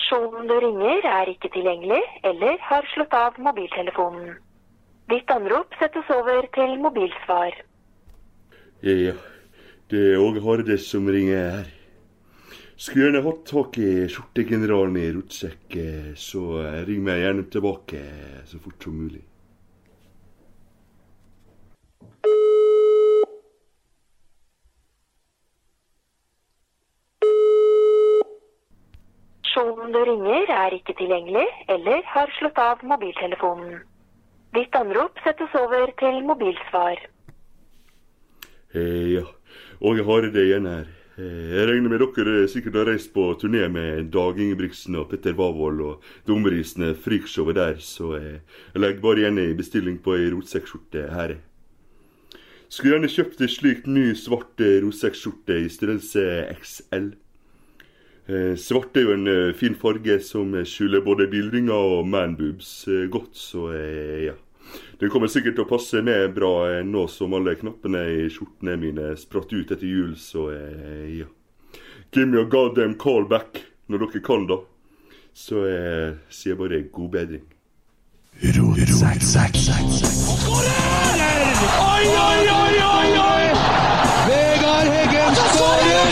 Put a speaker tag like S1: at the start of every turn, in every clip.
S1: Personen du ringer er ikke tilgjengelig eller har slått av mobiltelefonen. Ditt anrop settes over til mobilsvar.
S2: Ja, det er Åge Hardes som ringer her. Skulle gjerne hatt tak i skjortegeneralen i rotsekk, eh, så eh, ring meg gjerne tilbake eh, så fort som mulig.
S1: Personen du ringer er ikke tilgjengelig eller har slått av mobiltelefonen. Ditt anrop settes over til mobilsvar.
S2: Eh, ja, Åge Harde igjen her. Eh, jeg regner med dere sikkert har reist på turné med Dag Ingebrigtsen og Petter Wavold og dumrisene Frykshowet der, så eh, jeg legger bare igjen ei bestilling på ei rotsekkskjorte her. Skulle gjerne kjøpt ei slik ny svart eh, rotsekkskjorte i størrelse XL. Eh, svart er jo en eh, fin farge som skjuler både dillringer og manboobs eh, godt, så eh, ja. Den kommer sikkert til å passe meg bra eh, nå som alle knappene i skjortene mine spratt ut etter jul, så eh, ja. Give me a goddamn call back når dere kan, da. Så eh, sier jeg bare god bedring.
S3: Oi, oi, oi, oi, oi! Vegard Heggen skårer!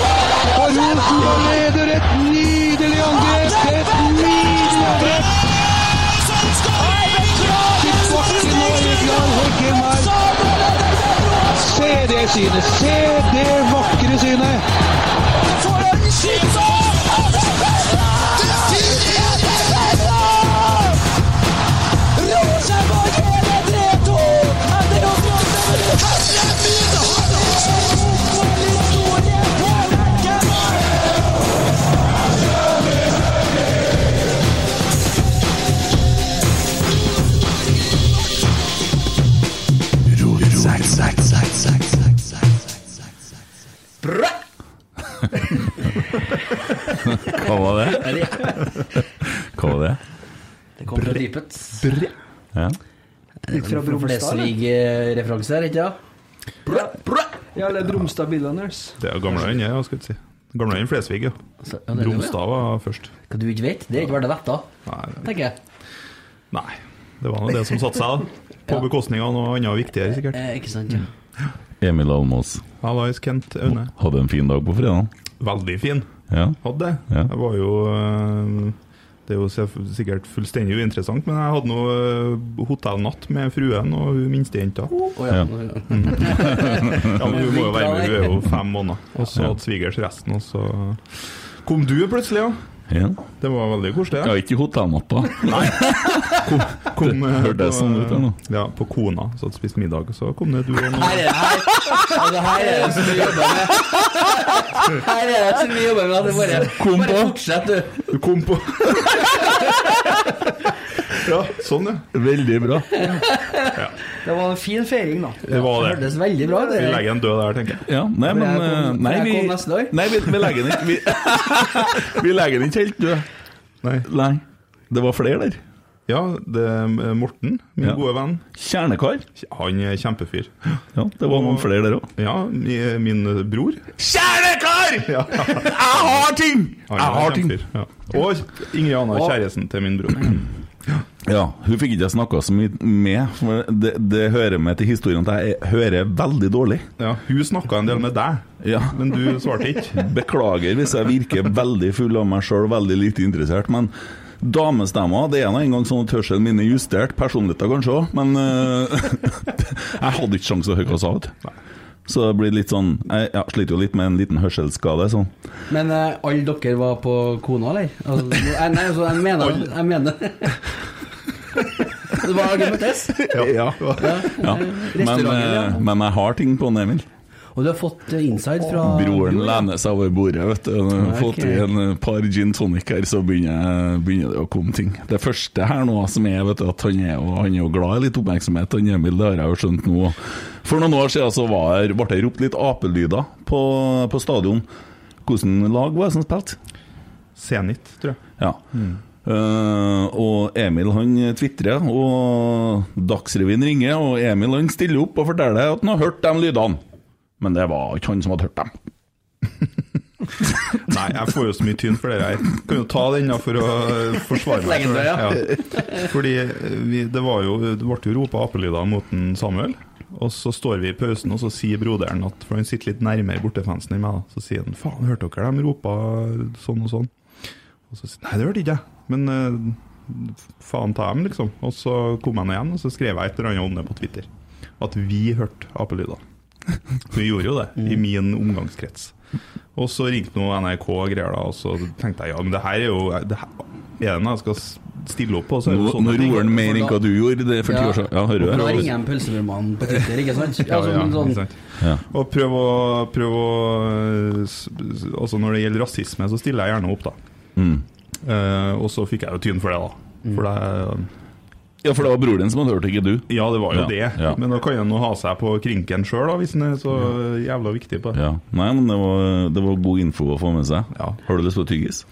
S3: Og Rosenborg leder et nydelig angrep! Et nydelig angrep! Tilbake nå, Vegard Heggen her. Se det synet! Se det vakre synet!
S4: Hva var det? Hva var det?
S5: Det kom fra dypet.
S4: Ja.
S6: Litt fra Bromstad, eller?
S5: Flesvig-referanse eh, her, ikke sant?
S6: Ja, eller Bromstad Billiners.
S7: Det er gamle øyne, ja, skal jeg si. Gamle øyne Flesvig, ja.
S5: Så- ja, det er det, ja.
S7: Bromstad var først.
S5: Hva du ikke vet, det er ikke verdt å vite,
S7: Nei,
S5: tenker jeg.
S7: nei. Det var nå det som satte seg, da. På bekostning av noe annet viktigere, sikkert.
S5: Eh, ikke sant, ja.
S4: Emil Almås
S7: Hallais, Kent Aune.
S4: hadde en fin dag på fredag.
S7: Veldig fin.
S4: Ja.
S7: Hadde det.
S4: Ja.
S7: Jeg var jo øh, Det er jo sef- sikkert fullstendig uinteressant, men jeg hadde nå øh, hotellnatt med fruen og hun minstejenta.
S5: Å, ja.
S7: Ja, men hun må jo være med, hun er jo fem måneder. Og så hadde svigers resten, og så kom du plutselig, ja.
S4: ja.
S7: Det var veldig koselig.
S4: Ja, ikke i hotellnatta.
S7: Kom, øh,
S4: hørte jeg
S7: på,
S4: sånn ut her nå.
S7: Ja, på Kona. Så hadde spist middag, og så kom det du og noen
S5: Her er det her. Ja, det her er det som vi jobber med. Her er det som vi jobber med. at Det bare, bare fortsett, du.
S7: Du kom på Ja, sånn, ja.
S4: Veldig bra.
S6: Det var en fin feiring, da.
S7: Det var
S5: Det
S7: det.
S5: hørtes veldig bra ut.
S7: Vi
S5: det der.
S7: legger en død der, tenker jeg.
S4: Ja, nei, men
S6: jeg
S4: eh,
S6: kom-
S4: Nei,
S6: for jeg
S4: vi,
S6: kom neste dag.
S4: nei, vi, vi legger den ikke vi, vi legger den ikke helt død.
S7: Nei.
S4: Nei. Det var flere der.
S7: Ja, det er Morten, min
S4: Ja.
S7: gode venn.
S4: Kjernekar.
S7: Han er kjempefyr.
S4: Ja, det var noen flere der òg.
S7: Ja, mi- min bror.
S4: Kjernekar! Jeg har ting!
S7: Han
S4: Jeg har
S7: er
S4: ting.
S7: kjempefyr. Ja. Og Ingrid Anna, kjæresten til min bror.
S4: Ja, hun fikk ikke jeg snakka så mye med. For det, det hører med til historien at jeg hører veldig dårlig.
S7: Ja, hun snakka en del med deg,
S4: Ja.
S7: men du svarte ikke.
S4: Beklager hvis jeg virker veldig full av meg sjøl, veldig lite interessert, men damestemmer Det er nå engang sånn at hørselen min er justert, personligheten kanskje òg, men eh, Jeg hadde ikke sjanse til å høre hva hun sa, vet du. Så det blir litt sånn Jeg ja, sliter jo litt med en liten hørselsskade, sånn.
S5: Men eh, alle dere var på kona, eller? Altså, jeg, nei, altså, jeg mener Jeg mener Det var Agumentes.
S4: Ja. Ja. Men, eh, men jeg har ting på den, Emil.
S5: Og du har fått eh, inside fra
S4: Broren lener seg over bordet, vet du. Når jeg har Fått
S5: Ok.
S4: i en eh, par gin tonic her, så begynner, jeg- begynner det å komme ting. Det første her nå som er, vet du, at han er, jo- han er jo glad i litt oppmerksomhet, han Emil, det har jeg jo skjønt nå. For noen år siden så var, jeg- ble det ropt litt apelyder på, på stadion. Hvordan lag var det som spilte?
S7: Senit, tror jeg.
S4: Ja. Eh, og Emil han tvitrer, og Dagsrevyen ringer, og Emil han stiller opp og forteller at han har hørt de lydene. Men det var ikke han som hadde hørt dem.
S7: Nei, jeg får jo så mye tyn for det her. Kan jo ta den da for å forsvare meg.
S5: Legge den
S7: Ja. Fordi eh, vi, det, var jo, det ble jo ropa apelyder mot en Samuel. Og så står vi i pausen, og så sier broderen, at, for han sitter litt nærmere bortefansen enn meg, da. så sier han 'faen, hørte dere de ropa sånn og sånn'? Og så sier han 'nei, det hørte ikke jeg', men eh, faen ta dem, liksom. Og så kom jeg nå igjen, og så skrev jeg et eller annet om det på Twitter. At vi hørte apelyder. Vi gjorde jo det, i
S4: Mm.
S7: min omgangskrets. Og så ringte nå NRK og greier, da, og så tenkte jeg ja, men det her er jo det her, Er det noe jeg skal s- stille opp på? Så er det
S4: Nå,
S7: jo sånne
S4: nå
S7: ting.
S4: roer han mer enn hva du gjorde det er for ti
S5: Ja.
S4: år siden. Ja, hører
S5: Da
S4: du
S5: ringer
S4: det?
S5: jeg pølsebrødmannen på Twitter, ikke sant?
S7: Ja,
S5: Altså,
S7: ja,
S5: men sånn,
S7: ikke sant.
S4: Ja.
S7: Og prøv å, prøv å eh, s- s- Altså Når det gjelder rasisme, så stiller jeg gjerne opp, da.
S4: Mm.
S7: Eh, og så fikk jeg jo tyn for det, da.
S5: Mm.
S7: For det,
S4: ja, for det var broren din som hadde hørt, ikke du.
S7: ja, det var jo
S4: Ja,
S7: det.
S4: ja.
S7: Men da kan en jo ha seg på krinken sjøl, hvis en er så jævla viktig på det.
S4: Ja. Nei, men det var, det var god info å få med seg.
S7: Ja.
S4: Har du lyst på tyggis?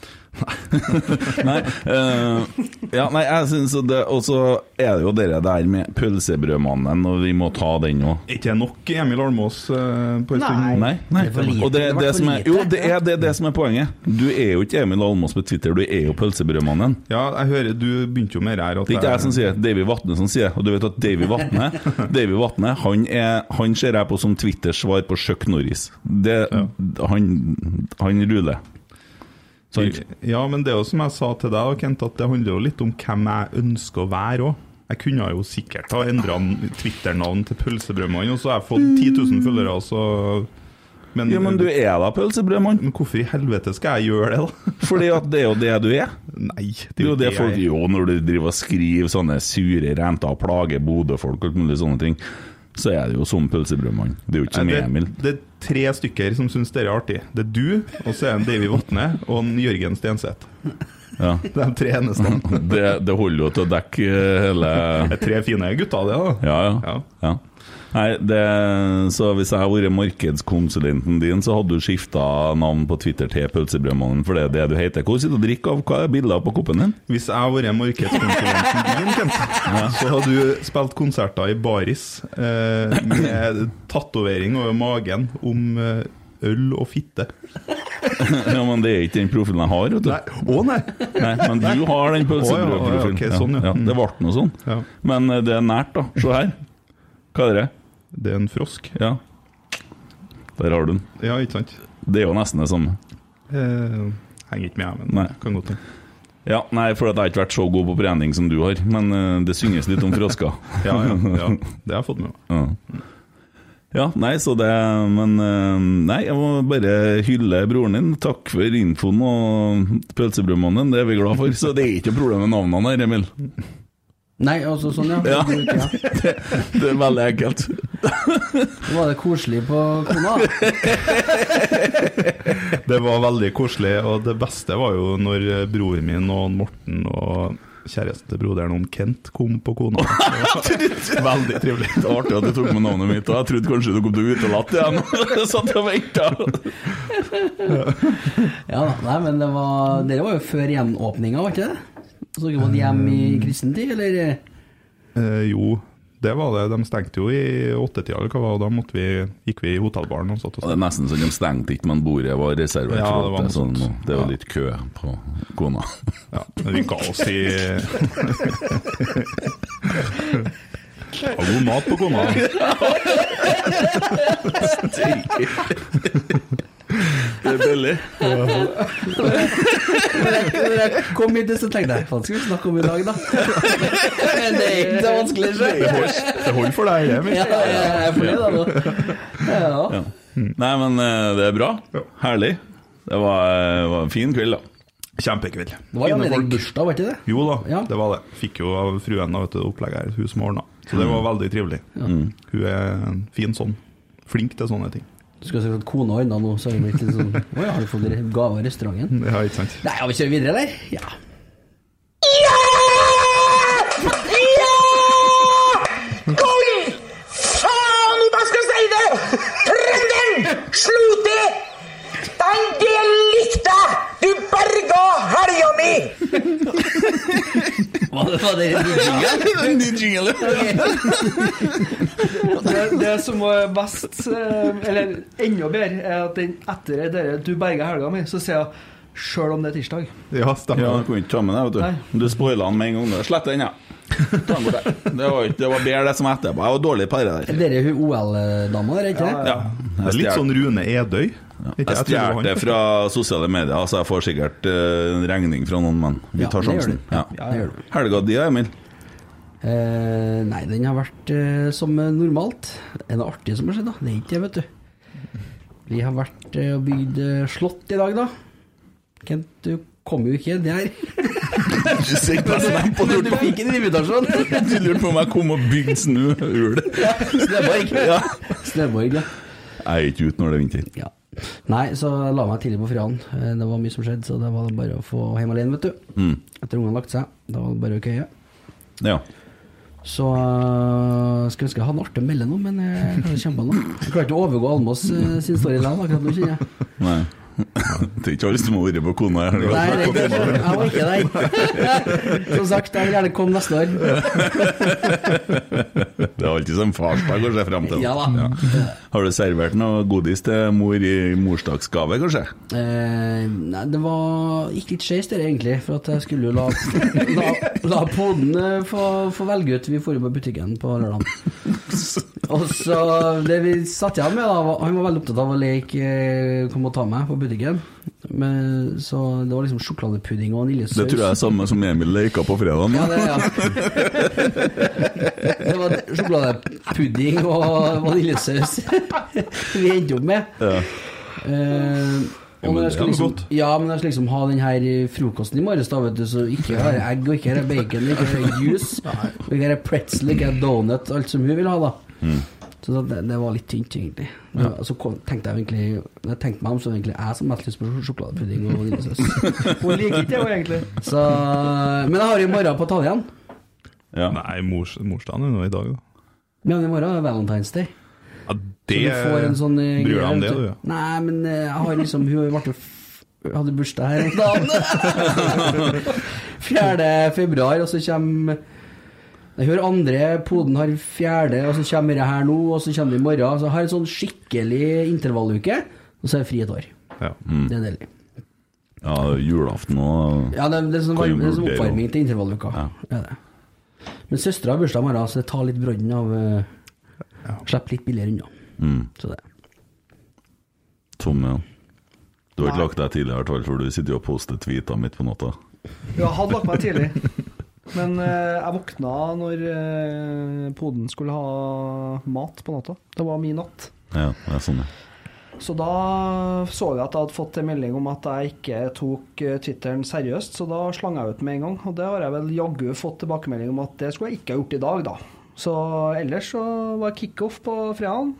S4: nei. eh, ja, nei, jeg syns jo det Og så er det jo det der med pølsebrødmannen, og vi må ta den òg.
S7: Er ikke det nok Emil Almås eh, på en
S6: Nei.
S7: stund?
S4: Nei. nei.
S5: Det er for lite.
S4: Og det,
S5: Det
S4: det,
S5: var for
S4: som er,
S5: lite.
S4: jo, det er det, er det som er poenget. Du er jo ikke Emil Almås på Twitter, du er jo pølsebrødmannen.
S7: Ja, jeg hører du begynte jo med det her. At
S4: Det er ikke jeg som sier det, Davy Vatne som sier det. Og du vet at Davy Vatne Davy Vatne, han, er, han ser jeg på som Twitter-svar på Chuck Norris. Det, Han, han ruler. Sant?
S7: Ja, men det er jo som jeg sa til deg, og Kent, at det handler jo litt om hvem jeg ønsker å være òg. Jeg kunne jo sikkert ha endra Twitter-navn til Pølsebrødmann, og så har jeg fått 10 000 følgere, og så men,
S4: Ja, men du er da pølsebrødmann.
S7: men hvorfor i helvete skal jeg gjøre det, da?
S4: Fordi at det er jo det du er.
S7: Nei,
S4: Det er jo det folk
S7: jeg-
S4: Jo, når du driver og skriver sånne sure renter og plager Bodø-folk og alt mulig sånne ting, så er det jo som pølsebrødmann. Det er jo ikke som
S7: Nei,
S4: Emil.
S7: Det, det er tre stykker som syns dere er artig. Det er du, og så er det en Davy Vatne og en Jørgen Stenseth.
S4: Ja.
S7: Det er de tre eneste.
S4: Det, det holder jo til å dekke hele
S7: Det er tre fine gutter, det, da.
S4: Ja, ja.
S7: Ja.
S4: ja. Nei, det, så hvis jeg hadde vært markedskonsulenten din, så hadde du skifta navn på Twitter til Pølsebrødmannen, for det er det du heter. Hvor sitter du og drikker av? Hva er bildet på koppen din?
S7: Hvis jeg hadde vært markedskonsulenten din, Kent, så hadde du spilt konserter i baris eh, med tatovering over magen om eh, øl og fitte.
S4: Ja, men det er ikke den profilen jeg har, vet du.
S7: Nei, å nei!
S4: Nei, men du har den
S7: Å, ja, å, ja,
S4: pølsebrødprofilen.
S7: ok, sånn, ja.
S4: det ble noe sånn.
S7: Ja.
S4: Men eh, det er nært, da. Se her. Hva er det?
S7: Det er en frosk.
S4: Ja. Der har du den.
S7: Ja, ikke sant?
S4: Det er jo nesten det samme.
S7: Eh, henger ikke med, jeg, men
S4: Nei.
S7: kan godt hende.
S4: Ja, nei, for at jeg har ikke vært så god på trening som du har, men eh, det synges litt om frosker.
S7: Ja, ja, ja. Det har jeg fått med meg.
S4: Ja. Ja, nei, så det Men eh, nei, jeg må bare hylle broren din. Takk for infoen og pølsebrødmannen, det er vi glad for. Så det er ikke noe problem med navnene her, Emil.
S5: nei, altså sånn, ja.
S4: Ja.
S5: ja.
S4: Det er veldig enkelt.
S5: Var det koselig på kona?
S7: Det var veldig koselig, og det beste var jo når eh, broren min og Morten og kjæresten til broderen om Kent kom på kona. Veldig trivelig.
S4: Det var artig at du tok med navnet mitt, og jeg trodde kanskje du kom til å utelate det igjen. Jeg satt og ventet.
S5: Ja da, nei, men det var Dere var jo før hjemmeåpninga, var ikke det? Så dere var hjem i kristen tid, eller?
S7: Eh, jo, det var det. De stengte jo i åttetida, eller hva var det? Da måtte vi, gikk vi i hotellbaren og satt
S4: Og
S7: oss
S4: Det er nesten så de stengte ikke, men bordet var reservert.
S7: Ja,
S4: for
S7: det var
S4: at
S7: noe
S4: sånn,
S7: sånt.
S4: det
S7: Ja.
S4: var litt kø på kona.
S7: ja, men Vi ga oss i Det var god mat på kona.
S4: Det er billig.
S5: Når jeg kom hit, så tenkte jeg hva skal vi snakke om i dag, da? Men det er ikke så vanskelig, sjø.
S7: Det holder for deg, det.
S5: Ja, jeg er fornøyd, da. nå. Ja.
S4: Ja. Nei, men eh, det er bra.
S7: Ja.
S4: Herlig. Det var, eh, var en fin kveld, da.
S7: Kjempekveld.
S5: Det var jo
S7: Fine
S5: anledning
S7: folk.
S5: bursdag, var ikke det?
S7: Jo da,
S5: Ja.
S7: det var det. Fikk jo av fruen da, vet du, opplegget her, hun som ordna. Så det var veldig trivelig. Hun er en fin sånn. Flink til sånne ting.
S5: Du skal si at kona ordna nå, så har jeg blitt litt sånn Å ja, har du fått re- gave av restauranten?
S7: Ja, ikke sant?
S5: Nei, ja, vi kjører videre, eller? Ja.
S8: Oi! Faen, hva skal jeg si det? Trønderen slo til! Den del likte jeg! Du berga helga mi!
S5: Var var det en ny jingle?
S4: Ny jingle.
S6: Det, det som var best, eh, eller enda bedre, er at den etter det der, du berga helga mi, så sier jeg Sjøl om det er tirsdag.
S7: Ja,
S4: Ja,
S7: stemmer.
S4: du kunne ikke ta med det, vet du. Du spoila den med en gang. du. Slett den, ja. Ta den bort der. Det var, ikke- det var bedre det som var etterpå. Jeg var dårlig på det der.
S5: Dere er hun OL-dama, er det ikke det?
S4: Ja.
S7: Det er litt sånn Rune Edøy.
S4: Jeg
S7: Ikke, jeg tror det var
S4: stjal
S7: han.
S4: det fra sosiale medier, så jeg får sikkert eh, en regning fra noen, men vi
S5: Ja,
S4: tar
S5: det gjør
S4: sjansen.
S5: du.
S4: Ja.
S5: Ja, det gjør du.
S4: Helga di, Emil?
S5: Eh, nei, den har vært eh, som normalt. Er det artig som har skjedd, da? Det er ikke det, vet du. Vi har vært eh, og bygd eh, slott i dag, da. Kent, du kom jo ikke det her.
S4: Du sitter
S5: Men du fikk en invitasjon.
S4: Du lurte på om jeg kom og bygde snøhul.
S5: Snøborg.
S4: Ja.
S5: Snøborg, ja.
S4: Jeg er ikke ute når det er vinter.
S5: ja. Nei, så jeg la meg tidlig på fredagen. Eh, Det var mye som skjedde, så det var bare å få hjem alene, vet du.
S4: Mm.
S5: Etter ungene lagt seg. Da var det bare å køye.
S4: Ja.
S5: Så øh, skulle ønske jeg hadde en artig å melde noe, men eh, jeg klarer ikke å kjempe noe. Jeg klarer ikke å overgå Almås øh, sin story likevel, akkurat nå, kjenner jeg.
S4: Nei. Det er ikke alle som har vært på kona i helga.
S5: Nei, det er ikke, jeg var ikke der. Som sagt, jeg vil gjerne komme neste år.
S4: Det er alltid som farsdag å se frem til.
S5: Ja da.
S4: Har du servert noe godis til mor i morsdagsgave, kanskje?
S5: Eh, nei, det var gikk litt skeis der, egentlig, for at jeg skulle jo la, la, la poden øh, få, få velge ut. Vi dro jo på butikken på lørdag. Og så Det vi satt igjen med, da var- Han var veldig opptatt av å leke eh, 'kom og ta meg' på butikken. Men, så det var liksom sjokoladepudding og vaniljesaus.
S4: Det tror jeg er samme som Emil leika på fredag.
S5: Ja, det, ja. det var sjokoladepudding og vaniljesaus vi endte opp med.
S4: Ja.
S5: Eh, og når jeg skal
S4: det er
S5: liksom,
S4: godt.
S5: ja, men jeg skal liksom ha den her frokosten i morges, da, vet du, så ikke her er egg, og ikke her er bacon, og ikke her er juice, og ikke her er pretzel, ikke her er donut, alt som hun vil ha, da.
S4: Mm.
S5: Så da- det, det var litt tynt, egentlig. Ja. Så kom, tenkte jeg egentlig Når jeg tenkte meg om, så var det egentlig jeg som hadde mest lyst på sjokoladepudding og vaniljesaus.
S6: Hun liker ikke det, hun, egentlig.
S5: Så, men jeg har jo i morgen på Tallian.
S4: Ja.
S7: Nei, mors, morsdagen er nå i dag, da.
S5: Men i morgen er Valentine's Day.
S7: Ja,
S5: Så
S7: det
S5: du får en sånn eh,
S7: Bryr deg om
S5: greie,
S7: det,
S5: vet
S7: du?
S5: Nei, men eh, jeg har liksom Hun ble jo f- hadde bursdag her om dagen. 4. februar, og så kommer Jeg hører andre, poden har fjerde, og så kommer det her nå, og så kommer det i morgen. Så jeg har en sånn skikkelig intervalluke, og så er jeg fri et år.
S7: Ja.
S5: Det er deilig.
S4: ja, julaften og
S5: Ja, det, det er sånn, varm, det er sånn
S4: Kan jo
S5: oppvarming til intervalluka.
S4: Ja.
S5: Det er det. Men søstera har bursdag i morgen, så det tar litt brodden av uh, Slipper litt billigere unna.
S4: mm,
S5: Så det.
S4: tomme. Du har ikke lagt deg tidligere, Torl, for du sitter jo og poster tweeter midt på natta.
S6: Ja, hadde lagt meg tidlig. Men eh, jeg våkna når eh, poden skulle ha mat på natta. Det var min natt.
S4: Ja, det er sånn, ja.
S6: Så da så jeg at jeg hadde fått en melding om at jeg ikke tok eh, Twitteren seriøst, så da slang jeg ut med en gang. Og det har jeg vel jaggu fått tilbakemelding om at det skulle jeg ikke ha gjort i dag, da. Så ellers så var kickoff på fredagen.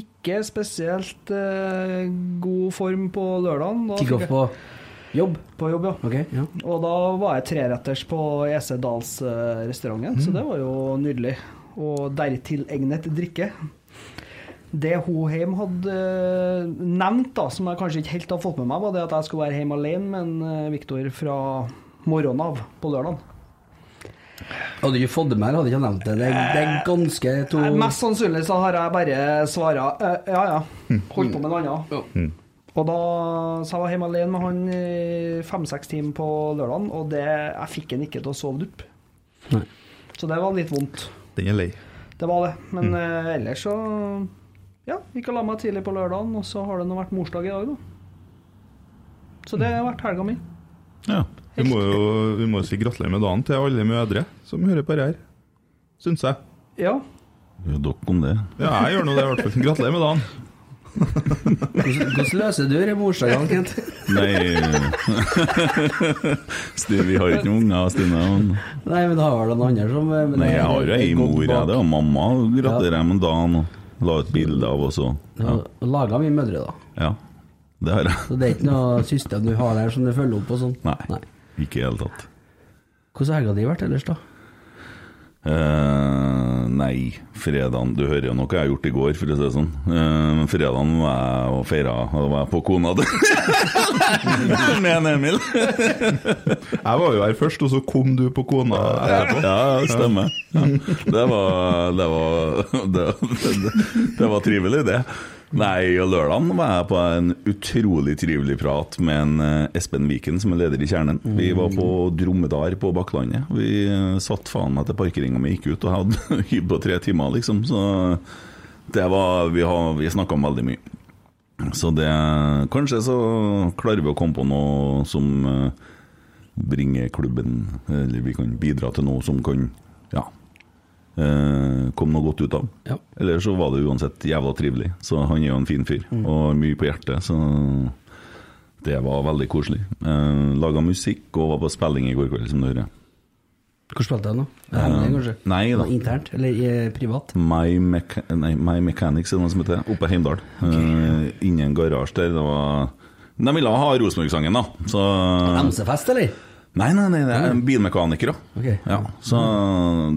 S6: Ikke spesielt eh, god form på lørdagen. Da
S5: Kick
S6: fikk
S5: off
S6: jeg-
S5: på jobb.
S6: på jobb, ja.
S5: Ok, ja.
S6: Og da var jeg treretters på EC Dals-restauranten, så det var jo nydelig. Og dertil egnet drikke. Det hun hjemme hadde eh, nevnt, da, som jeg kanskje ikke helt har fått med meg, var det at jeg skulle være hjemme alene med en, eh, Viktor fra morgenen av på lørdagen.
S5: Hadde ikke fått det med, hadde ikke jeg nevnt det. Det er, det er ganske to
S6: Nei, Mest sannsynlig så har jeg bare svara ja, ja.
S7: Mm.
S6: Holdt på med noe annet. Og da, så jeg var hjemme alene med han i fem-seks timer på lørdagen, og det, jeg fikk han ikke til å sove dupp.
S5: Nei.
S6: Så det var litt vondt.
S7: Den er lei. Mm.
S6: Det var det. Men eh, ellers så ja, gikk og la meg tidlig på lørdagen, og så har det nå vært morsdag i dag, da. Så det har vært helga mi.
S4: ja.
S7: Vi må jo vi må jo si gratulerer med dagen til alle mødre som hører på det her, syns jeg.
S6: Ja.
S4: Jo, Dere om det.
S7: Ja, jeg gjør nå det, i hvert fall. Gratulerer med dagen.
S5: Hvordan hvordan løser du det morsdagen, Kent?
S4: Nei Stine, Vi har ikke noen unger, Stine. men-
S5: Nei, men det har vel noen andre som eh, men
S4: Nei,
S5: det-
S4: jeg har jo ei
S5: det går
S4: mor, jeg.
S5: bak.
S4: Det er mamma. Gratulerer jeg med dagen. og La ut bilde av oss og
S5: Det
S4: Ja.
S5: var Laga mye mødre, da.
S4: ja. Det har jeg.
S5: Så det er ikke noe system du har der som du følger opp og sånn.
S4: Nei. Ikke i det hele tatt.
S5: Hvordan har helga di vært ellers, da?
S4: Eh, nei, fredagen Du hører jo noe jeg har gjort i går, for å si det sånn. Eh, Men fredagen var jeg og feira, og da var jeg på kona til Med en Emil.
S7: Jeg var jo her først, og så kom du på kona etterpå.
S4: Ja, ja, stemmer. Ja. Det, var, det, var, det, det, det var trivelig, det. Nei, og lørdagen var jeg på en utrolig trivelig prat med en eh, Espen Viken, som er leder i Kjernen. Vi var på Dromedar på Bakklandet. Vi eh, satt faen meg til parkeringa mi gikk ut, og hadde hybb på tre timer, liksom. Så det var Vi, har- vi snakka om veldig mye. Så det Kanskje så klarer vi å komme på noe som eh, bringer klubben Eller vi kan bidra til noe som kan Ja eh, Komme noe godt ut av
S5: Ja.
S4: Eller så var det uansett jævla trivelig Så han er jo en fin fyr Og har mye på hjertet Så det var veldig koselig eh, Laget musikk og var på spilling i går kveld Som du hører
S5: Hvor spilte jeg nå? Ja, det kanskje?
S4: Eh, Nei da.
S5: Nå, Internt? Eller eh, privat?
S4: My, Mecha nei, My Mechanics er det noe som heter Oppe i Heimdal eh, Innen garasje der Det var de ville ha Rosenborg-sangen da så...
S5: MC-fest, eller?
S4: Nei, nei, nei, det er en bilmekaniker da.
S5: Ok.
S4: Ja, så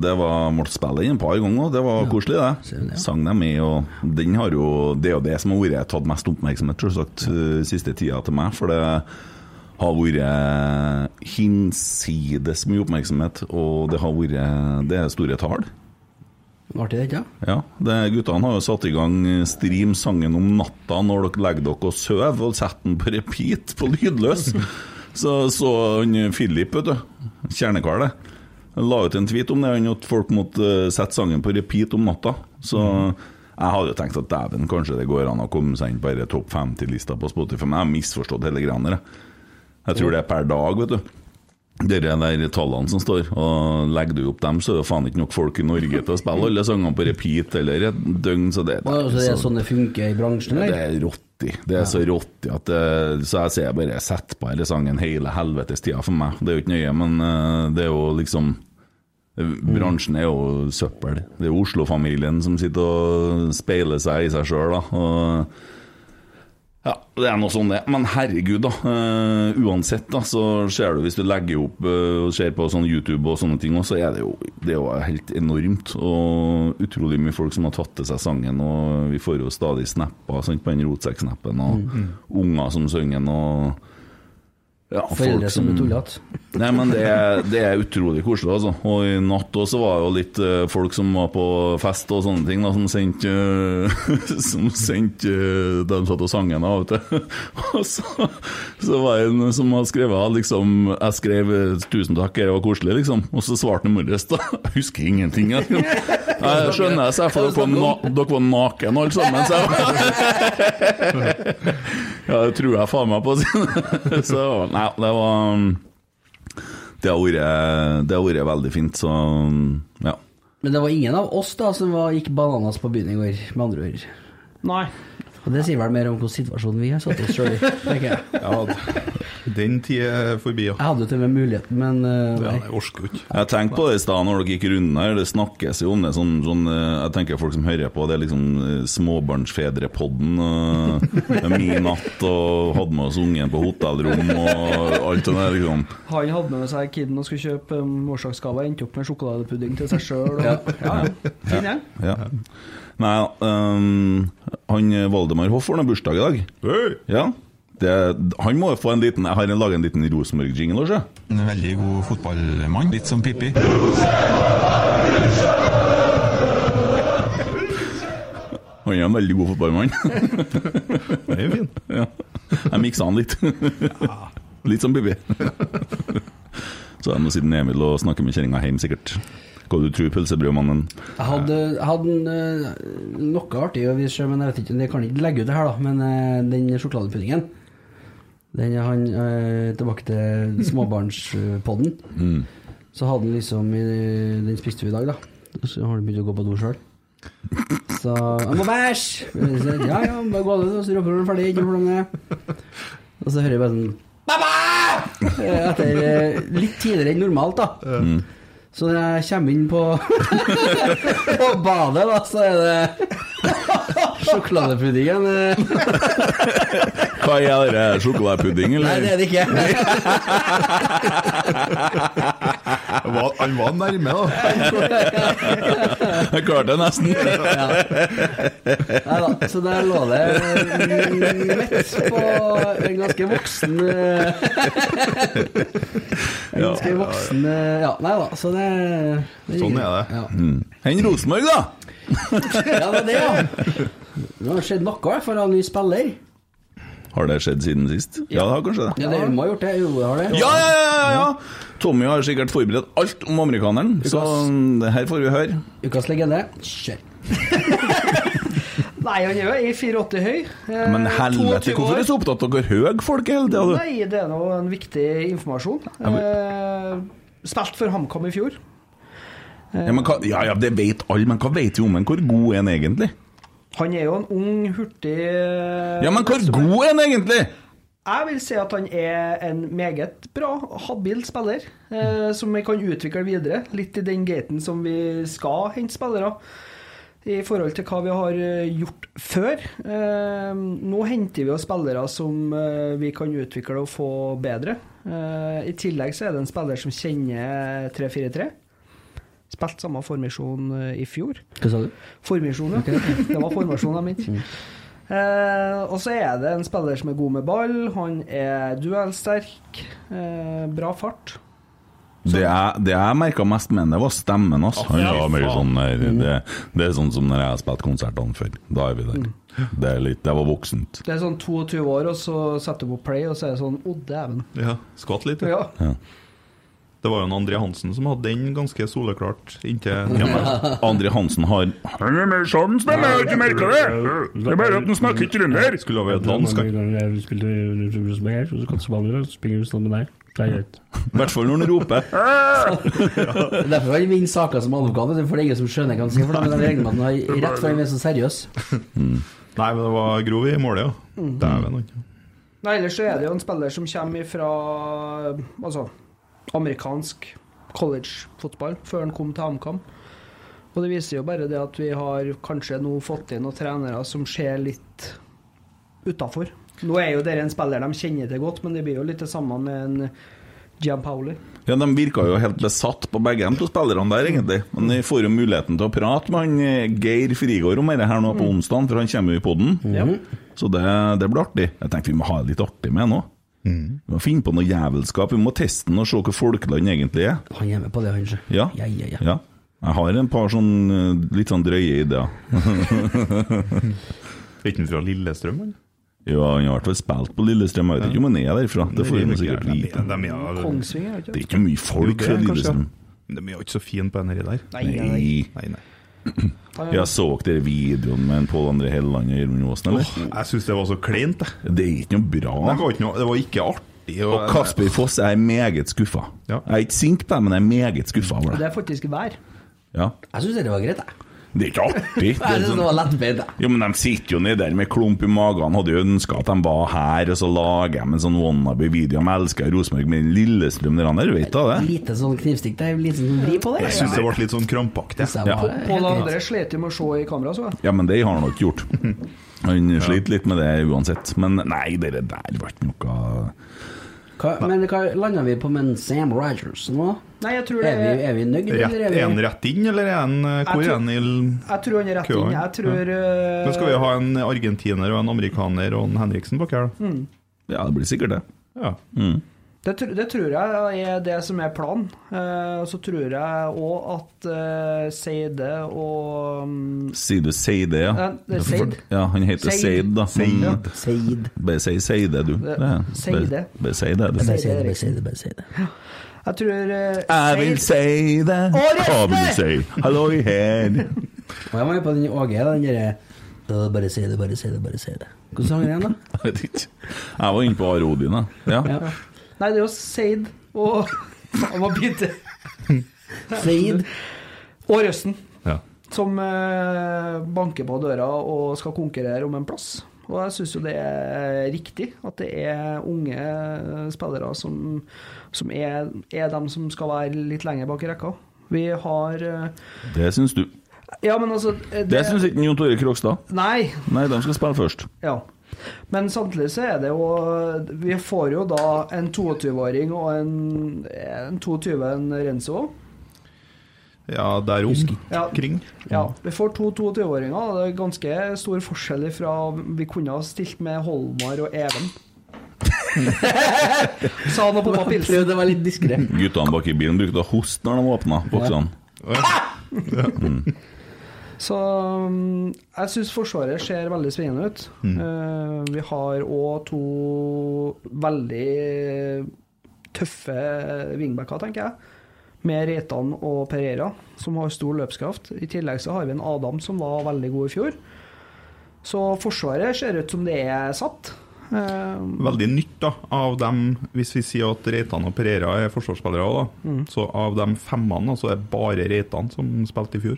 S4: det var måtte spille den et par ganger, og det var koselig det.
S5: ser du det, ja.
S4: Sang dem i, og den har jo, det er jo det som har vært tatt mest oppmerksomhet, selvsagt, eh, siste tida til meg, for det har vært hinsides mye oppmerksomhet, og det har vært, det er store tall.
S5: Artig, det, ikke sant?
S4: Ja, det, guttene har jo satt i gang stream sangen om natta når dere legger dere og søv, og setter den på repeat på lydløs. Så så han Philip, vet du, kjernekar det, han la ut en tweet om det, han at folk måtte eh, sette sangen på repeat om natta. Så jeg hadde jo tenkt at dæven, kanskje det går an å komme seg inn på denne topp 50-lista på Spotify, men jeg har misforstått hele greia der. jeg. Jeg tror det er per dag, vet du. Det er de der tallene som står, og legger du opp dem, så er det faen ikke nok folk i Norge til å spille alle sangene på repeat eller et døgn, så det,
S5: Ja, altså, det er
S4: så-
S5: sånn det funker i bransjen,
S4: det
S5: eller?
S4: er rotti. Det er så rotti at det, Så jeg ser bare sett på denne sangen hele helvetes tida for meg. Det er jo ikke nøye, men eh, det er jo liksom
S5: Mm.
S4: Bransjen er jo søppel. Det er jo Oslo-familien som sitter og speiler seg i seg sjøl, da. Og ja, det er noe sånn det. Men herregud, da. eh, uansett, da, så ser du hvis du legger opp eh, og ser på sånn YouTube og sånne ting, også, så er det jo, det er jo helt enormt. Og utrolig mye folk som har tatt til seg sangen, og vi får jo stadig snapper sant, på den rotsekk-snappen,
S5: Mm,
S4: og unger som synger den, og ja,
S5: Foreldre som er tullete.
S4: Nei, men det er, det er utrolig koselig, altså. Og i natt også var det jo litt eh, folk som var på fest og sånne ting, da, som sendte eh, Som sendte eh, De satt og sang en, da, vet du. Og så, så var det en som hadde skrevet liksom Jeg skrev eh, 'tusen takk, det var koselig', liksom. Og så svarte han i morges, da. Jeg husker ingenting. Jeg, jeg skjønner jeg ser for dere var na- dere var naken alle sammen, så jeg Ja, det tror jeg faen meg på. Så nei, det var mm, det har vært, eh, det har vært veldig fint, så mm, ja.
S5: Men det var ingen av oss da som var, gikk bananas på byen i går, med andre ord.
S6: Nei.
S5: Og det sier vel mer om hvilken situasjon vi har satt oss sjøl i, tenker jeg.
S7: Ja, den tida er forbi, ja.
S5: Jeg hadde jo til og med muligheten, men eh,
S7: Ja,
S5: nei.
S7: Jeg orker jo ikke.
S4: Jeg tenkte på det i stad når dere gikk runden her, det snakkes jo om det sånn, sånn eh, Jeg tenker folk som hører på, det er liksom eh, småbarnsfedrepodden og det er Min natt og hadde med oss ungen på hotellrom og alt det der, liksom.
S6: Han hadde med seg kiden og skulle kjøpe um, morsdagsgave, endte opp med sjokoladepudding til seg sjøl. Ja. Ja, ja. Fin gjeng.
S4: Ja. Nei, ehm, han eh, Valdemar Hoff får nå bursdag i dag.
S7: Hey!
S4: Ja. Det, han må jo få en liten Jeg har laga en liten Rosenborg-jingle, også.
S9: En veldig god fotballmann, litt som Pippi.
S4: Han er en veldig god fotballmann.
S7: Den er jo fin.
S4: Ja. Jeg miksa han litt. Litt som Bibi. Så jeg må sitte ned Emil og snakke med kjerringa hjemme, sikkert. Hva du tror, pølsebrødmannen?
S5: Jeg hadde, hadde en, eh, noe artig å vise sjøl, men jeg vet ikke, jeg kan ikke legge ut det her, da. Men eh, den sjokoladepuddingen Den er han eh, Tilbake til småbarnspodden. Så hadde han liksom i- Den spiste vi i dag, da. Og så har han begynt å gå på do sjøl. Så 'Jeg må bæsje!' Så jeg, Ja ja, bare gå ut, og så roper han ferdig. Ikke noe problem med det. Og så hører jeg bare sånn «Baba!» Eh, Etter eh, litt tidligere enn normalt, da. Så når jeg kommer inn på På badet, da, så er det Sjokoladepuddingen eh,
S4: Hva er det? Sjokoladepudding,
S5: Nei, det
S4: eller?
S5: er det ikke.
S7: Var- Han var nærme, da.
S4: Jeg klarte det nesten.
S5: Nei da. Så der lå det eh, midt på en ganske voksen eh, En ganske voksen eh, Ja, nei da. Så det, det
S7: Sånn
S5: gikk-
S7: er det.
S5: Ja.
S4: Enn Mm. Rosenborg, da!
S5: Ja, det er det, ja. Det har skjedd noe, i hvert fall av ny spiller.
S4: Har det skjedd siden sist? Ja, det har kanskje det.
S5: Ja, det må ha gjort det. Jo, det har det.
S4: Ja, ja, ja! ja, ja. Tommy har sikkert forberedt alt om amerikaneren, så det her får vi høre.
S5: Ukas legende. Kjør.
S6: Nei, han er jo 1,84 høy. eh,
S4: Men
S6: 22
S4: helvete,
S6: år.
S4: hvorfor er du så opptatt av hvor høy folk er hele tida, du?
S6: Nei, det er nå en viktig informasjon. Eh, spilt for HamKam i fjor.
S4: Ja, men hva, ja, ja, det vet alle, men hva vet vi om en? Hvor god er en egentlig?
S6: Han er jo en ung, hurtig eh,
S4: Ja, men hvor god er en egentlig?
S6: Jeg vil si at han er en meget bra, habil spiller, eh, som vi kan utvikle videre. Litt i den gaten som vi skal hente spillere. I forhold til hva vi har eh, gjort før. Eh, nå henter vi jo spillere som eh, vi kan utvikle og få bedre. Eh, I tillegg så er det en spiller som kjenner 3-4-3. Spilte samme formasjon eh, i fjor.
S5: Hva sa du? Mm.
S6: Formasjon, ja. Det var formasjonen min. Eh, og så er det en spiller som er god med ball. Han er duellsterk. Eh, bra fart.
S4: Det jeg, det jeg merka mest med henne, var stemmen hans. Han
S7: Ja,
S4: var mer
S7: faen.
S4: sånn der, det, det er sånn som når jeg har spilt konsertene før. Da er vi der. Det, er litt, det var voksent.
S6: Det er sånn 22 år, og så setter du på play, og så er det sånn Å, dæven.
S7: Ja, Skvatt litt.
S6: Ja.
S7: Det var jo en André Hansen som hadde den ganske soleklart inntil
S4: André Hansen har Han er mer sånn stemme, jeg har ikke merka det! Det er bare at han snakker trønder!
S7: Skulle ha vært dansk. han.
S10: Jeg skulle Rosenborg her, så skal jeg spille, så springer vi sammen der. Det er greit.
S4: I hvert fall når han roper.
S5: Det er derfor han vinner saker som advokat, vet du, for det er ingen som skjønner hva han skal for da, men jeg regner med at han har rett for han er så seriøs.
S7: Nei, men det var grov i målet, ja. Dæven, han.
S6: Nei, ellers så er det jo en spiller som kommer fra altså, amerikansk collegefotball før han kom til HamKam. Og det viser jo bare det at vi har kanskje nå fått inn noen trenere som ser litt utafor. Nå er jo dere en spiller de kjenner til godt, men det blir jo litt det samme med en Gianpaoli.
S4: Ja, De virka jo helt besatt på begge de to spillerne der, egentlig. Men jeg får jo muligheten til å prate med han eh, Geir Frigård om dette her nå på onsdag, for han kommer jo i poden.
S5: Mm.
S4: Så det, det blir artig. Jeg tenkte vi må ha det litt artig med nå. Vi må finne på noe jævelskap. Vi må teste den og se hva folkeland egentlig er.
S5: Han er med på det, han sjø.
S4: Ja.
S5: Ja, ja, ja.
S4: Ja. Jeg har et par sånn eh, litt sånn drøye ideer.
S7: Er ikke han fra Lillestrøm, han?
S4: Jo, han har i hvert fall spilt på Lillestrøm. Jeg vet ikke om han er derfra. Det får vi nå sikkert
S7: De-
S4: vite.
S7: de er-
S6: Kongsvinger, er
S4: Det
S6: det
S4: er
S6: ikke?
S4: ikke mye folk
S7: det
S4: fra
S7: er kanskje,
S4: Lillestrøm.
S7: Men De er jo ikke så fine på NRI der.
S6: Nei, nei, nei.
S7: Nei, nei.
S6: Han er-
S4: Jeg så dere videoen med Pål André Helleland og Gjermund Aasen, eller?
S7: Jeg syns det var så kleint, jeg.
S4: Det er ikke noe bra.
S7: Det var ikke, noe, det var ikke artig. Og,
S4: Og Kasper Foss jeg er meget skuffa.
S7: Ja.
S4: Jeg er ikke sint på deg, men jeg er meget skuffa over
S6: Og
S4: det.
S6: det er faktisk vær.
S4: Ja.
S5: Jeg syns det var greit, jeg.
S4: Det er ikke artig. Det
S5: Jeg
S4: er
S5: synes
S4: sånn,
S5: det var lettbeint, jeg.
S4: jo, men De sitter jo nedi der med klump i magen. Hadde jo ønska at de var her, og så lager de en sånn wannabe-video. De elsker Rosenborg med den Lillestrøm der, han der, vet du det?
S5: Lite sånn knivstikk der, lite sånn vri på det.
S7: jeg syns det ble litt sånn krampaktig.
S5: Så jeg
S4: Ja.
S5: var helt
S6: Pål
S5: greit.
S6: André slet jo med å se i kamera, så jeg.
S4: Ja, men det har han nok gjort. Han sliter litt med det uansett. Men nei, det der var ikke noe
S5: Hva- Men hva landa vi på med en Sam Rogers nå?
S6: Nei, jeg tror det
S5: Er vi, er vi nøyd,
S7: Rett,
S5: eller
S7: er
S5: er
S7: han
S5: vi
S7: rett inn, eller er han eh, Hvor
S6: Jeg
S7: er
S6: tror-
S7: han i l-
S6: Jeg tror han er rett
S7: Køa,
S6: inn. Jeg tror eh,
S7: Men skal vi ha en argentiner og en amerikaner og en Henriksen bak her,
S6: Mm.
S7: da?
S4: Ja, det blir sikkert det.
S7: Ja.
S6: Det, tr- det tror jeg er det som er planen. Eh, og så tror jeg òg at eh, Seide og um,
S4: Sier du Seide, ja?
S6: Nei, det er Seid.
S4: Ja, han heter
S6: Seid.
S4: Seid, da. Men-
S6: Seid.
S5: Seid.
S4: Bare si Seide, du.
S6: Det-
S4: Ja.
S6: Seide.
S4: Bare- Bare si det, du.
S5: Bare si det, bare si det. bare si det.
S6: Jeg tror eh,
S4: Jeg vil
S6: Seid-
S4: si det.
S6: Årets
S4: Hva vil du si? Halloi her.
S5: Og jeg var jo på den Åge, den derre «Øh, Bare si det, bare si det, bare si det. Hvordan sang den igjen, da?
S4: Jeg vet ikke. Jeg var inne på Are Odin, jeg. Ja.
S5: Ja.
S6: Nei, det er jo Seid og Han må bite.
S5: Seid.
S6: Og Røsten,
S7: Ja.
S6: som eh, banker på døra og skal konkurrere om en plass. Og jeg syns jo det er riktig at det er unge eh, spillere som, som er, er dem som skal være litt lenger bak i rekka. Vi har eh,
S4: Det syns du.
S6: Ja, men altså eh,
S4: Det syns ikke Jon Tore Krogstad.
S6: Nei.
S4: Nei, de skal spille først.
S6: Ja. Men samtidig så er det jo Vi får jo da en 22-åring og en, en 22, en Renzo.
S7: Ja, der om.
S6: Ja.
S7: Kring.
S6: Ja, vi får to 22-åringer. og Det er ganske stor forskjell fra Vi kunne ha stilt med Holmar og Even. Sa han og pappa Pilsen.
S5: Prøv å være litt diskré.
S4: Guttene bak i bilen brukte å hoste når de åpna boksene.
S6: Så mm, jeg syns Forsvaret ser veldig spennende ut.
S4: Mm.
S6: Eh, vi har òg to veldig tøffe wingbacker, tenker jeg. Med Reitan og Pereira, som har stor løpskraft. I tillegg så har vi en Adam som var veldig god i fjor. Så Forsvaret ser ut som det er satt. Eh,
S7: Veldig nytt da, av dem, hvis vi sier at Reitan og Pereira er forsvarsspillere også, da,
S6: Mm.
S7: så av de femmene da, så er det bare Reitan som spilte i fjor.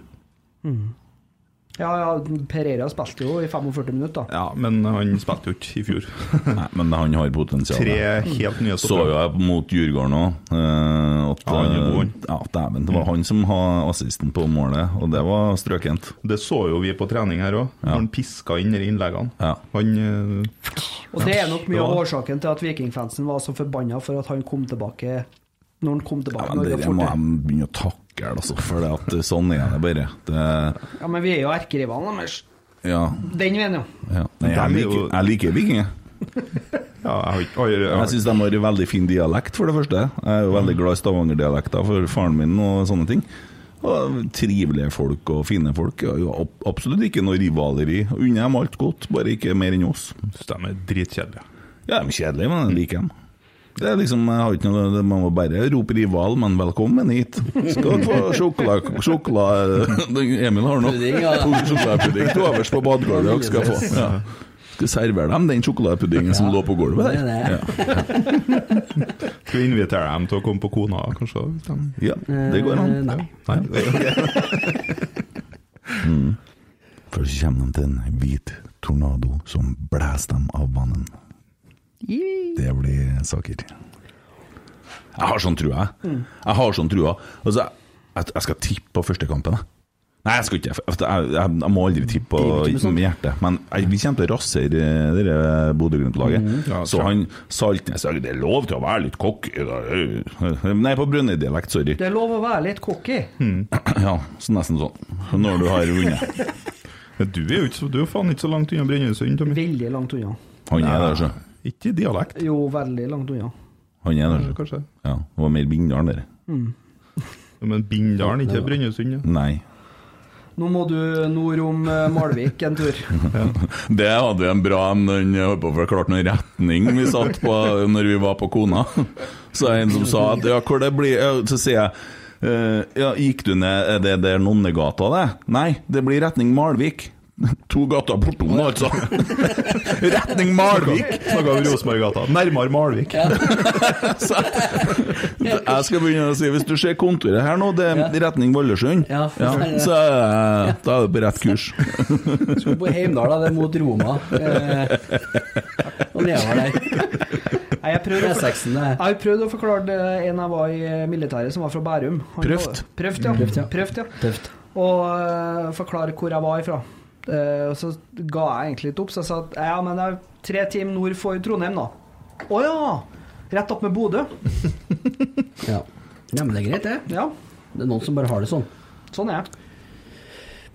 S6: ja, ja, Pereira spilte jo i 45 minutter, da.
S7: Ja, men han spilte jo ikke i fjor.
S4: Nei, men han har potensial.
S7: Tre helt nye
S4: Så jo
S7: stoppere.
S4: jeg mot Djurgården òg. at
S7: Ja, han er
S4: eh,
S7: god, han.
S4: ja, dæven, det var han som hadde assisten på målet, og det var strøkent.
S7: Det så jo vi på trening her òg, når han piska inn de innleggene.
S4: Ja.
S7: Han eh,
S6: Og det er nok mye av
S7: Ja.
S6: årsaken til at vikingfansen var så forbanna for at han kom tilbake når han kom tilbake.
S4: Ja,
S6: når
S4: men det,
S6: var
S4: det må
S6: 40.
S4: jeg begynne å takle, altså, for det at sånn er det bare. Det,
S6: Ja, men vi er jo erkerivalen deres.
S4: ja,
S6: Den veien, jo.
S4: ja. Nei, jeg,
S7: De er
S4: liker,
S7: jo-
S4: jeg liker vikinger.
S7: Ja, jeg har ikke jeg har-
S4: Jeg syns de har en veldig fin dialekt, for det første. Jeg er jo veldig glad i stavangerdialekter for faren min og sånne ting. Og trivelige folk og fine folk. Ja, jo, ab- absolutt ikke noe rivaleri. Unner dem alt godt, bare ikke mer enn oss.
S7: synes de er dritkjedelige.
S4: Ja, de er kjedelige, men jeg liker dem. Det er liksom, jeg har ikke noe, det- Man må bare rope 'rival', men 'velkommen hit'. Skal dere få sjokolade... sjokolade Emil har nå
S5: Pudding, ja.
S4: sjokoladepudding til overs på badegulvet. Dere skal få. Ja. Skal servere dem den sjokoladepuddingen som lå på gulvet
S5: Det er
S4: der.
S5: det.
S4: Ja.
S7: Skal vi invitere dem til å komme på Kona, kanskje? hvis de-
S4: Ja, det går an.
S5: Eh, nei.
S7: Nei? Ok.
S4: Først så kommer de til en hvit tornado som blæser dem av vannet. Det blir saker. Jeg har sånn trua, jeg. Jeg har sånn trua. Altså, jeg, jeg skal tippe på første kampen, jeg. Nei, jeg skal ikke. for Jeg, jeg, jeg må aldri tippe på med hjertet. Men jeg, vi kommer til å rasere eh, det der Bodø-Glimt-laget.
S7: Ja,
S4: så han Saltnes jeg, Det er lov til å være litt cocky. da. Nei, på Brønnøy-dialekt, sorry.
S6: Det er lov å være litt cocky.
S4: Ja, så nesten sånn. Når du har vunnet.
S7: Men du er jo ikke, så- du er jo faen ikke så langt unna Brønnøysund, Tommy.
S6: Veldig langt unna.
S4: Han er der, så.
S7: Ikke i dialekt,
S6: Jo, veldig langt unna.
S4: Han er der, så.
S7: kanskje.
S4: Ja, det var mer Bindal der.
S7: Men Bindalen, ikke Brønnøysund. Ja.
S4: Nei.
S6: Nå må du nord om eh, Malvik en tur.
S4: Det hadde vi en bra en, den holdt på å forklare noen retning vi satt på når vi var på Kona. Så er det en som sa at ja, hvor det blir ja, Så sier jeg eh, ja, gikk du ned Er det der Nonnegata, det? Nei, det blir retning Malvik. To gater bortom, da, altså. Retning Malvik!
S7: Snakka om Rosenborggata. Nærmere Malvik.
S4: Så jeg skal begynne å si hvis du ser kontoret her nå, det er retning Valdresund.
S5: Ja, for det er det.
S4: så eh, da er du på rett kurs.
S5: Skal på Heimdal, da. Det er mot Roma. Eh, og nedover der.
S6: Nei, Jeg prøvde å, for- jeg
S5: E6-en der.
S6: har prøvd å forklare det en jeg var i eh, militæret, som var fra Bærum. Han
S4: Prøvd.
S6: var- Prøvd, ja. Prøvd, ja.
S5: Tøft.
S6: Og eh, forklare hvor jeg var ifra. Eh, og så ga jeg egentlig litt opp, så jeg sa at ja, men det er tre timer nord for Trondheim, da. Å ja! Rett opp med Bodø.
S5: Ja. ja, men det er greit, det.
S6: Ja,
S5: Det er noen som bare har det sånn.
S6: sånn er jeg.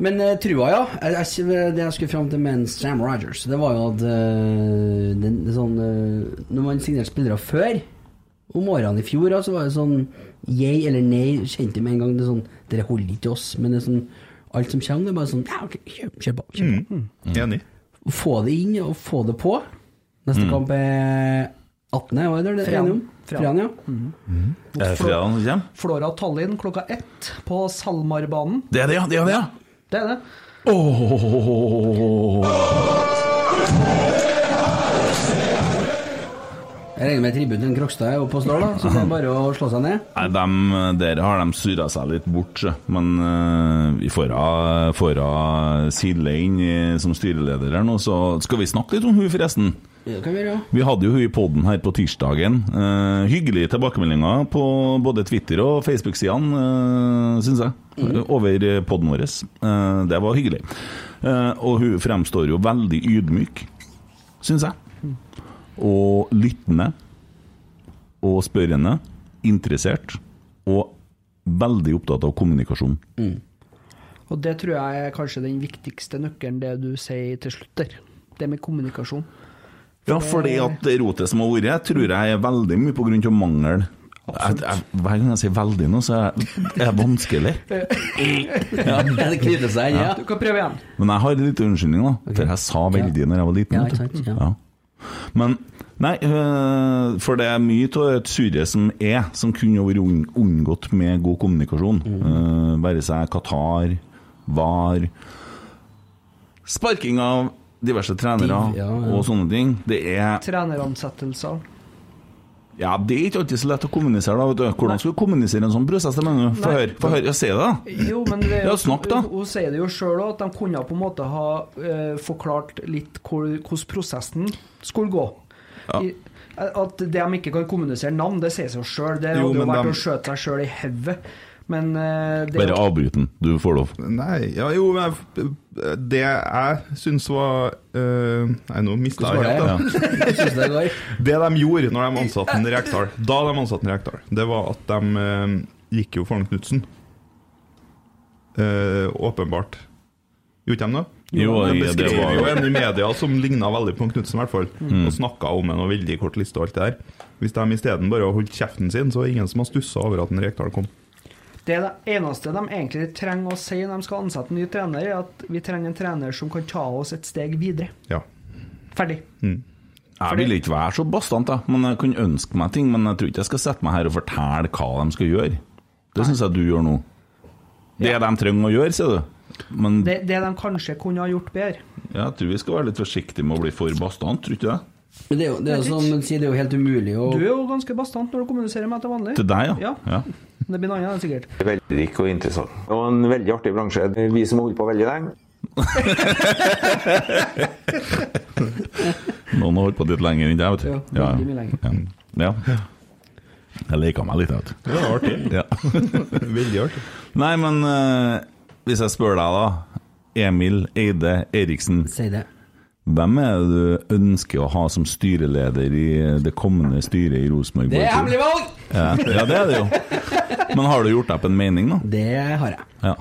S5: Men eh, trua, ja. Jeg, jeg, det jeg skulle fram til med en Sam Rogers, det var jo at eh, den, det er sånn, eh, Når man signerte spillere før, om årene i fjor, ja, så var det sånn Yay eller nei, kjente med en gang det er sånn Dere holder ikke oss. Men det er sånn alt som kommer, det er bare sånn Ja, ok, kjør, kjør på. Kjør på.
S7: Enig.
S5: Å Få det inn og få det på. Neste kamp er 18., hva er det? det er
S6: Fran.
S5: enige om?
S6: Fran.
S5: Fran, ja.
S4: Er det fredagen som kommer?
S6: Flora Tallinn klokka ett på SalMar-banen.
S4: Det er det, ja. Det er det, ja.
S6: Det er det.
S5: Jeg regner med tribunen Krokstad er oppe og står, da, så det er bare å slå seg ned.
S4: Nei, dem, eh, der har de surra seg litt bort, sjø. men eh, vi får av- får av Silje inn i- som styreleder her nå, så skal vi snakke litt om hun forresten.
S5: Ja, Det kan vi gjøre, ja.
S4: Vi hadde jo hun i poden her på tirsdagen. Eh, hyggelige tilbakemeldinger på både Twitter og Facebook-sidene, uh, syns jeg.
S5: Mm.
S4: over poden vår. Eh, Det var hyggelig. Eh, Og hun fremstår jo veldig ydmyk, syns jeg.
S5: Mm.
S4: Og lyttende. Og spørrende. Interessert. Og veldig opptatt av kommunikasjon.
S6: Og det tror jeg er kanskje den viktigste nøkkelen, det du sier til slutt der. Det med kommunikasjon.
S4: Ja, fordi at det rotet som har vært, tror jeg er veldig mye på grunn av mangel. Jeg, jeg, hver gang jeg sier 'veldig' nå, så er jeg- er jeg vanskelig.
S5: Ja, det knyter seg inn, ja.
S6: Du kan prøve igjen.
S4: Men jeg har en liten unnskyldning, da. For jeg sa veldig når jeg var liten.
S5: Ja,
S4: vet du.
S5: ikke sant, ja.
S4: Men Nei, øh, for det er mye av det surret som er, som kunne vært unn- unngått med god kommunikasjon.
S5: Mm.
S4: Eh, være seg Qatar, VAR Sparking av diverse trenere
S5: Div, ja, ja.
S4: og sånne ting. Det er
S6: Treneransettelser.
S4: ja, det er ikke alltid så lett å kommunisere, da. vet du. Hvordan skal du kommunisere en sånn prosess? Det mener du? Få
S6: Nei.
S4: høre, få høre. Ja, si det, da.
S6: Jo, men det,
S4: Ja, snakk da.
S6: Hun, hun sier det jo sjøl òg, at de kunne på en måte ha eh, forklart litt hvor- hvordan prosessen skulle gå. I, at de ikke kan kommunisere navn, det sier seg jo sjøl. Det
S7: Jo,
S6: hadde jo
S7: men
S6: vært å
S7: dem-
S6: skjøte seg sjøl i hodet. Men eh, det
S4: Bare avbryt den. Du får lov.
S7: Nei, ja jo men jeg- Det jeg syns var eh, Nei, nå mista jeg
S5: Hvordan var
S7: helt,
S5: det?
S7: da.
S5: Jeg synes det går.
S7: Det de gjorde når de ansatte en Rekdal, da de ansatte en Rekdal, det var at de eh, gikk jo for han Knutsen. Eh, åpenbart. Gjorde de det?
S4: Jo,
S7: de
S4: ja, det
S7: beskrev
S4: var- Mm.
S7: jo en i media som ligna veldig på han Knutsen, i hvert fall. Og snakka om en og veldig kort liste og alt det der. Hvis de isteden bare har holdt kjeften sin, så er det ingen som har stussa over at en Rekdal kom.
S6: Det er det eneste de egentlig trenger å si når de skal ansette en ny trener, er at vi trenger en trener som kan ta oss et steg videre.
S7: Ja.
S6: Ferdig.
S4: Jeg ville ikke være så bastant, da. men jeg kunne ønske meg ting. Men jeg tror ikke jeg skal sette meg her og fortelle hva de skal gjøre. Det syns jeg du gjør nå. Det de trenger å gjøre, sier du. Men
S6: Det, det de kanskje kunne ha gjort bedre.
S4: jeg tror vi skal være litt forsiktige med å bli for bastant, tror du ikke det?
S5: Men det er jo, det er jo som man sier, det er jo helt umulig
S6: Du
S5: å
S6: er jo ganske bastant når du kommuniserer med deg til vanlig.
S4: Til deg, ja.
S6: Ja. Det blir noe annet, sikkert.
S8: Veldig og interessant. Og en veldig artig bransje. Vi som har holdt på veldig lenge.
S4: Noen har holdt på litt lenger enn deg, vet du.
S6: Ja, veldig mye
S4: ja. ja. Jeg leker meg litt, vet du.
S7: Det var artig.
S4: Ja.
S7: Veldig artig.
S4: Nei, men eh, hvis jeg spør deg da Emil Eide Eriksen
S5: si det.
S4: Hvem er det du ønsker å ha som styreleder i det kommende styret i Rosenborg?
S5: Det er
S4: Boys?
S5: hemmelig valg!
S4: Ja. ja, det er det jo Men har du gjort deg opp en mening da?
S5: Det har jeg.
S4: Ja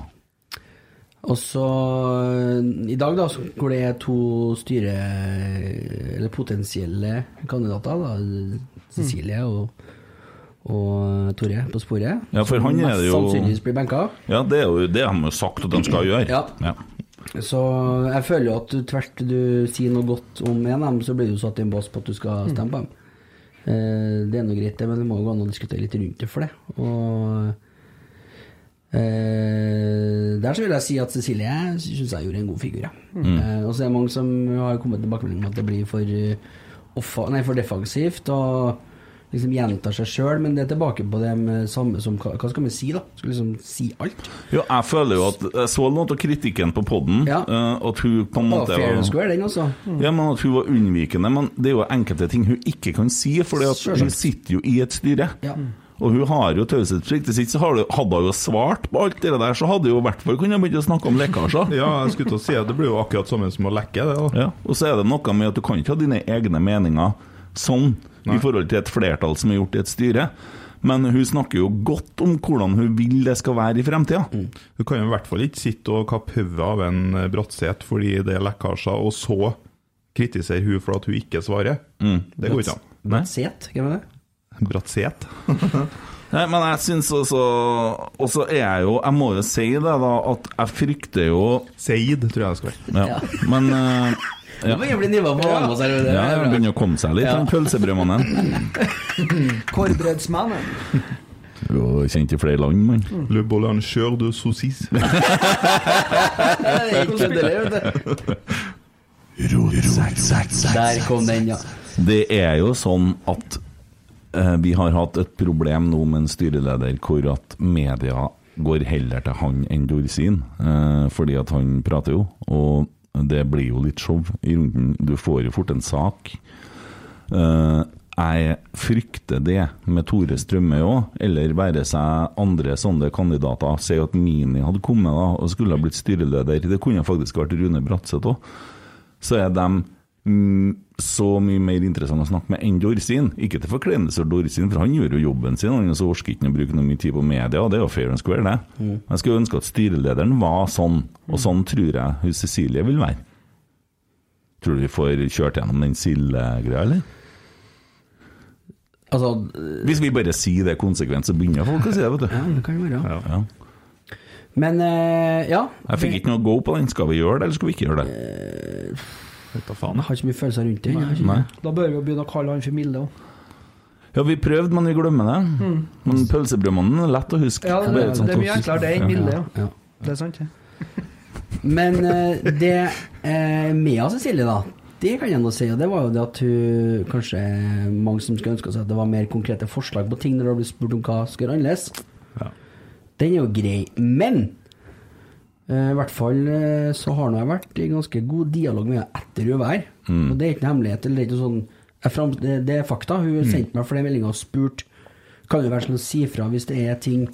S5: Og så øh, I dag, da, så- hvor det er to styre... Eller potensielle kandidater, da. Cecilie og, og Tore på sporet.
S4: Ja, for
S5: som
S4: han er
S5: mest
S4: det jo-
S5: Sannsynligvis blir benka.
S4: Ja, det er jo det har de jo sagt at de skal gjøre
S5: Ja. Så jeg føler jo at du tvert du sier noe godt om en av dem, så blir du satt i en bås på at du skal
S4: Mm.
S5: stemme på dem. Eh, Det er nå greit, det, men det må jo gå an å diskutere litt rundt det for det. Og eh, der så vil jeg si at Cecilie syns jeg gjorde en god figur, ja.
S4: Mm.
S5: Eh, og så er det mange som har kommet tilbakemelding om at det blir for, eh, offa, nei, for defensivt. og liksom gjentar seg sjøl, men det er tilbake på det med samme som Hva hva skal vi si, da? Skal liksom si alt?
S4: Jo, jeg føler jo at Jeg så noe av kritikken på podden
S5: Ja.
S4: eh, At hun på en
S5: Det
S4: måte
S5: var fair
S4: var-
S5: and square, den, altså.
S4: Ja, men at hun var unnvikende, men det er jo enkelte ting hun ikke kan si, fordi at hun
S5: Selvsagt.
S4: sitter jo i et styre.
S5: Ja.
S4: Og hun har jo taushetsplikt. Hvis ikke så har du- hadde hun jo svart på alt det der, så hadde hun i hvert fall kunnet begynne å snakke om lekkasjer.
S7: Ja, jeg skulle til å si at det blir jo akkurat samme som å lekke, det. da.
S4: Ja. Og så er det noe med at du kan ikke ha dine egne meninger sånn i forhold til et flertall som er gjort i et styre. Men hun snakker jo godt om hvordan hun vil det skal være i fremtida.
S7: Du kan jo i hvert fall ikke sitte og kappe hodet av en eh, Bratseth fordi det er lekkasjer, og så kritisere hun for at hun ikke svarer. Det går ikke an.
S4: Nei.
S5: Set, hvem er det?
S7: Mm. Bratseth?
S4: Nei, men jeg syns også Og så er jeg jo Jeg må jo si det, da, at jeg frykter jo
S7: Seid, tror jeg det skal være.
S4: Ja. Men eh,
S5: Det må jo bli nivå på Almås her. det er
S4: Ja,
S5: bra.
S4: han begynner å komme seg litt,
S5: Ja.
S4: den pølsebrødmannen.
S6: Kårbredsmannen.
S4: Jo, kjent i flere land, mann.
S7: Le boulanger de saucisse.
S5: Det er ikke køddelig, vet du. Der kom den, ja.
S4: Det er jo sånn at eh, vi har hatt et problem nå med en styreleder hvor at media går heller til han enn Dorsin, eh, fordi at han prater jo. Og det blir jo litt show i runden. Du får jo fort en sak. Eh, Jeg frykter det med Tore Strømme òg, eller være seg andre sånne kandidater. Si at Mini hadde kommet da, og skulle ha blitt styreleder. Det kunne faktisk vært Rune Bratseth òg. Så er de mm, så mye mer interessante å snakke med enn Dorsin. Ikke til forkleinelse for Dorsin, for han gjør jo jobben sin. Han så orker ikke å bruke noe mye tid på media, og det er jo fair and square, det.
S6: Mm.
S4: Jeg skulle ønske at styrelederen var sånn, og sånn tror jeg hun Cecilie vil være. Tror du vi får kjørt gjennom den sildegreia, eller?
S5: Altså,
S4: Hvis vi bare sier det konsekvent, så begynner folk å si det, vet du.
S5: ja, det kan det være.
S4: Ja.
S5: Men eh, ja.
S4: Jeg fikk ikke noe go på den. Skal vi gjøre det, eller skal vi ikke gjøre det?
S7: Vet da faen.
S5: Jeg har ikke mye følelser rundt det. jeg
S6: Mm.
S5: har ikke-
S4: Nei.
S6: Da bør vi jo begynne å kalle han for Milde òg.
S4: Ja, vi prøvde, men vi glemmer det. Men pølsebrødmannen er sånn lett å huske.
S6: Mm. Ja, det,
S4: Bare et sånt
S6: det er mye
S4: tips.
S6: enklere det enn Milde, ja.
S5: Ja.
S6: Det er sant, det.
S5: Men eh, det eh, Mea Cecilie, da. Det kan jeg nå si, og det var jo det at hun Kanskje mange som skulle ønske seg at det var mer konkrete forslag på ting når det blir spurt om hva skal gjøre annerledes. Den er jo grei. Men eh, i hvert fall eh, så har nå jeg vært i ganske god dialog med henne etter hun var her. Og det er ikke noe hemmelighet. Eller det, er ikke sånn, jeg fram, det, det er fakta. Hun sendte meg flere meldinger og spurt kan du være sånn å si fra hvis det er ting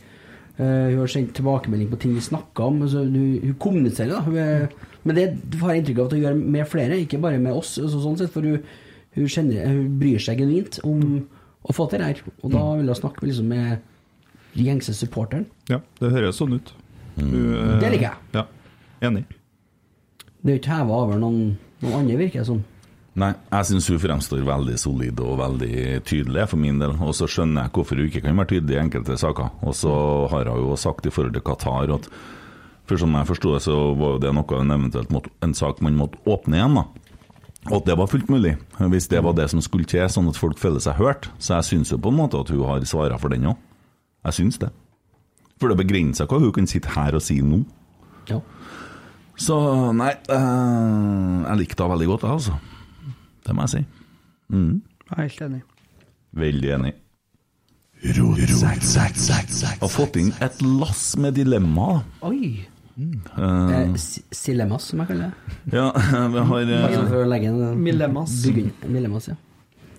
S5: Eh, hun har sendt tilbakemelding på ting vi snakka om. Altså, hun, hun kommuniserer, da. Hun er, Men det har jeg inntrykk av at hun gjør med flere, ikke bare med oss. Så, sånn sett, for hun, hun, kjenner, hun bryr seg genuint om å få til det her. Og da vil hun snakke liksom, med de gjengse supporteren.
S7: Ja, det høres sånn ut. Du, eh,
S5: Det liker jeg.
S7: Ja, enig.
S5: Det er jo ikke heva over noen, noen andre, virker det som.
S4: Nei, jeg syns hun fremstår veldig solid og veldig tydelig for min del. Og så skjønner jeg hvorfor hun ikke kan være tydelig i enkelte saker. Og så har hun jo sagt i forhold til Qatar at for som jeg forsto det, så var jo det noe en eventuelt måtte, en sak man måtte åpne igjen, da. Og at det var fullt mulig, hvis det var det som skulle til, sånn at folk føler seg hørt. Så jeg syns jo på en måte at hun har svara for den òg. Jeg syns det. For det begrenser hva hun kan sitte her og si nå.
S5: Ja.
S4: Så nei, eh, jeg likte henne veldig godt, jeg, altså. Det må jeg si.
S6: Jeg er helt enig.
S4: Veldig enig. Har fått inn et lass med dilemma.
S5: Oi!
S7: Mm.
S5: Eh, si- Silemas, som jeg kaller det.
S4: Ja, vi har eh,
S5: Altså for å legge en
S6: Millemas.
S5: bygge inn- Millemas, ja.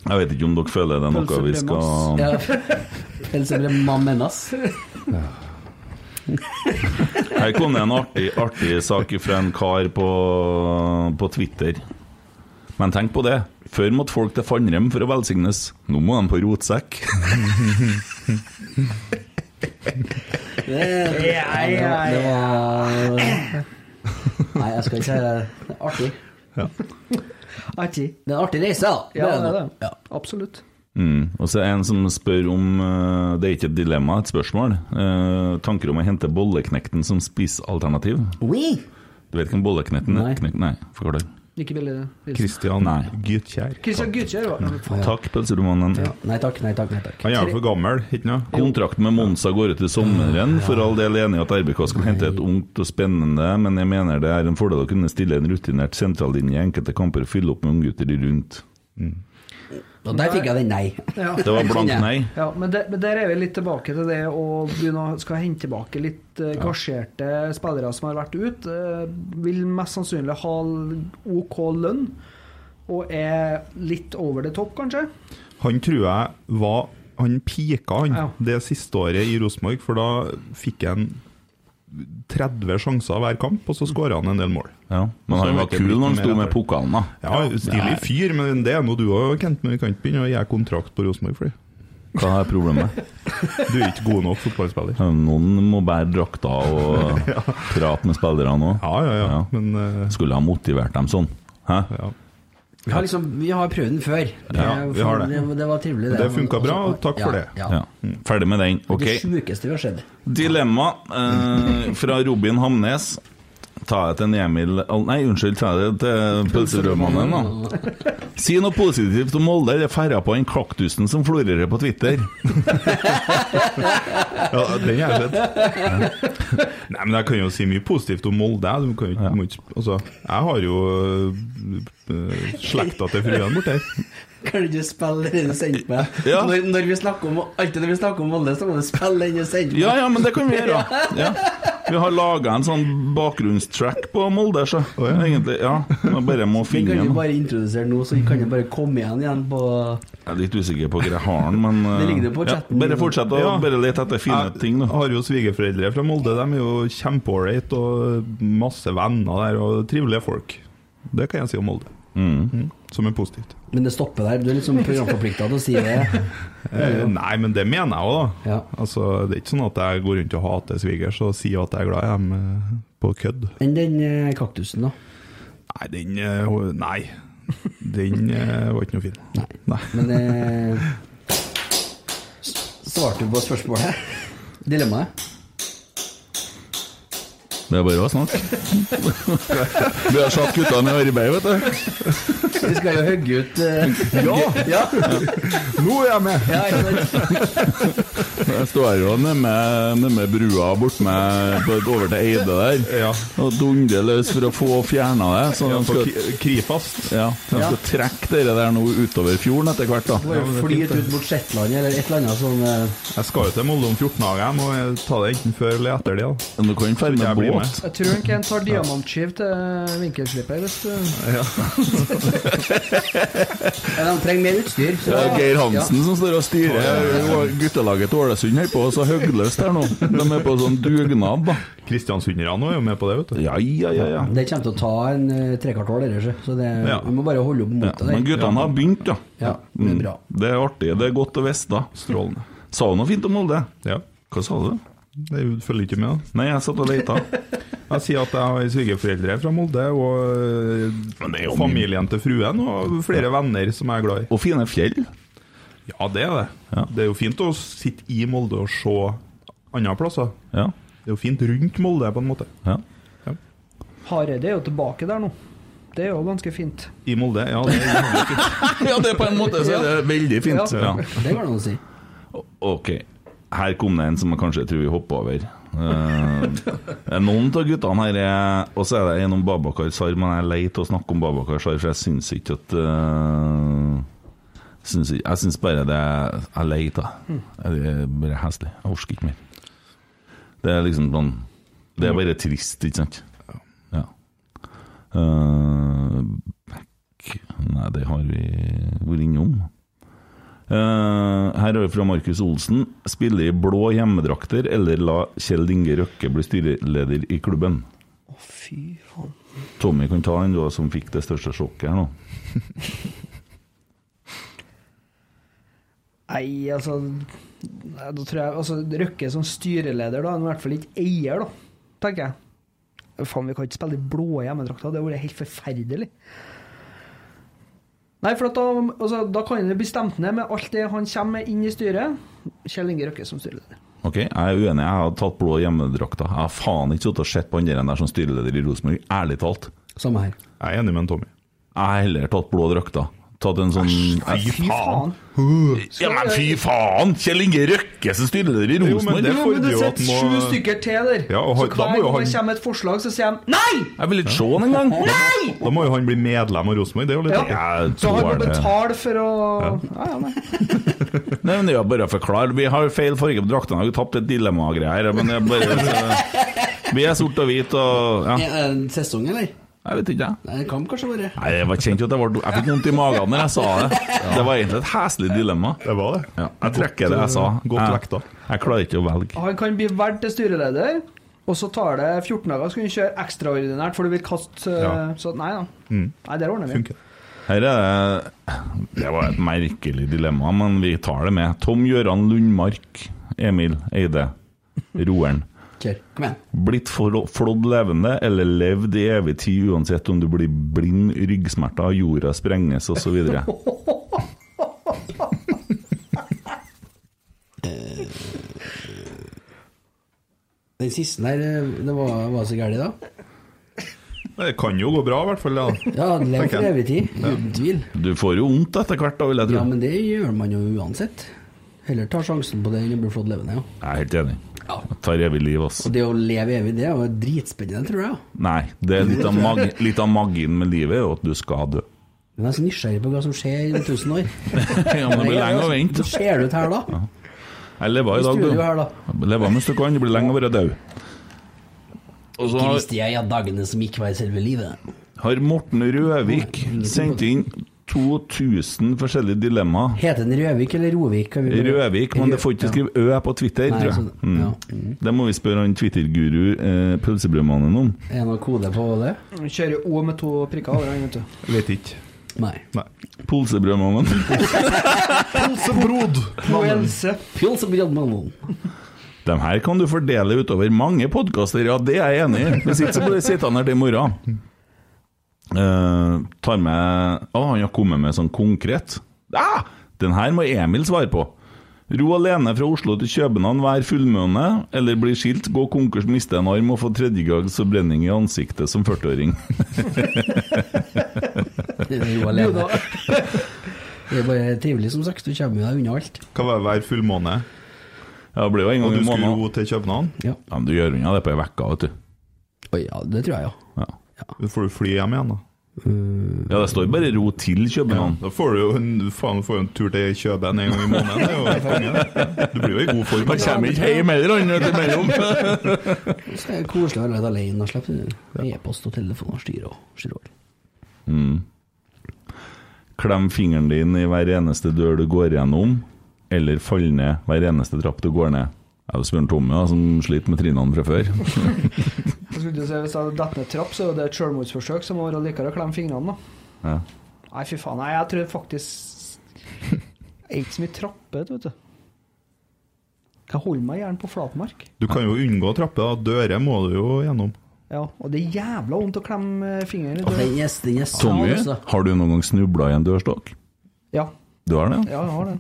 S4: Jeg vet ikke om dere føler det er noe vi skal
S5: ja. Ellers blir det Mamenas.
S4: Her kom det en artig, artig sak fra en kar på, på Twitter. Men tenk på det. Før måtte folk til Fannrem for å velsignes. Nå må de på rotsekk.
S5: Ja, det var- det var Nei, jeg skal ikke si det. Det er Artig.
S6: Artig.
S5: Det er en artig reise, da.
S6: Ja, det er det.
S5: Ja.
S6: Absolutt.
S4: Mm. Og så er det en som spør om eh, Det er ikke et dilemma, et spørsmål. Eh, tanker om å hente bolleknekten som spisealternativ?
S5: Oui.
S4: Du vet hvem bolleknekten er?
S5: Nei.
S4: Knek nei forklar.
S6: Ikke Billy Nilsen.
S7: Kristian
S4: Nei.
S7: Gytkjær.
S6: Christian Gudkjær var det.
S4: Takk, pølseromanen.
S5: Ja. Nei takk, nei takk. nei takk
S7: Han er jo for gammel, ikke noe?
S4: Kontrakten med Monsa går ut i sommeren. For all del enig i at RBK skal hente et ungt og spennende, men jeg mener det er en fordel å kunne stille en rutinert sentrallinje i enkelte kamper og fylle opp med unggutter rundt.
S5: Og der fikk jeg den nei.
S6: Ja.
S4: Det var blankt nei.
S6: Ja, men, det, men der er vi litt tilbake til det å begynne å skal hente tilbake litt eh, gasjerte spillere som har vært ute. vil mest sannsynlig ha OK lønn, og er litt over the top, kanskje.
S7: Han tror jeg var Han pika han
S6: Ja.
S7: det siste året i Rosenborg, for da fikk han 30 sjanser hver kamp, og så skåra han en del mål.
S4: Ja. Men han var kul når han sto med pokalen, da.
S7: Ja, Stilig fyr, men det er noe du òg, Kent. Men vi kan ikke begynne å gi kontrakt på Rosenborg for det.
S4: Hva er problemet?
S7: Du er ikke god nok fotballspiller.
S4: Noen må bære drakta og prate med spillerne òg.
S7: Ja, ja, ja. Men eh,
S4: Skulle ha motivert dem sånn. Hæ?
S7: ja.
S5: Vi har, liksom, vi har prøvd den før.
S7: Ja, vi har det.
S5: Det, var trivelig, det.
S7: Det funka bra, og takk for
S5: Ja,
S7: det.
S5: Ja.
S4: Ja. Ferdig med den. Ok.
S5: Det sjukeste vi har sett.
S4: Dilemma eh, fra Robin Hamnes. Ta jeg til en Emil Al- Nei, unnskyld, ta jeg til pølserødmannen, da. Si noe positivt om Molde, eller færre på den kaktusen som florerer på Twitter.
S7: ja den har jeg sett. Nei, men jeg kan jo si mye positivt om Molde. Du kan jo ikke, må ikke Altså, jeg har jo eh, slekta til fruen borti her.
S5: Kan du ikke spille den du sendte meg?
S4: Ja.
S5: Når, når vi snakker om, alltid når vi snakker om Molde, så må du spille den du sendte meg.
S4: Ja ja, men det kan vi gjøre. Ja. Vi har laga en sånn bakgrunnstrack på Molde, så. Egentlig, ja. Jeg bare må
S5: Vi
S4: finne
S5: kan jo
S4: den.
S5: bare introdusere nå, så vi kan jo bare komme igjen igjen på
S4: Jeg er litt usikker på hvor jeg har den, men eh,
S5: Det ligger jo på
S4: ja,
S5: chatten.
S4: Bare fortsett å
S7: Ja.
S4: bare lete etter fine
S7: Jeg
S4: ting, da.
S7: har jo svigerforeldre fra Molde. De er jo kjempeålreite og masse venner der og trivelige folk. Det kan jeg si om Molde,
S4: Mm.
S7: som er positivt.
S5: Men det stopper der. Du er liksom programforplikta til å si det.
S7: Eh, nei, men det mener jeg òg, da.
S5: Ja.
S7: Altså, det er ikke sånn at jeg går rundt og hater svigers og sier at jeg er glad i dem eh, på kødd.
S5: Enn den eh, kaktusen, da.
S7: Nei, den eh, ho- Nei. Den eh, var ikke noe fin.
S5: Nei.
S7: Nei.
S5: Men eh, s- Svarte du på spørsmålet? Dilemmaet?
S4: Det er bare å snakke. Vi har satt guttene i arbeid, vet du.
S5: Vi skal jo hogge ut eh,
S4: Ja!
S5: Ja!
S4: Nå er jeg med!
S5: ja ikke sant?
S4: Jeg står jo nemme, nemme brua bort med, på- over til Eide der
S7: Ja.
S4: og dundrer løs for å få fjerna det. Så de
S7: På
S4: skal,
S7: Ki- Krifast.
S4: ja, de skal trekke det der nå utover fjorden etter hvert, da.
S5: Bare flyt ut mot Shetland eller et eller annet sånn eh,
S7: Jeg skal jo til Molde om 14 dager. Jeg må eh, ta det enten før eller etter det. da.
S4: Men du kan ferde med
S7: Jeg blir med.
S4: båt.
S6: Jeg tror ikke en tar diamantskiv til vinkelslipper hvis du
S5: ja, De trenger mer utstyr. Så,
S4: Det er Geir Hansen som står og styrer guttelaget til Ålesund her på, så høgløst her nå. De er på sånn dugnad, da.
S7: Kristiansunderne er jo med på det, vet du.
S4: Ja, ja, ja. ja.
S5: Det kommer til å ta en eh, trekvart år, dette, så det,
S7: Ja.
S5: vi må bare holde opp
S4: Ja,
S5: motet
S4: men
S5: der.
S4: guttene har begynt, ja. Mm.
S5: Ja, det er bra.
S4: Det er artig. Det er godt å vite, da. Strålende. Sa du noe fint om Molde?
S7: Ja.
S4: Hva sa du?
S7: Det følger ikke med. da.
S4: Nei, jeg satt og leita.
S7: Jeg sier at jeg har svigerforeldre fra Molde, og
S4: Men det er jo
S7: familien til fruen og flere venner som jeg er glad i.
S4: Og fine fjell.
S7: Ja, det er det.
S4: Ja.
S7: Det er jo fint å sitte i Molde og se andre plasser.
S4: Ja.
S7: Det er jo fint rundt Molde, på en måte.
S4: ja.
S6: Hareide er jo tilbake der nå. Det er jo ganske fint.
S7: I Molde, ja. Det er jævlig fint.
S4: Ja, det er på en måte så er det veldig fint.
S6: Ja.
S4: Ja.
S5: Det går det an å si.
S4: Ok, her kom det en som jeg kanskje tror vi hopper over. Eh, det er noen av guttene her er Og så er det en om Babakar Sar, men jeg er lei til å snakke om Babakar Sar, for jeg syns ikke at eh, syns ikke, Jeg syns bare det er Jeg er lei av det. Det er bare heslig. Jeg orker ikke mer. Det er liksom sånn Det er bare trist, ikke sant? Ja. Eh, back. Nei, det har vi vært innom. Eh, her er det fra Markus Olsen. Spille i blå hjemmedrakter eller la Kjell Inge Røkke bli styreleder i klubben?
S6: Å, fy faen.
S4: Tommy kan ta den, du da, som fikk det største sjokket her nå.
S6: Nei, altså nei, Da tror jeg altså, Røkke som styreleder, da, han er i hvert fall ikke eier, da, tenker jeg. Faen, vi kan ikke spille i blå hjemmedrakter. Det hadde vært helt forferdelig. Nei, for at da, altså, da kan han jo bli stemt ned med alt det han kommer med inn i styret. Kjell Inge Røkke som styreleder.
S4: Ok, jeg er uenig. Jeg har tatt blå hjemmedrakter. Jeg har faen ikke sittet og sett på andre enn der som styreleder i Rosenborg, ærlig talt.
S5: Samme her.
S7: Jeg er enig med en Tommy.
S4: Jeg har heller tatt blå drakter. Tatt en sånn
S6: Fy faen!
S4: Ja, men fy faen! Kjell Inge Røkke som styreleder i
S7: Jo, men
S4: Rosenborg!
S6: Jo,
S7: det
S6: men
S7: fordrer
S6: det
S7: jo at
S6: sitter
S7: må
S6: sju stykker til der.
S7: Ja, og
S6: så
S7: han- da
S6: hver
S7: må jo
S6: gang det
S7: han-
S6: kommer et forslag, så sier de nei!
S4: Jeg vil ikke se den engang!
S6: Nei!
S7: Da må jo han bli medlem av Rosenborg, det er jo litt
S6: Ja.
S7: artig.
S4: Jeg
S6: Så han må
S4: tåler-
S6: betale for å ja, ja, nei.
S4: Nei, men det er bare å forklare. Vi har feil farge på draktene. Vi har jo tapt et dilemma-greier. Men det er bare Vi er sort og hvit og ja.
S5: Er det en sesong, eller?
S4: Jeg vet ikke, jeg.
S5: Nei, Det kan kanskje være.
S4: Nei, jeg var kjent jo at jeg, var, jeg fikk vondt i magen når jeg sa det. Det var egentlig et heslig dilemma.
S7: Det var det.
S4: Ja, jeg trekker det jeg sa.
S7: eh, Godt
S4: Jeg-
S7: vekta.
S4: Jeg klarer ikke å velge.
S6: Han kan bli valgt til styreleder, og så tar det 14 dager, så kan du kjøre ekstraordinært, for du vil kaste eh,
S7: Ja. Mm.
S6: Så nei da. Nei, der ordner vi.
S7: Funker.
S4: Her er det Det var et merkelig dilemma, men vi tar det med. Tom Gøran Lundmark. Emil Eide. Roeren.
S5: Kjør. Kom igjen.
S4: Blitt for- flådd levende eller levd i evig tid uansett om du blir blind, ryggsmerter, jorda sprenges osv.
S5: Den siste der, eh, det var, var så gærent, da.
S7: Det kan jo gå bra, i hvert fall. Ja.
S5: Ja, lev
S7: Tenker
S5: for
S7: jeg.
S5: evig tid. Uten tvil.
S4: Du får jo vondt etter hvert, da, vil jeg tro.
S5: Ja, men det gjør man jo uansett. Heller tar sjansen på det enn å bli flådd levende, ja.
S4: Jeg er helt enig.
S5: Ja.
S4: Jeg tar evig liv, altså.
S5: Og det å leve evig, det er jo dritspennende, tror jeg. ja.
S4: Nei, det er litt av, mag litt av magien med livet er jo at du skal dø.
S5: Men jeg er så nysgjerrig på hva som skjer i 1000 år.
S4: Ja, men det blir lenge å vente.
S5: Hva skjer det ut her, da?
S4: Jeg lever i
S5: Hvis
S4: dag,
S5: altså, du er jo
S4: du.
S5: her, da.
S4: Lever mens du kan. Det blir lenge å være død. Og så
S5: Ikke
S4: har,
S5: visste jeg at dagene som gikk var i selve livet.
S4: har Morten Røvik sendt inn 2000 forskjellige dilemmaer.
S5: Heter den Røvik eller Rovik? Kan vi-
S4: Røvik, men det får ikke skrive Ø på Twitter,
S5: Nei,
S4: tror jeg.
S5: sånn,
S4: Mm.
S5: ja.
S4: Det må vi spørre han Twitter-guru eh, Pølsebrødmannen om.
S5: Er det noen kode på det?
S6: Vi kjører O med to prikker over den, vet du.
S7: Vet ikke.
S5: Nei.
S7: Nei.
S4: Pølsebrødmannen.
S7: Brod!
S6: Poelse.
S5: Pils og brødmannen.
S4: De her kan du fordele utover mange podkaster, ja, det er jeg enig i. Hvis ikke så blir det sittende her til i morgen. Eh, tar med Å, han har kommet med sånn konkret. Ah, den her må Emil svare på. Ro alene fra Oslo til København hver fullmåne, eller bli skilt, gå konkurs, miste en arm og få tredjegangs forbrenning i ansiktet som 40-åring.
S5: Det er jo alene. Det er bare trivelig, som sagt. Du kommer deg unna alt.
S7: Hva var det hver fullmåne?
S4: Ja, det blir jo en
S7: Og
S4: gang
S7: du
S4: i
S7: skulle
S4: måneden.
S7: ro til København?
S4: Ja, men du gjør unna det på ei uke, vet du.
S5: Oi, ja, det tror jeg, ja.
S4: Ja.
S7: Får du fly hjem igjen, da?
S4: ja, det står bare 'ro til København'.
S7: Da får du jo en, faen, du får jo en tur til København en gang i måneden. Det er jo konge, det. Du blir jo i god form.
S4: Han kommer ikke hjem heller, han, vet du, imellom.
S5: Så er det koselig å være litt alene og slippe e-post og telefon og styre og styre over.
S4: Klem fingeren din i hver eneste dør du går gjennom, eller fall ned hver eneste trapp du går ned. Jeg spør Tommy, da, som sliter med trinnene fra før.
S6: Jeg skulle til å si, Hvis jeg detter ned trapp, så er jo det et selvmordsforsøk, så må det være likere å klemme fingrene, da.
S4: Ja.
S6: Nei, fy faen. Nei, jeg tror faktisk Det er ikke så mye trapper, vet du. Jeg holder meg gjerne på flatmark.
S7: Du kan jo unngå trapper, da. Dører må du jo gjennom.
S6: Ja, og det er jævla vondt å klemme eh, fingeren i
S5: Og
S6: døra.
S5: den gjest- den gjest-
S4: Tommy,
S5: altså.
S4: har du noen gang snubla i en dørstokk?
S6: Ja,
S4: Du har det?
S6: ja, jeg har det.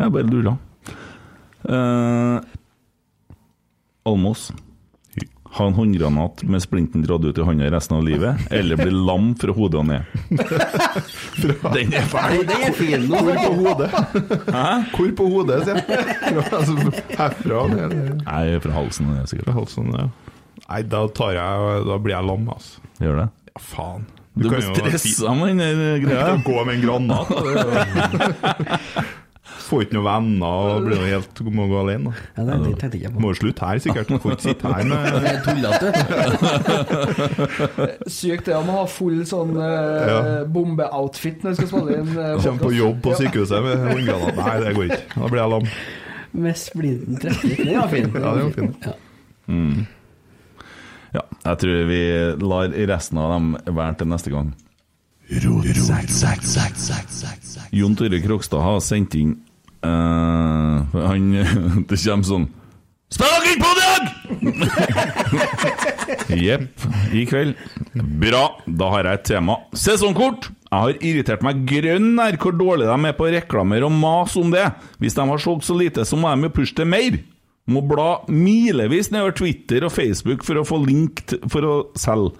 S4: Jeg bare lurer. Eh, Almås. Ha en håndgranat med splinten dratt ut i hånda resten av livet, eller bli lam fra hodet og ned. Den er fæl!
S5: Nei, Den er fin nå.
S7: Hvor på hodet? Hvor på hodet, sier jeg. Fra- altså, Herfra ned.
S4: Nei, fra halsen og ned, sikkert.
S7: Fra halsen, sånn, ja. Nei, da tar jeg Da blir jeg lam, altså.
S4: Gjør det?
S7: Ja, faen.
S4: Du,
S7: kan
S4: blir
S7: jo-
S4: stressa med den der greia.
S7: Å Gå med en granat. da, det er jo- Får ikke noen venner og blir jo helt, må gå alene. da.
S5: Ja, den tenkte jeg ikke på.
S7: Må jo slutte her, sikkert. Får ikke sitte her med
S5: Det er tullete.
S6: Sykt det å ha full sånn eh,
S7: Ja.
S6: bombeoutfit når du skal spille inn eh,
S7: Kommer på
S6: podcast.
S7: jobb på sykehuset med håndgranat. Nei, det går ikke. Da blir jeg lam.
S5: Med splinten 30. Den var fin.
S7: Ja, den var fin.
S5: Ja.
S4: Ja, jeg tror vi lar resten av dem være til neste gang. Jon Tore Krokstad har sendt inn eh, Han Det kommer sånn Spiller dere på i dag?! Jepp. I kveld. Bra. Da har jeg et tema. Sesongkort! Jeg har irritert meg grønn nær hvor dårlig de er på å reklamere og mase om det. Hvis de har solgt så lite, så må de jo pushe til mer. Må bla milevis nedover Twitter og Facebook for å få link t for å selge.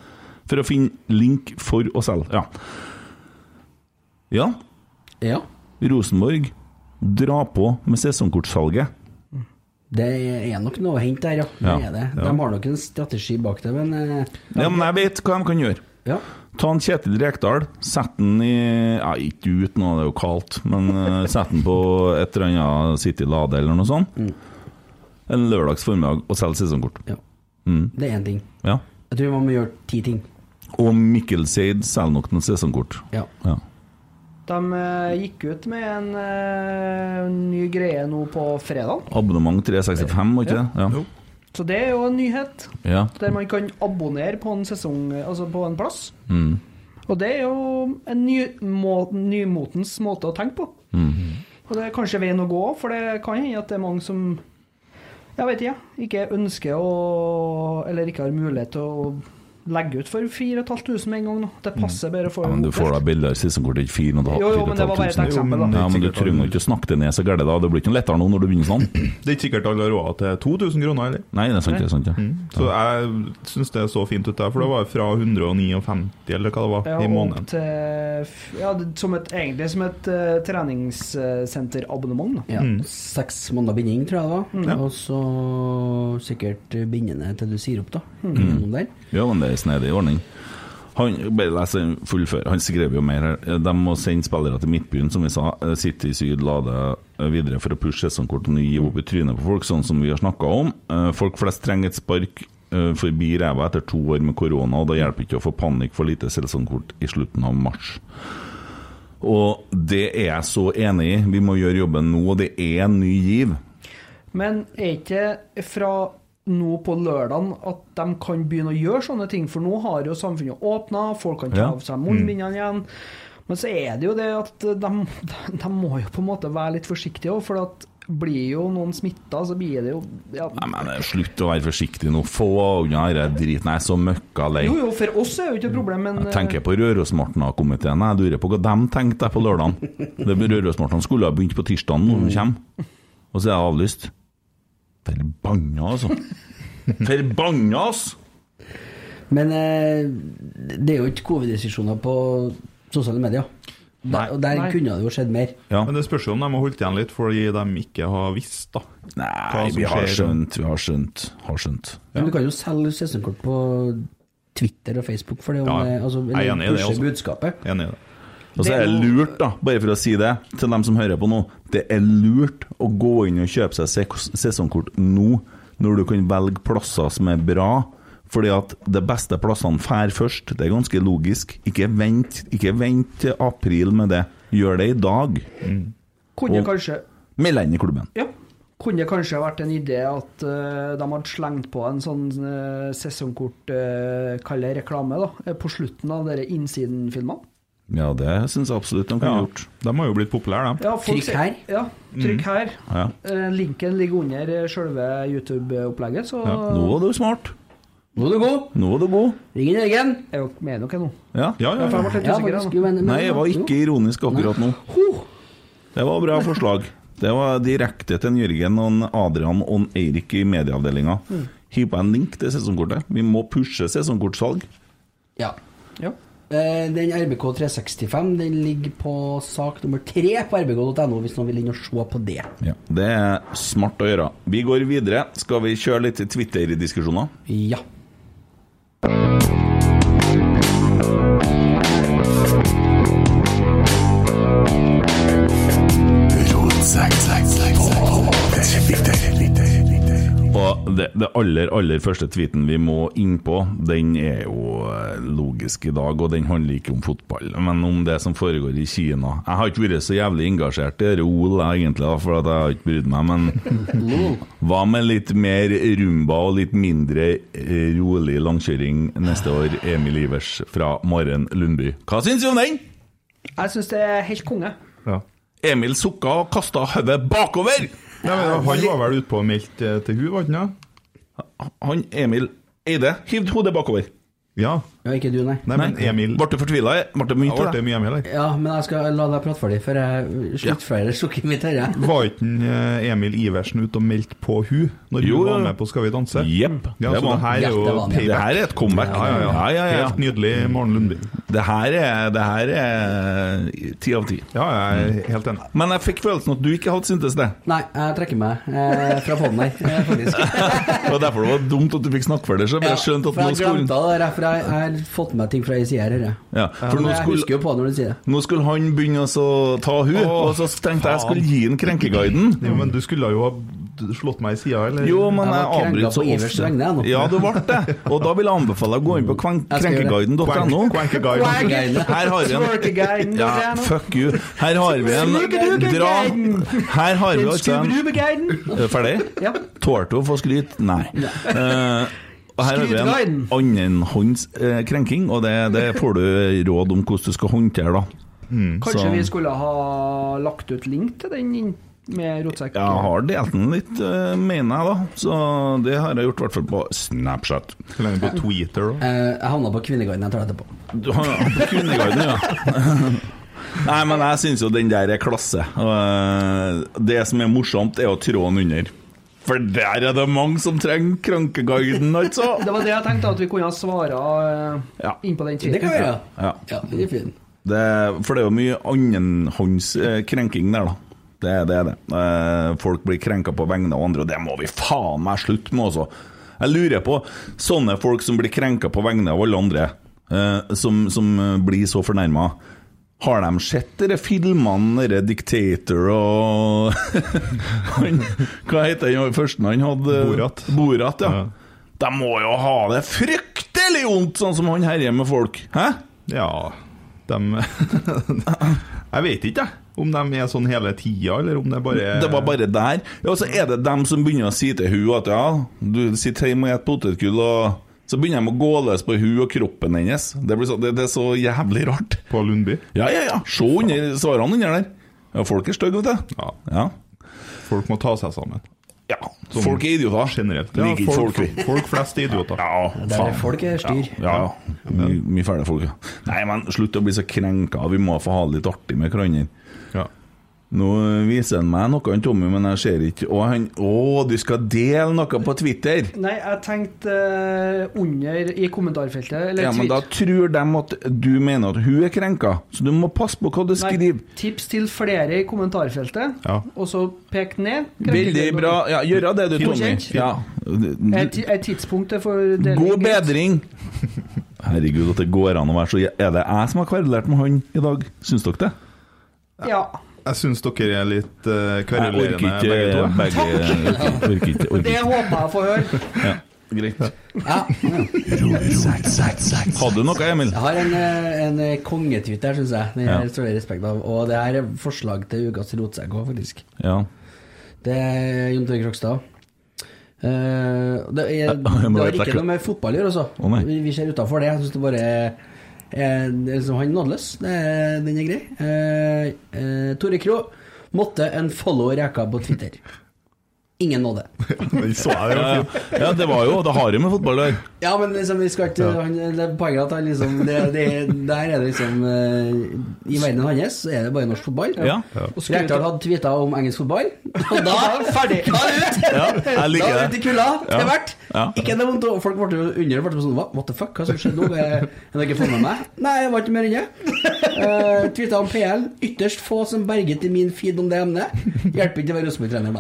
S4: For å finne link for å selge. Ja. ja.
S5: Ja.
S4: Rosenborg, dra på med sesongkortsalget.
S5: Det er nok noe å hente der, ja. Det
S4: Ja,
S5: er det.
S4: ja.
S5: De har nok en strategi bak det, men eh,
S4: Ja, men jeg vet hva de kan gjøre.
S5: ja.
S4: Ta en Kjetil Rekdal, sett den i ja, Ikke ut nå, det er jo kaldt, men eh, sett den på et eller annet City Lade eller noe sånt.
S6: Mm.
S4: En lørdags formiddag og selg sesongkort.
S5: ja.
S4: Mm.
S5: Det er én ting.
S4: Ja.
S5: Jeg tror man må gjøre ti ting.
S4: Og Mikkel Seid selger nok noen sesongkort.
S5: Ja.
S4: Ja.
S6: De eh, gikk ut med en eh, ny greie nå på fredag,
S4: Abonnement 365, var ikke det? Ja.
S6: så det er jo en nyhet.
S4: Ja.
S6: Der man kan abonnere på en sesong, altså på en plass.
S4: Mm.
S6: Og det er jo en ny, må, nymotens måte å tenke på.
S4: Mm.
S6: Og det er kanskje veien å gå, for det kan hende at det er mange som jeg vet ikke, ikke ønsker å Eller ikke har mulighet til å legge ut for 4500 med en gang. nå. Det passer bedre å få
S4: Mm. Ja, men du
S6: det
S4: får da
S6: oppdelt.
S4: billigere sesongkort, ikke fire og et halvt,
S6: Jo, jo,
S4: fire og
S6: men
S4: et
S6: det var
S4: halvt
S6: bare et
S4: tusen.
S7: Jo,
S6: eksempel, da.
S7: men
S4: Ja, men du trenger jo ikke å snakke det ned så gærent da. Det blir ikke noe lettere nå når du begynner sånn.
S7: Det er ikke sikkert alle har råd til 2000 kroner, eller?
S4: Nei, det er sant, det er sant, ja.
S7: Så jeg syns det er så fint ut der, for det var fra 159 eller hva det var,
S6: Ja,
S7: i
S6: opp
S7: måneden.
S6: til, f- ja, det- som et, egentlig som et eh, treningssenterabonnement. da.
S5: Ja, Seks måneder binding, tror jeg
S6: Mm.
S5: det var. Og så
S6: Mm.
S7: Mm.
S5: sikkert bindende til du sier opp, da. Gjennom Der.
S4: Ja, men det er snedig ordning. Han, bare les den fullfør. Han skrev jo mer her. De må sende spillere til Midtbyen, som vi sa. Eh, City Syd lade eh, videre for å pushe sesongkortene og gi opp i trynet på folk, sånn som vi har snakka om. Eh, Folk flest trenger et spark eh, forbi ræva etter to år med korona, og da hjelper ikke å få panikk for lite sesongkort i slutten av mars. Og det er jeg så enig i. Vi må gjøre jobben nå, og det er en ny giv.
S6: Men er ikke fra nå på lørdagen at de kan begynne å gjøre sånne ting? For nå har jo samfunnet åpna, folk kan ta
S4: Ja. Mm.
S6: av seg munnbindene igjen. Men så er det jo det at de, de må jo på en måte være litt forsiktige òg, for at blir jo noen smitta, så blir det jo ja.
S4: Nei, men eh, Slutt å være forsiktig nå. Få unna denne driten. Jeg er så møkka lei.
S6: Jo, jo, for oss er det jo ikke noe problem, men eh,
S4: Jeg tenker på Rørosmartna-komiteen. Jeg lurer på hva de tenkte jeg på lørdagen. Det Rørosmartna skulle ha begynt på tirsdagen når de kommer, og så er jeg avlyst. Forbanna, altså. Forbanna, ass!
S5: Men eh, det er jo ikke covid-restriksjoner på sosiale medier.
S4: Nei.
S5: Der, og der
S6: Nei.
S5: kunne det jo skjedd mer.
S4: Ja.
S7: Men det spørs jo om de har holdt igjen litt fordi de ikke har visst, da.
S4: Nei,
S7: Hva som
S4: vi har
S7: skjer.
S4: skjønt, vi har skjønt. Har skjønt.
S5: Men du kan jo selge sesongkort på Twitter og Facebook for det. Om,
S7: Ja,
S5: det- altså,
S7: jeg er enig i det
S5: pushe
S7: også.
S5: budskapet.
S7: Enig i det.
S4: Og så er det lurt, da, bare for å si det til dem som hører på nå, det er lurt å gå inn og kjøpe seg se- sesongkort nå, når du kan velge plasser som er bra. Fordi at de beste plassene fær først. Det er ganske logisk. Ikke vent, ikke vent til april med det. Gjør det i dag.
S6: kunne
S4: og-
S6: kanskje
S4: Meld deg inn i klubben.
S6: Ja. Kunne det kanskje vært en idé at eh, de hadde slengt på en sånn uh, sesongkort uh, Kall det reklame, da. eh, På slutten av dere Innsiden-filmene.
S4: Ja, det syns jeg absolutt de kunne
S7: Ja,
S4: gjort.
S7: de har jo blitt populære, de.
S6: Ja, folk
S5: Trykk
S6: ser-
S5: her. Mm.
S6: Ja, trykk her.
S4: Ja.
S6: Eh, linken ligger under eh, selve YouTube-opplegget, så
S4: Nå var du smart.
S5: Nå er du god!
S4: Nå var du god.
S5: Ring inn Jørgen!
S6: er dere med dere nå?
S4: Ja.
S7: Ja, ja,
S6: Jeg
S7: ja.
S6: ble litt
S5: Ja,
S6: usikker.
S5: faktisk,
S6: Ja,
S5: jo, men- men-
S4: Nei, jeg var
S5: jo.
S4: ikke ironisk akkurat nå. Det var bra forslag. Det var direkte til en Jørgen og en Adrian og en Eirik i medieavdelinga. Hiv på en link til sesongkortet. Vi må pushe sesongkortsalg.
S5: Ja.
S6: ja.
S5: Eh, Den RBK 365 den ligger på sak nummer tre på rbk.no, hvis noen vil inn og se på det.
S4: Det er smart å gjøre. Vi går videre. Skal vi kjøre litt Twitter-diskusjoner?
S5: Ja.
S4: Og det, det aller, aller første tweeten vi må inn på, den er jo eh, logisk i dag, og den handler ikke om fotball, men om det som foregår i Kina. Jeg har ikke vært så jævlig engasjert i dette OL, jeg, egentlig, da, for at jeg har ikke brydd meg, men hva med litt mer rumba og litt mindre eh, rolig langkjøring neste år, Emil Ivers fra Maren Lundby? Hva syns du om den?
S6: Jeg syns det er helt konge.
S7: ja.
S4: Emil sukka og kasta hodet bakover!
S7: Nei, men Han var vel utpå og meldte eh, til hun, var han ikke?
S4: Han Emil Eide hivde hodet bakover.
S7: Ja.
S5: ja. Ikke du, nei.
S7: Nei, men Emil
S4: Ble du fortvila? Ble det mye
S7: Ja,
S4: til
S7: Ble
S4: deg?
S7: det mye Emil, eller?
S5: Ja, men jeg skal la deg prate ferdig før jeg sluttfører sukket mitt her. jeg.
S7: Var ikke en, eh, Emil Iversen ute og meldte på hun når
S4: Jo,
S7: hun
S4: ja.
S7: var med på Skal vi danse?
S4: Jepp.
S7: Ja, så det her
S5: Ja,
S7: er jo
S5: det var han, ja.
S4: det
S7: payback.
S4: her er et comeback.
S7: Ja, ja, ja.
S4: ja, ja.
S7: Helt nydelig Maren Lundby.
S4: Det her er det her er ti av ti.
S7: Ja, jeg er helt enig.
S4: Men jeg fikk følelsen at du ikke hadde syntes det.
S5: Nei, jeg trekker meg eh, fra poden her, eh, faktisk.
S4: Det var derfor det var dumt at du fikk snakke for deg. Så jeg bare skjønte at
S5: for
S4: nå
S5: jeg
S4: skulle,
S5: glemte det der, for jeg jeg har fått med meg ting fra ei side her. jeg.
S4: ja, for nå
S5: Jeg husker
S4: skulle,
S5: jo på det når du sier det.
S4: nå skulle han begynne å så ta hun, og så tenkte jeg jeg skulle gi han krenkeguiden.
S7: Jo, men du skulle jo ha slått meg i sida, eller?
S4: Mm. Jo, men
S5: Jeg
S4: jeg
S5: var krenka
S4: avbryter så
S5: på Ivers
S4: ofte.
S5: vegne, jeg nå.
S4: Ja, du ble det. Og da vil jeg anbefale deg å gå inn på krenk-
S5: Jeg skal gjøre det.
S4: krenkeguiden.no.
S7: Kvenkeguiden.
S4: Her har vi en
S6: Twerkeguiden,
S4: ja,
S6: Adriano.
S4: Fuck you. Her har vi en
S6: Snukedukeguiden.
S4: Dra Her har vi altså en
S6: Skubrubegeiden!
S4: Er du Ferdig?
S6: Ja.
S4: Tålte hun å få skryt? Nei. Eh, og her har vi en
S6: Skrytguiden.
S4: annenhånds eh, krenking, og det, det får du råd om hvordan du skal håndtere, da.
S7: Hmm.
S6: Kanskje
S4: Så-
S6: vi skulle ha lagt ut link til den inn- med rotsekk?
S4: Jeg har delt den litt, eh, mener jeg, da. Så det har jeg gjort i hvert fall på Snapchat.
S7: Legg den på Twitter, da.
S5: Eh, Jeg havna på Kvinneguiden, jeg tar det etterpå.
S4: Du har han på Kvinneguiden, ja. Nei, men jeg syns jo den der er klasse. Og, eh, Det som er morsomt, er å trå den under. For der er det mange som trenger krankeguiden, altså.
S6: Det var det jeg tenkte, at vi kunne ha svara eh,
S4: Ja.
S6: inn på den
S5: Det kan vi
S6: tweeten.
S5: gjøre.
S4: Ja.
S5: Ja, den er fin.
S4: Det, for det er jo mye annenhånds eh, krenking der, da. Det er det. er det. Eh, folk blir krenka på vegne av andre, og det må vi faen meg slutte med, altså. Jeg lurer på sånne folk som blir krenka på vegne av alle andre. eh, som, som eh, blir så fornærma. Har de sett dere filmene, dere Dictator og han, Hva heter han første han hadde?
S7: Borat.
S4: Borat, ja.
S7: Ja.
S4: De må jo ha det fryktelig vondt, sånn som han herjer med folk. Hæ?
S7: Ja dem- Jeg vet ikke, jeg. Om de er sånn hele tida, eller om det bare er
S4: Det var bare der. Ja, og så er det dem som begynner å si til hun at ja, du sitter hjemme og et potetgull, og så begynner de å gå løs på hun og kroppen hennes. Det, blir så, det, det er så jævlig rart.
S7: på Lundby.
S4: Ja, ja, ja. Se under svarene under der. Ja, folk er stygge, vet du.
S7: Ja.
S4: Ja.
S7: Folk må ta seg sammen.
S4: ja. Folk er idioter.
S7: Generelt.
S4: Ja, Liker ikke
S7: folk,
S4: folk, vi.
S7: folk flest er idioter.
S4: Ja, faen.
S5: Folk er styr.
S4: Ja, ja. Mye mye fæle folk, ja. Nei, men slutt å bli så krenka. Vi må få ha det litt artig med hverandre.
S7: Ja.
S4: Nå eh, viser han meg noe, han Tommy, men jeg ser ikke Å, han, å du skal dele noe på Twitter?
S6: Nei, jeg tenkte eh, under i kommentarfeltet eller
S4: Ja, men
S6: tweet.
S4: da tror de at du mener at hun er krenka, så du må passe på hva du
S6: Nei,
S4: skriver.
S6: tips til flere i kommentarfeltet,
S7: Ja.
S6: og så pek ned.
S4: Veldig bra. Ja, gjør det du, Tommy.
S6: Godkjent.
S4: Ja.
S6: Er, ti- er tidspunktet for deling
S4: God
S6: greit?
S4: bedring! Herregud, at det går an å være så Er det jeg som har kverulert med han i dag? Syns dere det?
S6: Ja.
S7: Jeg syns dere er litt uh,
S4: Jeg orker
S7: kverulerende,
S4: ikke
S7: begge to.
S4: begge orker- orker ikke, orker
S6: Det
S4: ikke.
S6: håper jeg å få høre.
S4: Greit. Hadde du noe, Emil?
S5: Jeg har en, eh, en eh, kongetweet her, syns jeg. Den
S4: Ja.
S5: har jeg står i respekt av. Og det her er forslag til ukas rotsekk òg, faktisk.
S4: Ja.
S5: Det er Jon Tore Krokstad. Eh, det, er, det
S4: jeg må
S5: har
S4: vite
S5: ikke
S4: det.
S5: noe med fotball å gjøre, altså.
S4: Å, nei.
S5: vi, vi ser utafor det. Jeg syns det bare er- er liksom, Han er nådeløs. Det er- Den er grei. Eh, eh, Tore Kro måtte en follow reka på Twitter. Ingen nåde.
S7: Den så jeg,
S4: Ja,
S7: det var fint.
S4: ja. ja, det var jo Det har jo med fotball å gjøre.
S5: Ja, men liksom, vi skal ikke han, Det er poenget at han liksom det, det, Der er det liksom eh, I verdenen hans så er det bare norsk fotball.
S4: Ja.
S5: Og Rekdal hadde tweeta om engelsk fotball, og da
S6: Ferdig.
S5: Da er det ut!
S4: Ja, jeg
S5: Da
S4: liker
S5: er
S4: det.
S5: det ut i kulda til
S4: Ja.
S5: hvert.
S4: Ja.
S5: Ikke det vondt, og folk ble jo under ble sånn, What the fuck, hva som skjedde nå? Er det ikke fått med meg? Nei, jeg var ikke mer inne. Uh, Tweeta om PL. Ytterst få som berget i min feed om det emnet. Hjelper ikke å være Rosenborg-trener,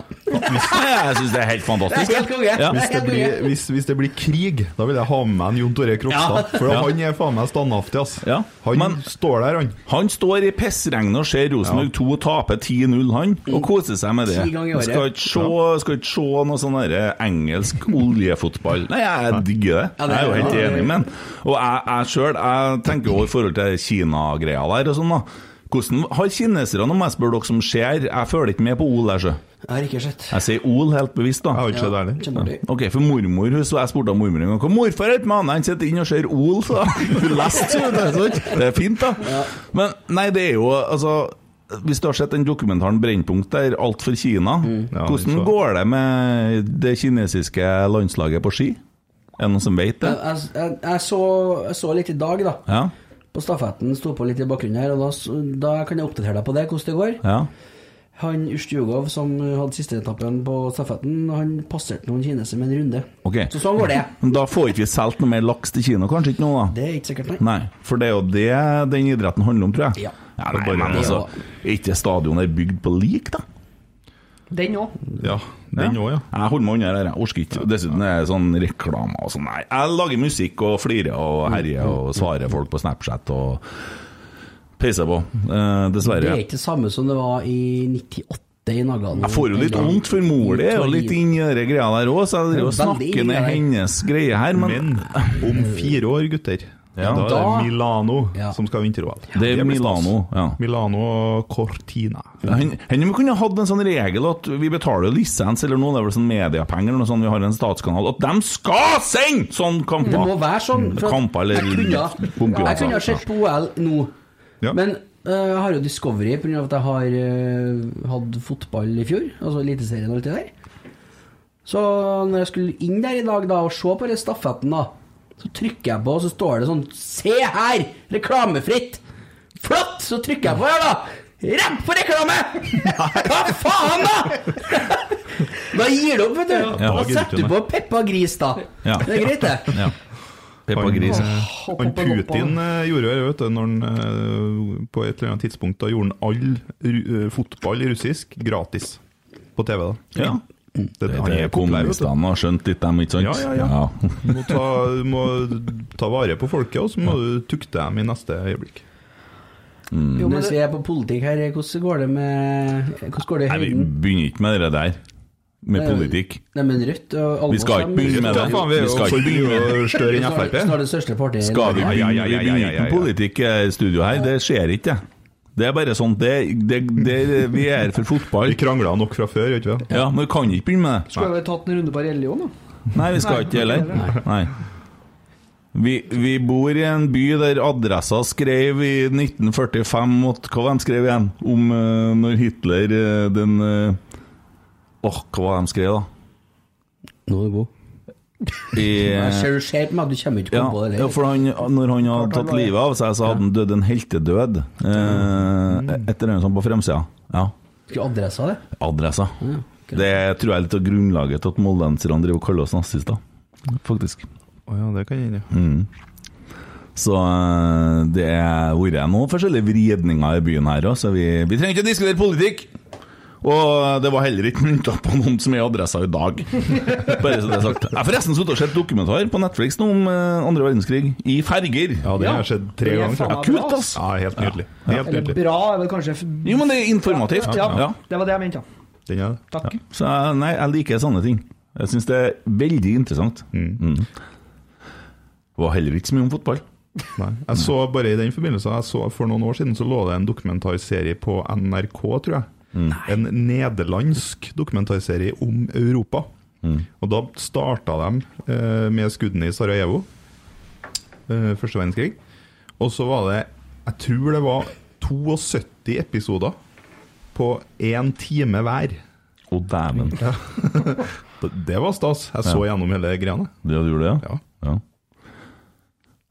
S5: da.
S4: Jeg syns det er helt
S5: Det
S4: fantastisk.
S5: er helt konge.
S4: Ja.
S5: Det er
S7: Hvis det,
S5: helt
S7: blir,
S5: konge.
S7: hvis, hvis det blir krig, da vil jeg ha med en Jon Tore Krokstad. For
S4: Ja.
S7: han er faen meg standhaftig, ass.
S4: Ja,
S7: Han
S4: men-
S7: står der, han.
S4: Han står i pissregnet og ser Rosenborg 2 tape 10-0, han, og koser seg med det.
S5: Mm. Ti ganger i året.
S4: Skal ikke se, skal ikke se noe sånn derre engelsk oljefotball. Nei, jeg digger det.
S5: Ja, det
S4: Jeg er jo
S5: er-
S4: helt
S5: ja, det-
S4: enig med han. Og jeg, jeg sjøl, jeg tenker jo i forhold til Kina-greia der og sånn, da. Hvordan har kineserne, om jeg spør dere som ser, jeg følger ikke med på OL, jeg, sjø.
S5: Jeg har ikke sett.
S4: Jeg sier OL helt bevisst, da.
S7: Jeg har ikke sett det heller.
S5: Kjempeartig.
S4: Ok, for mormor, hun- så jeg spurte om mormor en gang Hva morfar er et mann, han sitter inn og ser OL så. Hun leste jo det, sant? Det er fint da Men nei, det er jo, altså Hvis du har sett den dokumentaren Brennpunkt der Alt for Kina
S5: Mm.
S7: Ja,
S4: Hvordan
S7: så-
S4: går det med det kinesiske landslaget på ski? Er det noen som vet det?
S5: Jeg, jeg, jeg, jeg, så, jeg så litt i dag, da.
S4: Ja,
S5: På stafetten sto på litt i bakgrunnen her, og da, s- da kan jeg oppdatere deg på det, hvordan det går.
S4: ja
S5: Han Ustjugov, som hadde siste etappen på stafetten, han passerte noen kinesere med en runde.
S4: Ok.
S5: Så sånn går det.
S4: Men Da får ikke vi solgt noe mer laks til Kina Kanskje ikke noe da
S5: Det er ikke sikkert, nei.
S4: Nei, for det er jo det den idretten handler om, tror jeg
S5: Ja.
S4: det er bare,
S5: men det er
S4: altså,
S5: jo-
S4: Er ikke stadionet bygd på lik da?
S6: Den òg.
S7: Ja, den òg, ja.
S4: Jeg holder meg unna det her, jeg orker ikke. Dessuten er det sånn reklame og sånn. Nei, jeg lager musikk og flirer og herjer
S5: Mm.
S4: og svarer folk på Snapchat og peiser på. Eh,
S5: Det
S4: dessverre.
S5: er ikke det samme som det var i 98 i Nagano.
S4: Jeg får jo litt
S5: Eller-
S4: vondt, for mor di er jo litt inni de greia der òg, så jeg driver og
S5: Det er jo veldig
S4: snakker
S5: inni
S4: ned
S5: der.
S4: hennes greie her, men
S7: Men om fire år, gutter,
S4: Ja.
S7: da er
S5: Da-
S7: det Milano
S5: Ja.
S7: som skal ha vinter-OL.
S4: det er
S7: blir stas.
S4: Milano. ja.
S7: Milano og Cortina.
S4: Hen- Hender vi kunne hatt en sånn regel at vi betaler lisens eller noe, det er vel sånn mediepenger eller noe sånt, vi har en statskanal, at de skal sende sånn kamper!
S5: Det må være sånn. for at
S4: Kamper Mm, eller
S5: jeg kunne, jeg
S4: konkurranser.
S5: kunne ha sett på OL nå,
S7: Ja.
S5: men øh, jeg har jo Discovery pga. at jeg har øh, hatt fotball i fjor, altså Eliteserien og alt det der. Så når jeg skulle inn der i dag da og se på den stafetten, da, så trykker jeg på, og så står det sånn Se her! Reklamefritt! Flott! Så trykker jeg på her, da. Rett på reklame! Hva faen, da?! Da gir du opp, vet du.
S4: Ja,
S5: da
S4: da
S7: gidder
S5: setter
S7: du
S5: du på Peppa Gris, da.
S4: Ja.
S5: Det er greit, det.
S4: Ja. Peppa
S7: Han-
S4: Gris. ja.
S7: Han Putin eh, gjorde jo det, vet du, når han eh, på et eller annet tidspunkt da gjorde han all ru- eh, fotball i russisk gratis på TV. da.
S4: Ja.
S7: Det, han
S4: Det
S7: er
S4: er
S7: populær, vet du.
S4: kommunistene har skjønt litt, dem, ikke sant?
S7: Ja, ja, ja. Du må ta, du må ta vare på folket, og så må du tukte dem i neste øyeblikk.
S6: Jo, men
S5: Mens vi
S6: det,
S5: er på politikk her, hvordan går det med Hvordan går det i
S4: Nei, vi
S5: høyden?
S4: begynner ikke med det der, med
S5: Nei,
S4: politikk.
S5: Nei, men Rødt og Alvor
S4: Vi skal ikke begynne med
S7: Ja,
S4: det.
S7: faen, vi er
S4: Vi
S7: jo
S4: skal ikke
S7: for
S4: begynne
S7: mye å større enn
S5: Snart,
S7: Frp.
S5: snart det største partiet i
S4: Skal vi
S5: Norge.
S7: Ja, ja,
S4: begynne
S7: ja, ja,
S4: vi begynner
S7: ja, ja,
S4: ikke med
S7: ja.
S4: politikk eh, i studio her? Det skjer ikke, det. Det er bare sånn det, det, det, Vi er her for fotball.
S7: Vi krangla nok fra før, gjør vi ikke det?
S4: Ja, men vi kan ikke begynne med det.
S6: skulle vi tatt en runde på religion, da?
S4: Nei, vi skal ikke heller. Nei. Vi, vi bor i en by der adressa skrev i 1945 mot, Hva var de skrev igjen? Om eh, når Hitler eh, den eh, Åh, hva var de skrev, da?
S5: Nå er du god.
S4: I, eh,
S5: Jeg ser du ser på meg, du kommer ikke på
S4: Ja, ja,
S5: det. eller?
S4: for han, når han hadde tatt livet av seg, så hadde han dødd en heltedød. Eh, etter en sånn på fremsida. Ja.
S5: Skulle adressa det?
S4: Adressa. Det tror jeg er litt av grunnlaget til at moldenserne driver og kaller oss nazister, faktisk.
S7: Å ja, det kan hende.
S4: Så eh, det har vært noen forskjellige vridninger i byen her òg, så vi, vi trenger ikke å diskutere politikk! Og det var heller ikke mynta på noen som er i adressa i dag. Bare så det er sagt. Jeg har forresten sittet og sett dokumentar på Netflix nå om eh, andre verdenskrig, i ferger.
S7: Ja, det har skjedd tre
S6: Det er
S7: ganger.
S6: faen
S7: tror
S6: meg
S7: jeg.
S6: bra,
S4: kult, ass.
S7: Ja, helt nydelig. Helt
S6: Eller
S7: nydelig.
S6: bra er vel kanskje f-
S4: Jo, men det er informativt.
S6: Ja,
S4: Ja.
S6: det var det jeg mente, ja.
S7: Den er det.
S6: Takk.
S4: Så jeg- nei, jeg liker sånne ting. Jeg syns det er veldig interessant. Mm. Var heller ikke så mye om fotball.
S7: Nei. Jeg så bare i den forbindelse jeg så For noen år siden så lå det en dokumentarserie på NRK, tror jeg. En nederlandsk dokumentarserie om Europa. Og da starta de eh, med skuddene i Sarajevo, eh, første verdenskrig. Og så var det Jeg tror det var 72 episoder på én time hver.
S4: Å, dæven. Ja.
S7: Det det var stas. Jeg så gjennom hele greiene.
S4: Du gjorde det, ja? ja.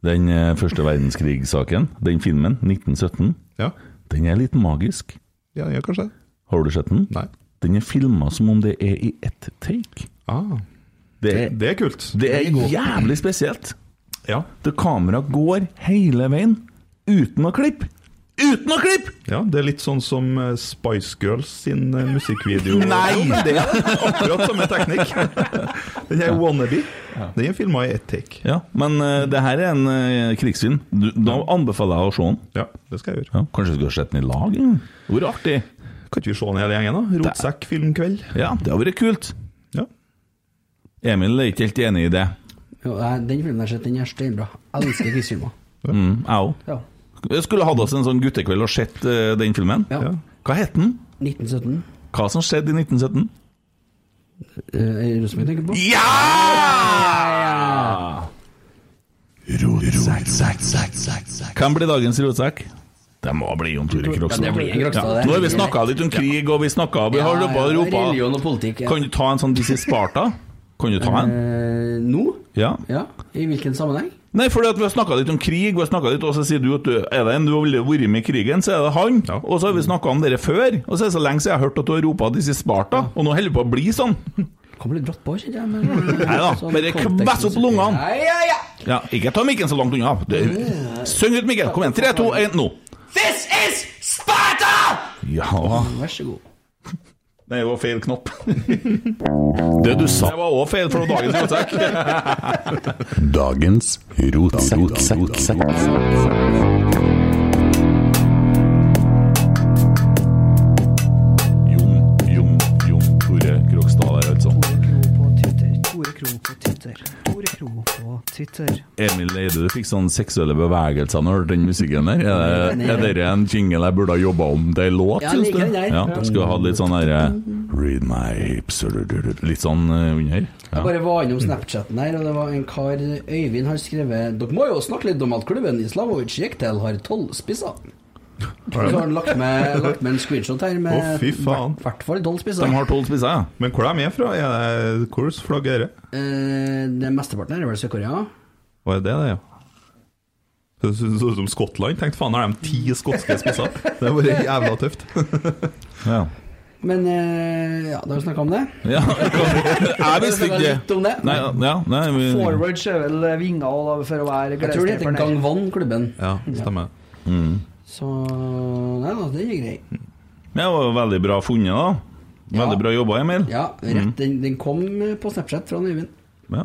S4: Den eh, første verdenskrigssaken, den filmen, 1917,
S7: Ja,
S4: den er litt magisk.
S7: ja, ja kanskje det.
S4: Har du sett den?
S7: Nei.
S4: Den er filma som om det er i ett take.
S7: Ah,
S4: Det,
S7: det er kult.
S4: det er jævlig spesielt.
S7: Ja.
S4: Det kameraet går hele veien uten å klippe. Uten å klippe!
S7: Ja, det er litt sånn som eh, Spice Girls sin eh, musikkvideo.
S4: Nei!
S7: Det er akkurat samme teknikk. Den er wannabe. Den er filma i ett take.
S4: Ja, men eh, det her er en eh, krigsfilm. Du, da anbefaler jeg å se den.
S7: Ja, det skal jeg gjøre.
S4: Ja, kanskje vi skulle sett den i lag? ja. Det hadde vært artig.
S7: Kan ikke vi se den hele gjengen, da? Rotsekk filmkveld.
S4: Ja, det hadde vært kult.
S7: Ja.
S4: Emil er ikke helt enig i det.
S5: Jo, nei, den filmen jeg har sett, den er steinbra. Jeg elsker krigsfilmer.
S4: Mm, jeg òg.
S5: Ja.
S4: Jeg skulle hatt oss en sånn guttekveld og sett eh, den filmen.
S5: ja.
S7: Ja.
S4: Hva het den?
S5: 1917.
S4: Hva som skjedde i 1917?
S5: Eh, Er det Rosenborg jeg tenker på?
S4: Ja! Hvem blir dagens rotsekk? Det må bli Jon Tore Krokstad.
S5: Ja, det blir Krokstad, det.
S4: Nå har vi snakka litt om krig, og vi snakka Vi har ropa og ropa.
S5: Religion og politikk. ja.
S4: Kan du ta en sånn This is Sparta? Kan du ta en?
S5: Eh, Nå?
S4: Ja.
S5: Ja. I hvilken sammenheng?
S4: Nei, fordi at vi har snakka litt om krig, vi har snakket litt, og så sier du at du er det en du har villet vært med i krigen, så er det han. Og så har vi snakka om dere før, og så er det så lenge siden jeg har hørt at du har ropa This is Sparta, og nå holder det på å bli sånn.
S5: Kom litt brått på, kjenner jeg. men-
S4: Nei da,
S5: Sånn
S4: bare
S5: kontekst-
S4: kvess opp lungene.
S5: Ja, ja, ja.
S4: Ja, ikke ta mikken så langt unna. Det- Syng ut, Mikkel. Kom igjen. Tre, to, én, nå.
S8: This is Sparta!
S4: Ja
S5: Vær så god.
S4: Det var feil knopp. Det du sa Det var òg feil for dagens rotsekk.
S11: Dagens rotsekk.
S4: Jon, Jon, Jon Tore Krokstad der, altså.
S6: Tore Kro på Twitter. Tore Kro på Twitter. Tore Kro på Twitter.
S4: Emil Eide, du fikk sånne seksuelle bevegelser når du hørte den musikken der. Er det- Er dette en jingle jeg burde ha jobba om til en låt,
S5: Ja,
S4: syns du?
S5: liker den der.
S4: Ja, jeg skulle ha litt sånn derre Read my hips Litt sånn eh, under.
S5: Jeg
S4: Ja.
S5: bare var innom Snapchatten her, og det var en kar Øyvind har skrevet Dere må jo snakke litt om at klubben Islamovic Jektel har tolv spisser. Så har han lagt med, lagt med en screenshot her med
S6: Eh,
S7: Å, fy faen.
S5: i hvert fall tolv
S4: De
S5: spisser.
S4: har tolv spisser, ja.
S7: Men hvor er de fra? Er det Hvordan flagg er det?
S5: Eh, det mesteparten her er vel Sør-Korea.
S7: Hva er det, det, ja? Det så så ut som Skottland. Tenkte faen, har de ti skotske spisser? Det er bare jævla tøft.
S4: ja.
S5: Men eh, ja, da har vi snakka om det.
S4: ja. Jeg visste
S5: Vi har
S4: ikke
S5: snakket litt om det.
S4: Nei, ja, nei vi,
S6: Forwards er vel eh, vinger og da for å være
S5: Jeg tror det heter
S6: gledesdreperen her.
S5: Gangvan-klubben.
S7: Ja, stemmer.
S5: Så Nei da, det er greit.
S4: Men det var jo veldig bra funnet, da. Veldig bra jobba, Emil.
S5: Ja,
S4: Mm.
S5: rett. Den, den kom på Snapchat fra Øyvind.
S4: Ja.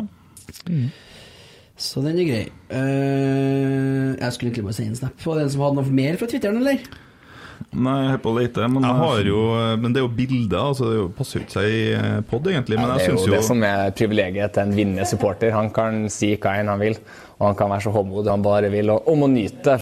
S5: Så den er grei. Eh, jeg skulle egentlig bare sende en snap. Var det en som hadde noe mer fra Twitteren, eller?
S4: Nei, jeg er på å lete, men
S7: Jeg har jo, eh, men det er jo bilder, altså det er jo- passer jo ikke seg i pod, egentlig. Men
S12: Ja, det
S7: jeg
S12: er
S7: syns
S12: jo
S7: jo
S12: det som er privilegiet til en vinnende supporter. Han kan si hva enn han vil, og han kan være så håndmodig han bare vil, og om å nyte det.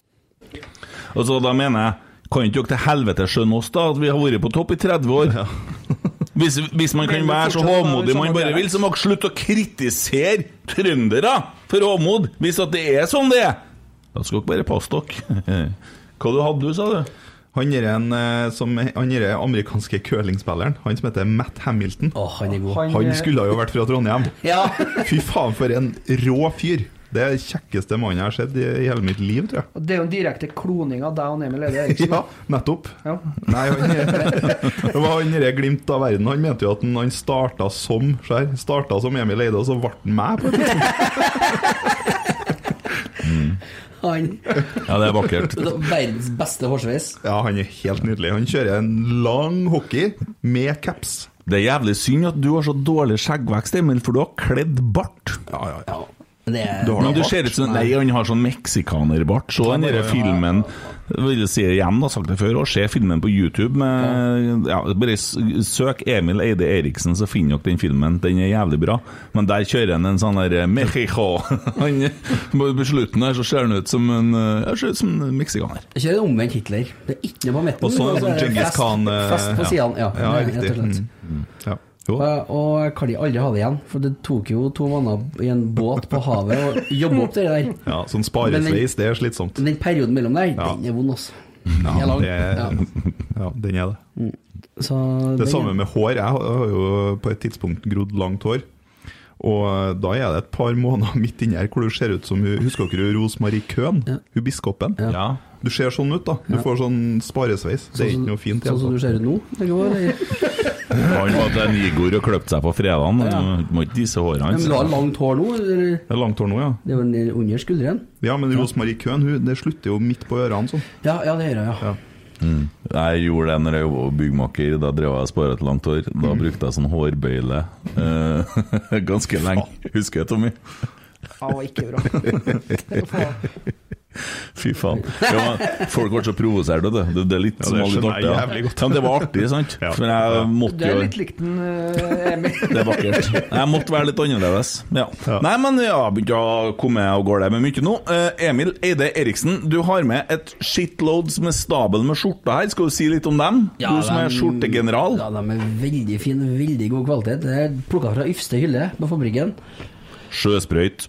S4: Og så da mener jeg Kan ikke dere til helvete skjønne oss, da? At vi har vært på topp i 30 år? Hvis, hvis man kan
S7: Men
S4: være så
S7: fortsatt er det
S4: håmodig man
S7: samme
S4: bare
S7: dialekt.
S4: vil, så må dere slutte å kritisere trøndere for håmod, hvis at det er sånn det er! Da skal dere bare passe dere. Hva du hadde du, sa du?
S7: Han er en eh, som Han er amerikanske curlingspilleren. Han som heter Matt Hamilton.
S5: han,
S7: han,
S6: eh,
S7: skulle jo vært fra Trondheim. Fy faen, for en rå fyr! Det er den kjekkeste mannen jeg har sett i, i hele mitt liv, tror jeg.
S6: Og Det er jo en direkte kloning av deg og Emil Eide Eriksen.
S7: Ja, nettopp. Nei, han Det var han derre glimt av verden. Han mente jo at han, han starta som skjær. Starta som Emil Eide, og så ble han meg. på et tidspunkt.
S5: Han. Altså,
S4: Ja, det er vakkert.
S5: Verdens beste hårsveis.
S7: Ja, han er helt nydelig. Han kjører en lang hockey med caps.
S4: Det er jævlig synd at du har så dårlig skjeggvekst, Emil, for du har kledd bart.
S7: Ja, ja, ja.
S5: Det er
S4: Du har men du ser ut som Nei, han har sånn meksikanerbart. Så den derre filmen jeg vil si det igjen, jeg har sagt det før, og se filmen på YouTube med ja, Bare s- søk Emil Eide Eriksen, så finner dere den filmen. Den er jævlig bra. Men der kjører han en sånn der Mexico. Han, på slutten der så ser han ut som en eh, Jeg ser ut som en meksikaner.
S5: Jeg kjører en omvendt Hitler. Det er ikke noe på midten.
S4: Og så en
S5: men
S4: sånn
S5: er det
S4: Genghis
S5: fest-
S4: Khan, eh,
S5: Fest på
S4: ja.
S5: sidene, ja.
S4: Ja,
S5: rett
S4: riktig.
S5: og slett.
S4: Mm,
S5: Og, og jeg kan de aldri ha det igjen, for det tok jo to måneder i en båt på havet å jobbe opp det der.
S7: Ja,
S5: Men
S7: sånn
S5: den-
S7: sparesveis, det er slitsomt.
S5: Den perioden mellom der, den er vond, altså.
S7: Ja,
S5: Den er lang.
S7: det,
S5: Ja.
S7: ja, den er det.
S5: Så
S7: Det
S5: den-
S7: samme med hår. Jeg har har jo på et tidspunkt grodd langt hår. Og eh, da er det et par måneder midt inni her hvor du ser ut som hun- Husker dere Rosemarie Køhn? Hun biskopen?
S4: Ja.
S7: Du ser sånn ut, da. Du får sånn sparesveis. Det
S5: Sånn
S7: er
S5: som-
S7: ikke noe fint. i
S5: Sånn
S7: hele
S5: som du
S7: tatt.
S5: ser ut nå? Det går, eller?
S4: Han var til en Igor og kløpte seg på fredagen. Du må ikke disse hårene
S5: Ja, Men
S4: hans.
S5: du har langt hår nå? Eller?
S7: Det er langt hår nå, ja.
S5: Det er vel ned under skulderen?
S7: Ja, men Rosemarie Køhn hun, det slutter jo midt på ørene sånn.
S5: Ja, ja det gjør jeg, ja.
S4: Mm. Jeg gjorde det når jeg var byggmaker. Da drev jeg og spara et langt hår.
S7: Mm.
S4: Da brukte jeg sånn hårbøyle eh, ganske lenge. Husker jeg, Tommy?
S6: Ja, og ikke bra.
S4: Fy faen. Ja, men folk ble så provosert av det. Det det er litt
S7: Ja, det
S4: som var litt
S7: skjønner
S4: artig.
S7: jeg
S4: Ja.
S7: jævlig godt.
S4: Ja, men det var artig, sant? For jeg
S6: Du
S4: måtte
S6: er
S4: jo
S6: litt likt den, eh, Emil.
S4: det er vakkert. Jeg måtte være litt annerledes. Ja. Nei, men ja, begynte å komme og gå der med mye nå. Eh, Emil Eide Eriksen, du har med et shitloads med stabel med skjorter her. Skal du si litt om dem?
S5: Ja,
S4: du som er
S5: dem-
S4: skjortegeneral.
S5: Ja, de er veldig fine, veldig god kvalitet. Det er plukka fra ypperste hylle på fabrikken.
S4: Sjøsprøyt.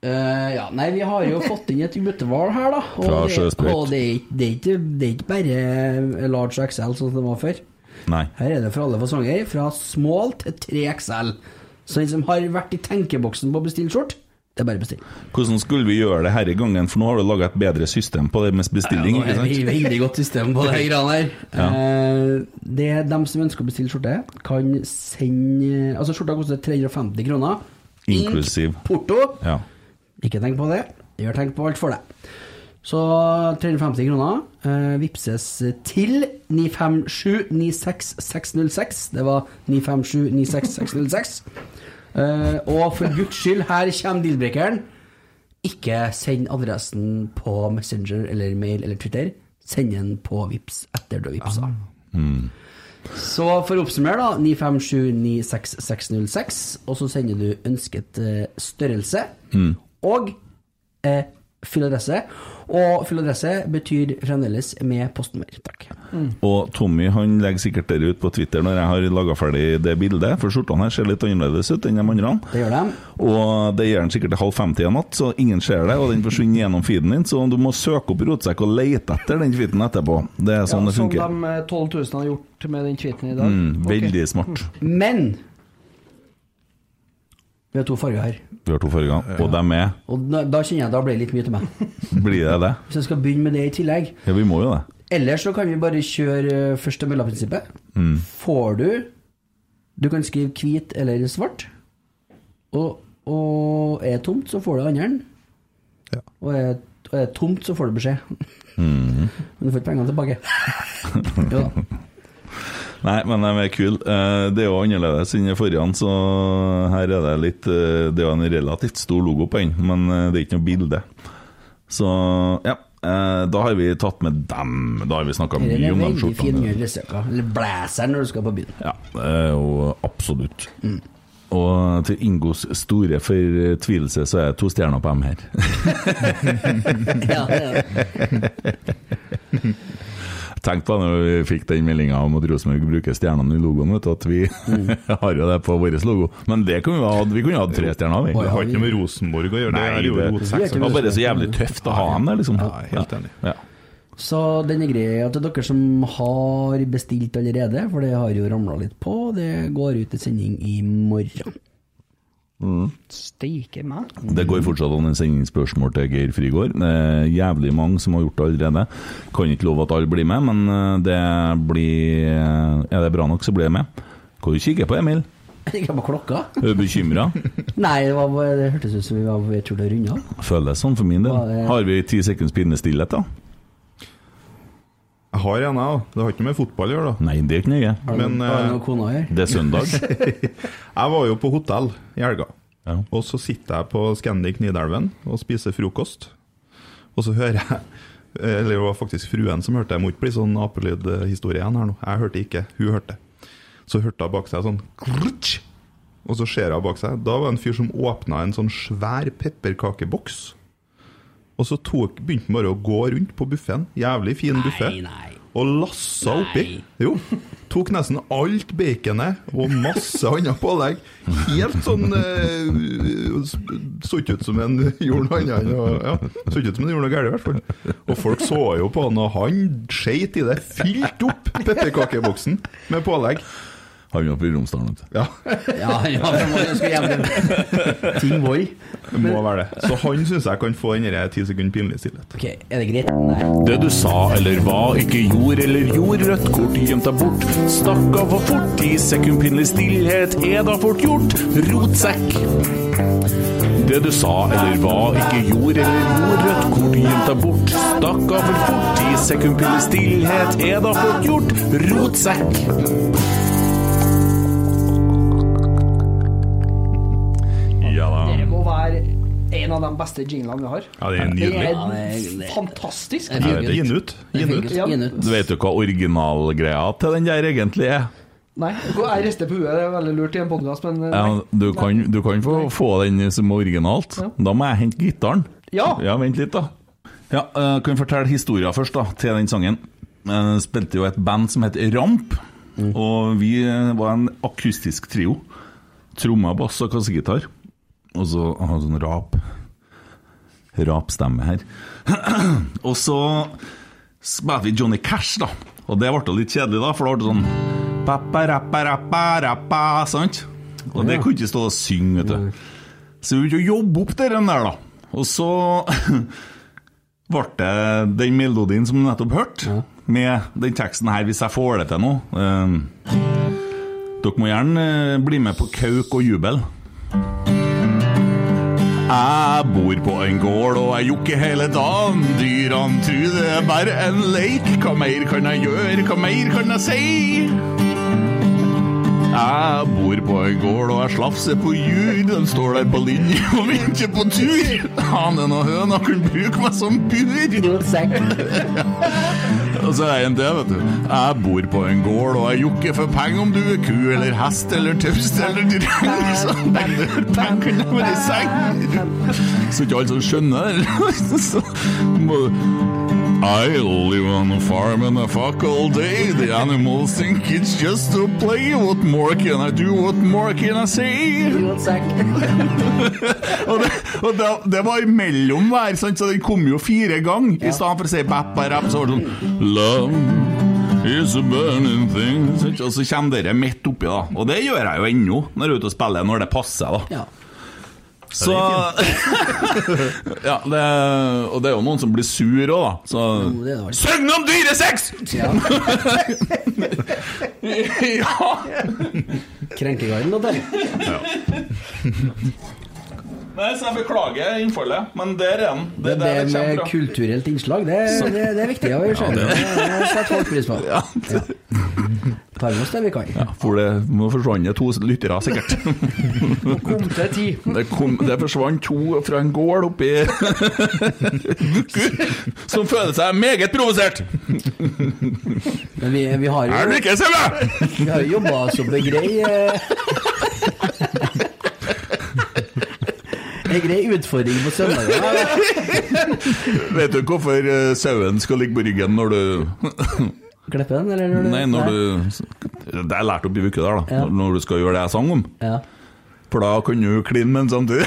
S5: Eh, ja, nei, vi har jo fått inn et gutteval her, da.
S4: Fra
S5: det,
S4: Sjøsprøyt.
S5: og det, er ikke- det, er ikke, det er ikke bare eh, large og XL sånn som det var før.
S4: Nei.
S5: Her er det for alle fasonger, fra small til 3XL. Så den som har vært i tenkeboksen på å bestille skjort, det er bare å bestille.
S4: Hvordan skulle vi gjøre det her i gangen? For nå har du laga et bedre system på det med bestilling.
S5: Ja, nå
S4: ikke
S5: er
S4: sant?
S5: vi i veldig godt system på de greiene her.
S4: Ja.
S5: Eh, Det er dem som ønsker å bestille skjorte, kan sende Altså, skjorta koster 350 kroner.
S4: Inklusiv.
S5: Porto.
S4: Ja.
S5: Ikke tenk på det. Gjør tenk på alt for deg. Så 350 kroner eh, vipses til 957-96606. Det var 957-96606. Eh, og for guds skyld, her kommer dealbreakeren. Ikke send adressen på Messenger eller mail eller Twitter. Send den på Vips etter du har vipsa.
S4: Mm.
S5: Så for å oppsummere, da. 957-96606. Og så sender du ønsket eh, størrelse
S4: Mm.
S5: og eh, fyll adresse. Og fyll adresse betyr fremdeles med postnummer. Takk.
S4: Og Tommy han legger sikkert det ut på Twitter når jeg har laga ferdig det bildet, for skjortene her ser litt annerledes ut enn de andre.
S5: Det gjør de.
S4: Og det gjør den sikkert til halv femti i natt, så ingen ser det, og den forsvinner gjennom feeden din, så du må søke opp Rotsekk og lete etter den feeden etterpå. Det er sånn
S6: ja,
S4: det
S6: som
S4: funker.
S6: de eh, 12 000 har gjort med den tweeten i dag.
S4: Mm,
S6: Ok.
S4: veldig smart.
S5: Men vi har to farger her,
S4: Vi har to forrige gang, og dem er
S5: og da, da kjenner jeg da ble det litt mye til meg.
S4: Blir det det?
S5: Hvis jeg skal begynne med det i tillegg.
S4: Ja, vi må jo det.
S5: Ellers så kan vi bare kjøre eh, første mellomprinsippet.
S4: Mm.
S5: Får du Du kan skrive hvit eller svart. Og, og er det tomt, så får du andre. Og er og er det tomt, så får du beskjed.
S4: Mhm.
S5: Men du får ikke pengene tilbake. Jo da.
S4: Nei, men de er kule. Eh, Det er jo annerledes enn det forrige, så her er det litt eh, Det er jo en relativt stor logo på den, men eh, det er ikke noe bilde. Så ja. eh, Da har vi tatt med dem. Da har vi snakka
S5: Den
S4: mye
S5: er
S4: om de
S5: veldig fin
S4: skjortene.
S5: under løsøka. Eller blæseren når du skal på byen.
S4: Ja, det er jo absolutt. Og til Ingos store fortvilelse så er det to stjerner på M her.
S5: Ja, ja.
S4: Tenk på det når vi fikk den meldinga om at Rosenborg bruker stjernene i logoen, vet du, at vi har jo det på vår logo. Men det kunne vi hatt. Vi kunne hatt tre stjerner, vi.
S7: Det har ikke noe med Rosenborg å gjøre.
S4: Nei,
S7: det er jo
S4: det-
S7: rot
S4: det var bare så jævlig tøft å ha dem der, liksom.
S7: Ja, helt enig.
S4: Ja.
S5: Så den er grei at det er dere som har bestilt allerede, for det har jo ramla litt på, det går ut til sending i morgen.
S6: Steike meg.
S4: Det går fortsatt an å sende inn spørsmål til Geir Frigård. Det er jævlig mange som har gjort det allerede. Kan ikke love at alle blir med, men eh, det blir eh, Er det bra nok, så blir det med. Hva du kikker på, Emil?
S5: Ikke på klokka?
S4: Er du bekymra?
S5: Nei, det, var, bare- det hørtes ut som vi var på vei til å runde av.
S4: Føles sånn for min del.
S5: Hva er-
S4: Har vi ti sekunds pinnestillhet, da?
S7: Jeg har en, jeg òg. Det har ikke noe med fotball å gjøre, da.
S4: Nei, det er ikke nøye.
S5: Har du
S7: Men,
S5: noe- har du
S7: eh,
S5: noe kona gjør?
S4: Det er søndag.
S7: Jeg var jo på hotell i helga. Og så sitter jeg på Scandic Nidelven og spiser frokost. Og så hører jeg Eller det var faktisk fruen som hørte det. Jeg må ikke bli sånn apelydhistorie igjen her nå. Jeg hørte ikke, hun hørte. Så hørte hun bak seg sånn klutsk, Og så ser hun bak seg. Da var det en fyr som åpna en sånn svær pepperkakeboks. Og så tok, begynte han bare å gå rundt på buffeen. Jævlig fin buffé. Og lassa oppi. Jo. Tok nesten alt baconet og masse annet pålegg. Helt sånn eh, s- Så ikke ut som en gjorde noe annet. enn å- Ja, så ikke ut som en gjorde noe galt, i hvert fall. Og folk så jo på han, og han skeit i det. Fylte opp pepperkakeboksen med pålegg.
S4: Han var på Romsdalen, vet
S7: Ja.
S5: Ja, ja, for man ønsker jævlig Ting vold.
S7: Det må være det. Så han syns jeg kan få den der ti sekunder pinlig stillhet.
S5: Ok, er det greit? Nei.
S4: Det du sa eller hva, ikke gjorde eller gjorde, rødt kort gjemt deg bort. Stakk av for fort, ti sekund pinlig stillhet er da fort gjort. Rotsekk. Det du sa eller hva, ikke gjorde eller gjorde, rødt kort gjemt deg bort. Stakk av for fort, ti sekund pinlig stillhet er da fort gjort. Rotsekk. Ja da.
S6: Det må være en av de beste jinglene vi har.
S4: Ja, det er nydelig.
S5: Ja, det
S6: er fantastisk.
S5: Jeg vet
S7: Gi den ut. Gi den ut.
S6: Ja.
S5: Gi den ut.
S4: Du vet jo hva originalgreia til den der egentlig er?
S6: Nei, jeg rister på huet, det er veldig lurt i en podkast, men eh,
S4: Ja,
S6: nei.
S4: du kan, du kan få, få den som originalt. Da må jeg hente gitaren.
S6: Ja!
S4: Ja, vent litt, da. Ja, eh, Kan jeg fortelle historien først, da, til den sangen. Jeg spilte jo et band som het Ramp, og vi eh, var en akustisk trio. Trommer, bass og kassegitar. Og så ah, sånn rap Rapstemme her. og så spilte vi Johnny Cash, da. Og det ble jo litt kjedelig, da, for det ble sånn Pappa-rappa-rappa-rappa, sant? Og det kunne ikke stå og synge, vet du. Så vi begynte å jobbe opp det den der, da. Og så ble det den melodien som du nettopp hørte, med den teksten her, hvis jeg får det til nå. Ehm, dere må gjerne eh, bli med på Kauk og jubel. Jeg bor på en gård og jeg jokker hele dagen. Dyrene tror det er bare en leik. Hva mer kan jeg gjøre, hva mer kan jeg si? Jeg bor på en gård og jeg slafser på jur. De står der på linje og venter på tur. Hanen og høna kan bruke meg som bur. Og så er en det, vet du. Jeg bor på en gård og jeg jokker for penger om du er ku eller hest eller taust eller dreng. Så lenge du har penger, kan du være i seng. Så ikke alle som skjønner det. Så må du I live on a farm and I fuck all day. The animals think it's just to play. What more can I do? What more can I say? og det, og det, det var imellom hver, sant? så den kom jo fire ganger. I stedet for å si bappa-rapp, så var det sånn Love is a burning thing. sant? Altså, Og så kommer dere midt oppi, da. Og det gjør jeg jo ennå, når jeg er ute og spiller, når det passer, da.
S5: Ja.
S4: Så Ja, det, og det er jo noen som blir sur òg, da. Så
S5: Jo, det er det vel.
S4: Søgn om dyresex!
S5: Ja.
S4: ja!
S5: Krenkegarden, da, der.
S4: Nei, så jeg beklager innfallet, men der er den.
S5: Det,
S4: er der det kommer
S5: med
S4: fra.
S5: kulturelt innslag, det, det, det er viktig å skjønne. Det setter folk pris på. Ja. Tar med oss det vi kan.
S7: Ja, for det nå forsvant det to lyttere, sikkert.
S6: Kom til ti.
S7: Det, kom, det forsvant to fra en gård oppi Vuku, som føler seg meget provosert.
S5: Men vi, vi har jo
S7: Er du ikke Seve?
S5: Vi har jo jobba som ei grei eh, Ei grei utfordring på søndager.
S7: Vet du hvorfor eh, sauen skal ligge på ryggen når du
S5: Klippe den, eller? når du-
S7: Nei, når du Det har jeg lært opp i uke der, da.
S5: Ja.
S7: Når- Når du skal gjøre det jeg sang om.
S5: Ja.
S7: For da kan du kline med den samtidig.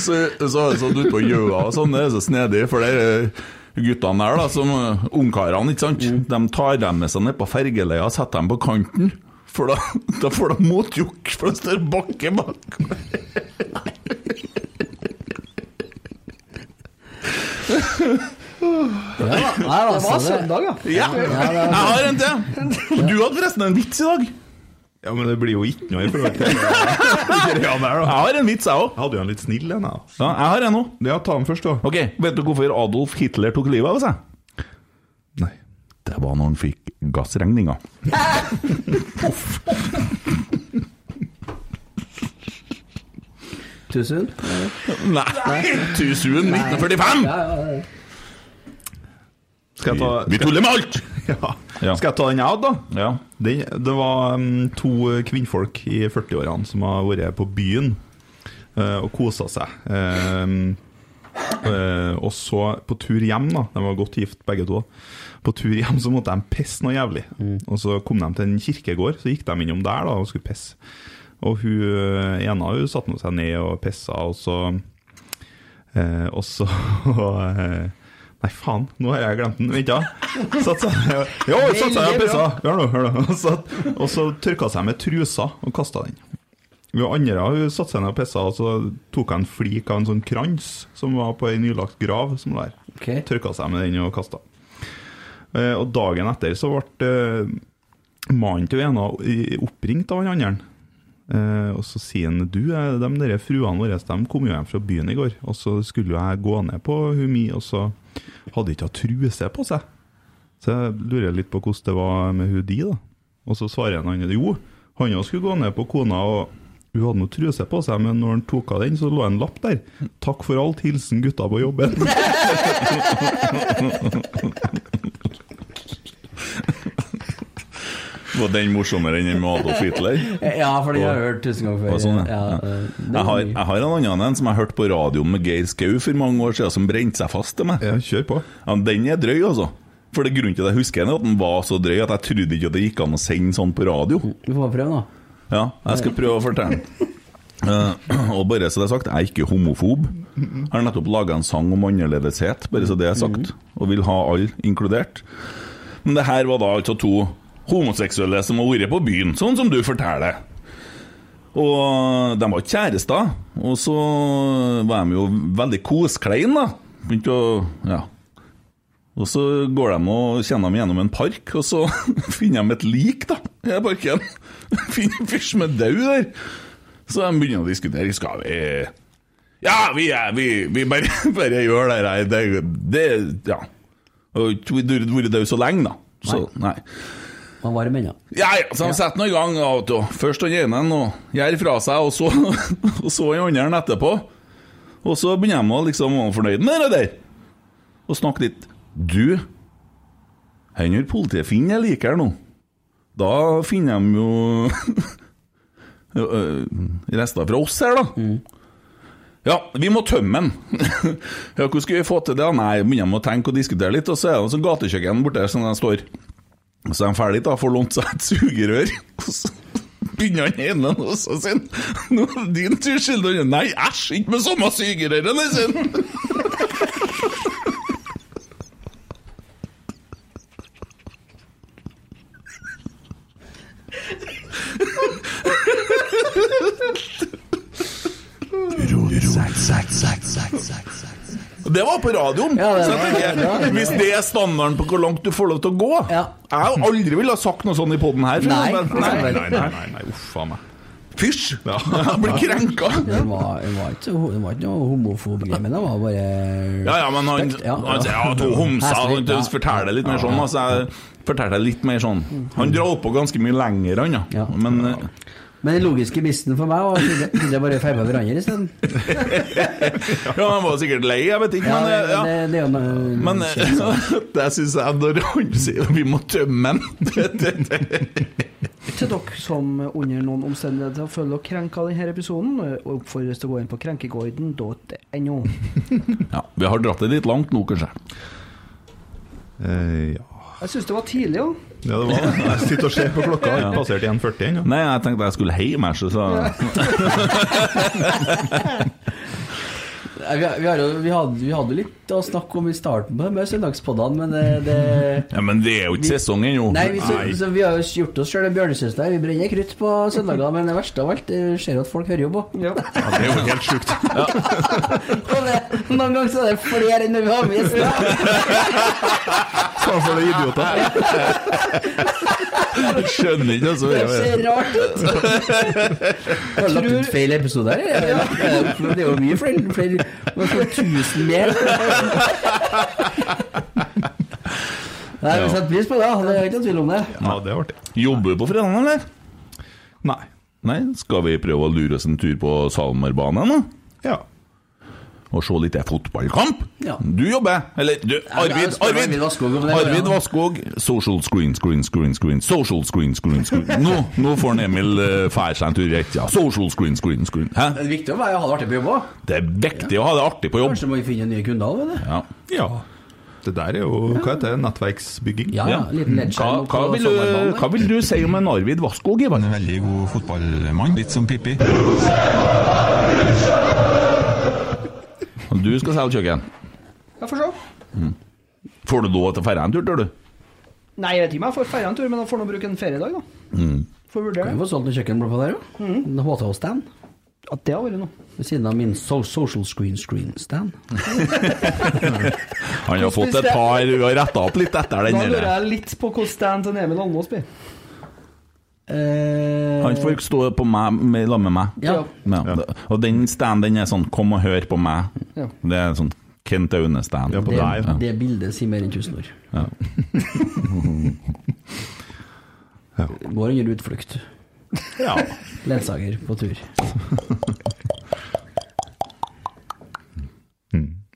S7: så, så har jeg satt utpå gjøa og sånn, det er så snedig, for der eh, guttene der, da, som eh, ungkarene, ikke sant,
S5: Mm.
S7: de tar dem med seg ned på fergeleia og setter dem på kanten. For da, da får de motjokk, for det står bakke bak.
S5: Ja, nei,
S6: Det var søndag, ja.
S7: Ja, jeg har en til! Du hadde forresten en vits i dag.
S9: Ja, men det blir jo ikke noe i forhold til det. Ja, der, da.
S7: Jeg har en vits, jeg òg.
S9: Jeg hadde jo en litt snill en, jeg.
S7: Ja, jeg har en nå.
S9: Ja, ta den først, da.
S7: Ok, Vet du hvorfor Adolf Hitler tok livet av seg?
S9: Nei.
S7: Det var når han fikk gassregninga.
S5: Tusen.
S7: Nei, Tusen 1945!
S5: Ja, ja, ja.
S9: Skal jeg ta
S7: Vi tuller med alt!
S9: Ja.
S7: Ja.
S9: Skal jeg ta den jeg hadde, da?
S7: Ja.
S9: Den, det var mm, to kvinnfolk i 40-årene som har vært på byen eh, og kosa seg. Ehm, eh, og så på tur hjem, da de var godt gift begge to, på tur hjem så måtte de pisse noe jævlig. Og så kom de til en kirkegård, så gikk de innom der da og skulle pisse. Og hun eh, ene hun satte nå seg ned og pissa, og så eh, Og så eh, Nei, faen, nå har jeg glemt den. Vent, da. Satt seg ned og- Jo, satt seg ned og pissa! Hør nå, hør nå. Og så- Og så tørka hun seg med trusa og kasta den. Hun andre hun satte seg ned og pissa, og så tok hun en flik av en sånn krans som var på ei nylagt grav som lå der.
S5: Ok.
S9: Tørka seg med den og kasta. Eh, og dagen etter så ble eh, mannen til hun ene i- oppringt av han andre. Eh, og så sier han du, eh, de der fruene våre de kom jo hjem fra byen i går, og så skulle jo jeg gå ned på hun mi, og så hadde ikke hun truse på seg. Så jeg lurer litt på hvordan det var med hun de, da. Og så svarer han andre jo, han også skulle gå ned på kona, og hun hadde noe truse på seg, men når han tok av den, så lå en lapp der. 'Takk for alt. Hilsen gutta på jobben'.
S7: Var den morsommere enn den med Adolf Hitler?
S5: ja, for den har jeg hørt tusen ganger før.
S7: Var det sånn,
S5: ja.
S7: ja.
S5: eh, den
S7: Jeg har,
S5: er ny.
S7: jeg har en annen en som jeg hørte på radioen med Geir Skau for mange år siden, som brente seg fast til meg.
S9: Ja, kjør på.
S7: Ja, den er drøy, altså. For det grunnen til at jeg husker den, er at den var så drøy at jeg trodde ikke at det gikk an å sende sånn på radio.
S5: Vi får prøve, da.
S7: Ja, jeg skal prøve å fortelle den. Eh, og bare så det er sagt, jeg er ikke homofob. Jeg har nettopp laga en sang om annerledeshet, bare så det er sagt. Og vil ha alle inkludert. Men det her var da altså to homoseksuelle som har vært på byen, sånn som du forteller. Og de var ikke kjærester, og så var de jo veldig kosklein, da. Begynte å Ja. Og så går de og kjenner dem gjennom en park, og så finner de et lik, da, i den parken. Finner en fyr som er død der. Så de begynner å diskutere. Skal vi Ja, vi, er, vi, vi bare, bare gjør det her. Det, det Ja. Og vi burde vært døde så lenge, da. Så, nei.
S5: Man varm ennå.
S7: Ja, ja, så de setter nå i gang. da, vet du. Først han ene og gjør fra seg, og så, og så han andre etterpå. Og så begynner de å liksom være fornøyd med det der. Og snakke litt. Du, hvor gjør politiet finner jeg liker nå? Da finner de jo ø, ø, rester fra oss her, da. Ja, vi må tømme den. ja, hvordan skal vi få til det? da? Nei, begynner de å tenke og diskutere litt, og så er det sånn gatekjøkken borte der som de står. Så er han ferdig, da, får lånt seg et sugerør. Og så begynner han ene og så sier han, Nå er det din tur, Skilder. Nei, æsj, ikke med samme sugerøret, sier han. Det var på radioen.
S5: Ja, det
S7: så
S5: var-
S7: jeg tenker, hvis det er standarden på hvor langt du får lov til å gå
S5: Ja.
S7: Jeg har aldri ville ha sagt noe sånn i poden her. for
S5: Nei,
S7: eksempel.
S5: for eksempel.
S7: nei, nei, nei,
S9: Nei, nei, uff a meg.
S7: Fysj! Jeg blir krenka!
S5: Det var, det var, ikke, det var ikke noe homofob-greie, men det var bare
S7: Ja, ja, men han,
S5: Respekt, ja.
S7: han sier ja, to homser. Han
S5: Ja.
S7: forteller det litt mer sånn.
S5: Ja.
S7: Altså, jeg fortalte det litt mer sånn. Han drar på ganske mye lenger, han, ja. Men eh,
S5: Men den logiske missen for meg var at de bare feiba hverandre isteden.
S7: ja, han var sikkert lei, jeg vet ikke,
S5: Ja,
S7: men eh, ja.
S5: det, det er jo noe-
S7: Men eh, det syns jeg når han sier vi må tømme den det, det, det.
S6: Til dere som under noen omstendigheter føler dere krenka i denne episoden, Eh, oppfordres til å gå inn på krenkeguiden.no.
S7: Ja, vi har dratt det litt langt nå, kanskje.
S13: ja.
S6: Jeg syns det var tidlig, jo.
S13: Ja, det var det. Jeg sitter og ser på klokka, jeg har ikke passert 1,40 ennå.
S7: Nei, jeg tenkte jeg skulle hjem, jeg, så så
S5: Nei, Vi, vi, har jo, vi, hadde, vi hadde jo litt å snakke om i starten på de her søndagspoddene, men det, det
S7: Ja, men det er jo ikke sesong ennå.
S5: Nei, vi, så, så vi har jo gjort oss sjøl en bjørnesøs der. Vi brenner krutt på søndager, men det verste av alt det skjer jo at folk hører jo på.
S7: Ja, det er jo helt sjukt.
S5: Og det, noen ganger så er det flere enn det vi har med gjester.
S7: Hva for noen idioter? Skjønner ikke, altså.
S5: Det ser rart ut. Har du lagt ut feil episode her? eller? Det er jo mye flere. flere det er sånn tusen mer. Nei, Vi setter pris på det, det er ikke noe tvil om det.
S7: Ja, det er artig. Jobber du på fredag, eller? Nei. Nei, Skal vi prøve å lure oss en tur på Salmerbanen, da? Ja. Og se litt fotballkamp?
S5: Ja.
S7: Du jobber, eller du,
S5: jeg
S7: Arvid,
S5: spør
S7: Arvid!
S5: Arvid Vasskog om det,
S7: Arvid
S5: ja.
S7: Vasskog, social screen, screen, screen, screen, social screen, screen, screen. Nå, nå får han Emil uh, fære seg en tur rett, ja. Social screen, screen, screen.
S5: Det
S7: Hæ?
S5: er viktig å være- ha det artig på jobb òg.
S7: Det er viktig å ha det artig på jobb.
S5: Kanskje må vi finne nye kunder òg, vet du.
S7: Ja.
S13: Ja. Det der er jo hva heter det, nettverksbygging.
S5: Ja, ja. Liten
S7: Hva,
S5: ledskjerm
S7: hva,
S5: oppå
S7: vil du,
S5: sommerbanen.
S7: hva vil du si om en Arvid Vasskog, Ivan?
S9: En veldig god fotballmann, litt som Pippi.
S7: Du skal selge kjøkken.
S6: Jeg får se.
S7: Får du lov til å fære en tur, tror du?
S6: Nei, jeg vet ikke om jeg får feire en tur, men jeg får nå bruke en feriedag, da.
S7: Mm.
S6: Får
S5: Kan
S6: vurdere.
S5: jo få solgt en kjøkkenblå på der, jo. En HTH-stand.
S6: Ja, det har vært noe.
S5: Ved siden av min so social screen screen-stand.
S7: Han har fått et par Hun har retta opp litt etter
S6: Da
S7: den
S6: lurer
S7: der.
S6: jeg litt på hvordan stand til Emil Almås blir. Eh,
S7: Han får stå på meg med, sammen med meg.
S5: Ja.
S7: Ja. Og den standen er sånn 'kom og hør på meg'.
S6: Ja.
S7: Det er sånn Kent Aune-stand.
S13: Ja, på deg,
S5: Det, det bildet sier mer enn tusen ord.
S7: Ja.
S5: Går under utflukt.
S7: Ja.
S5: Ledsager på tur.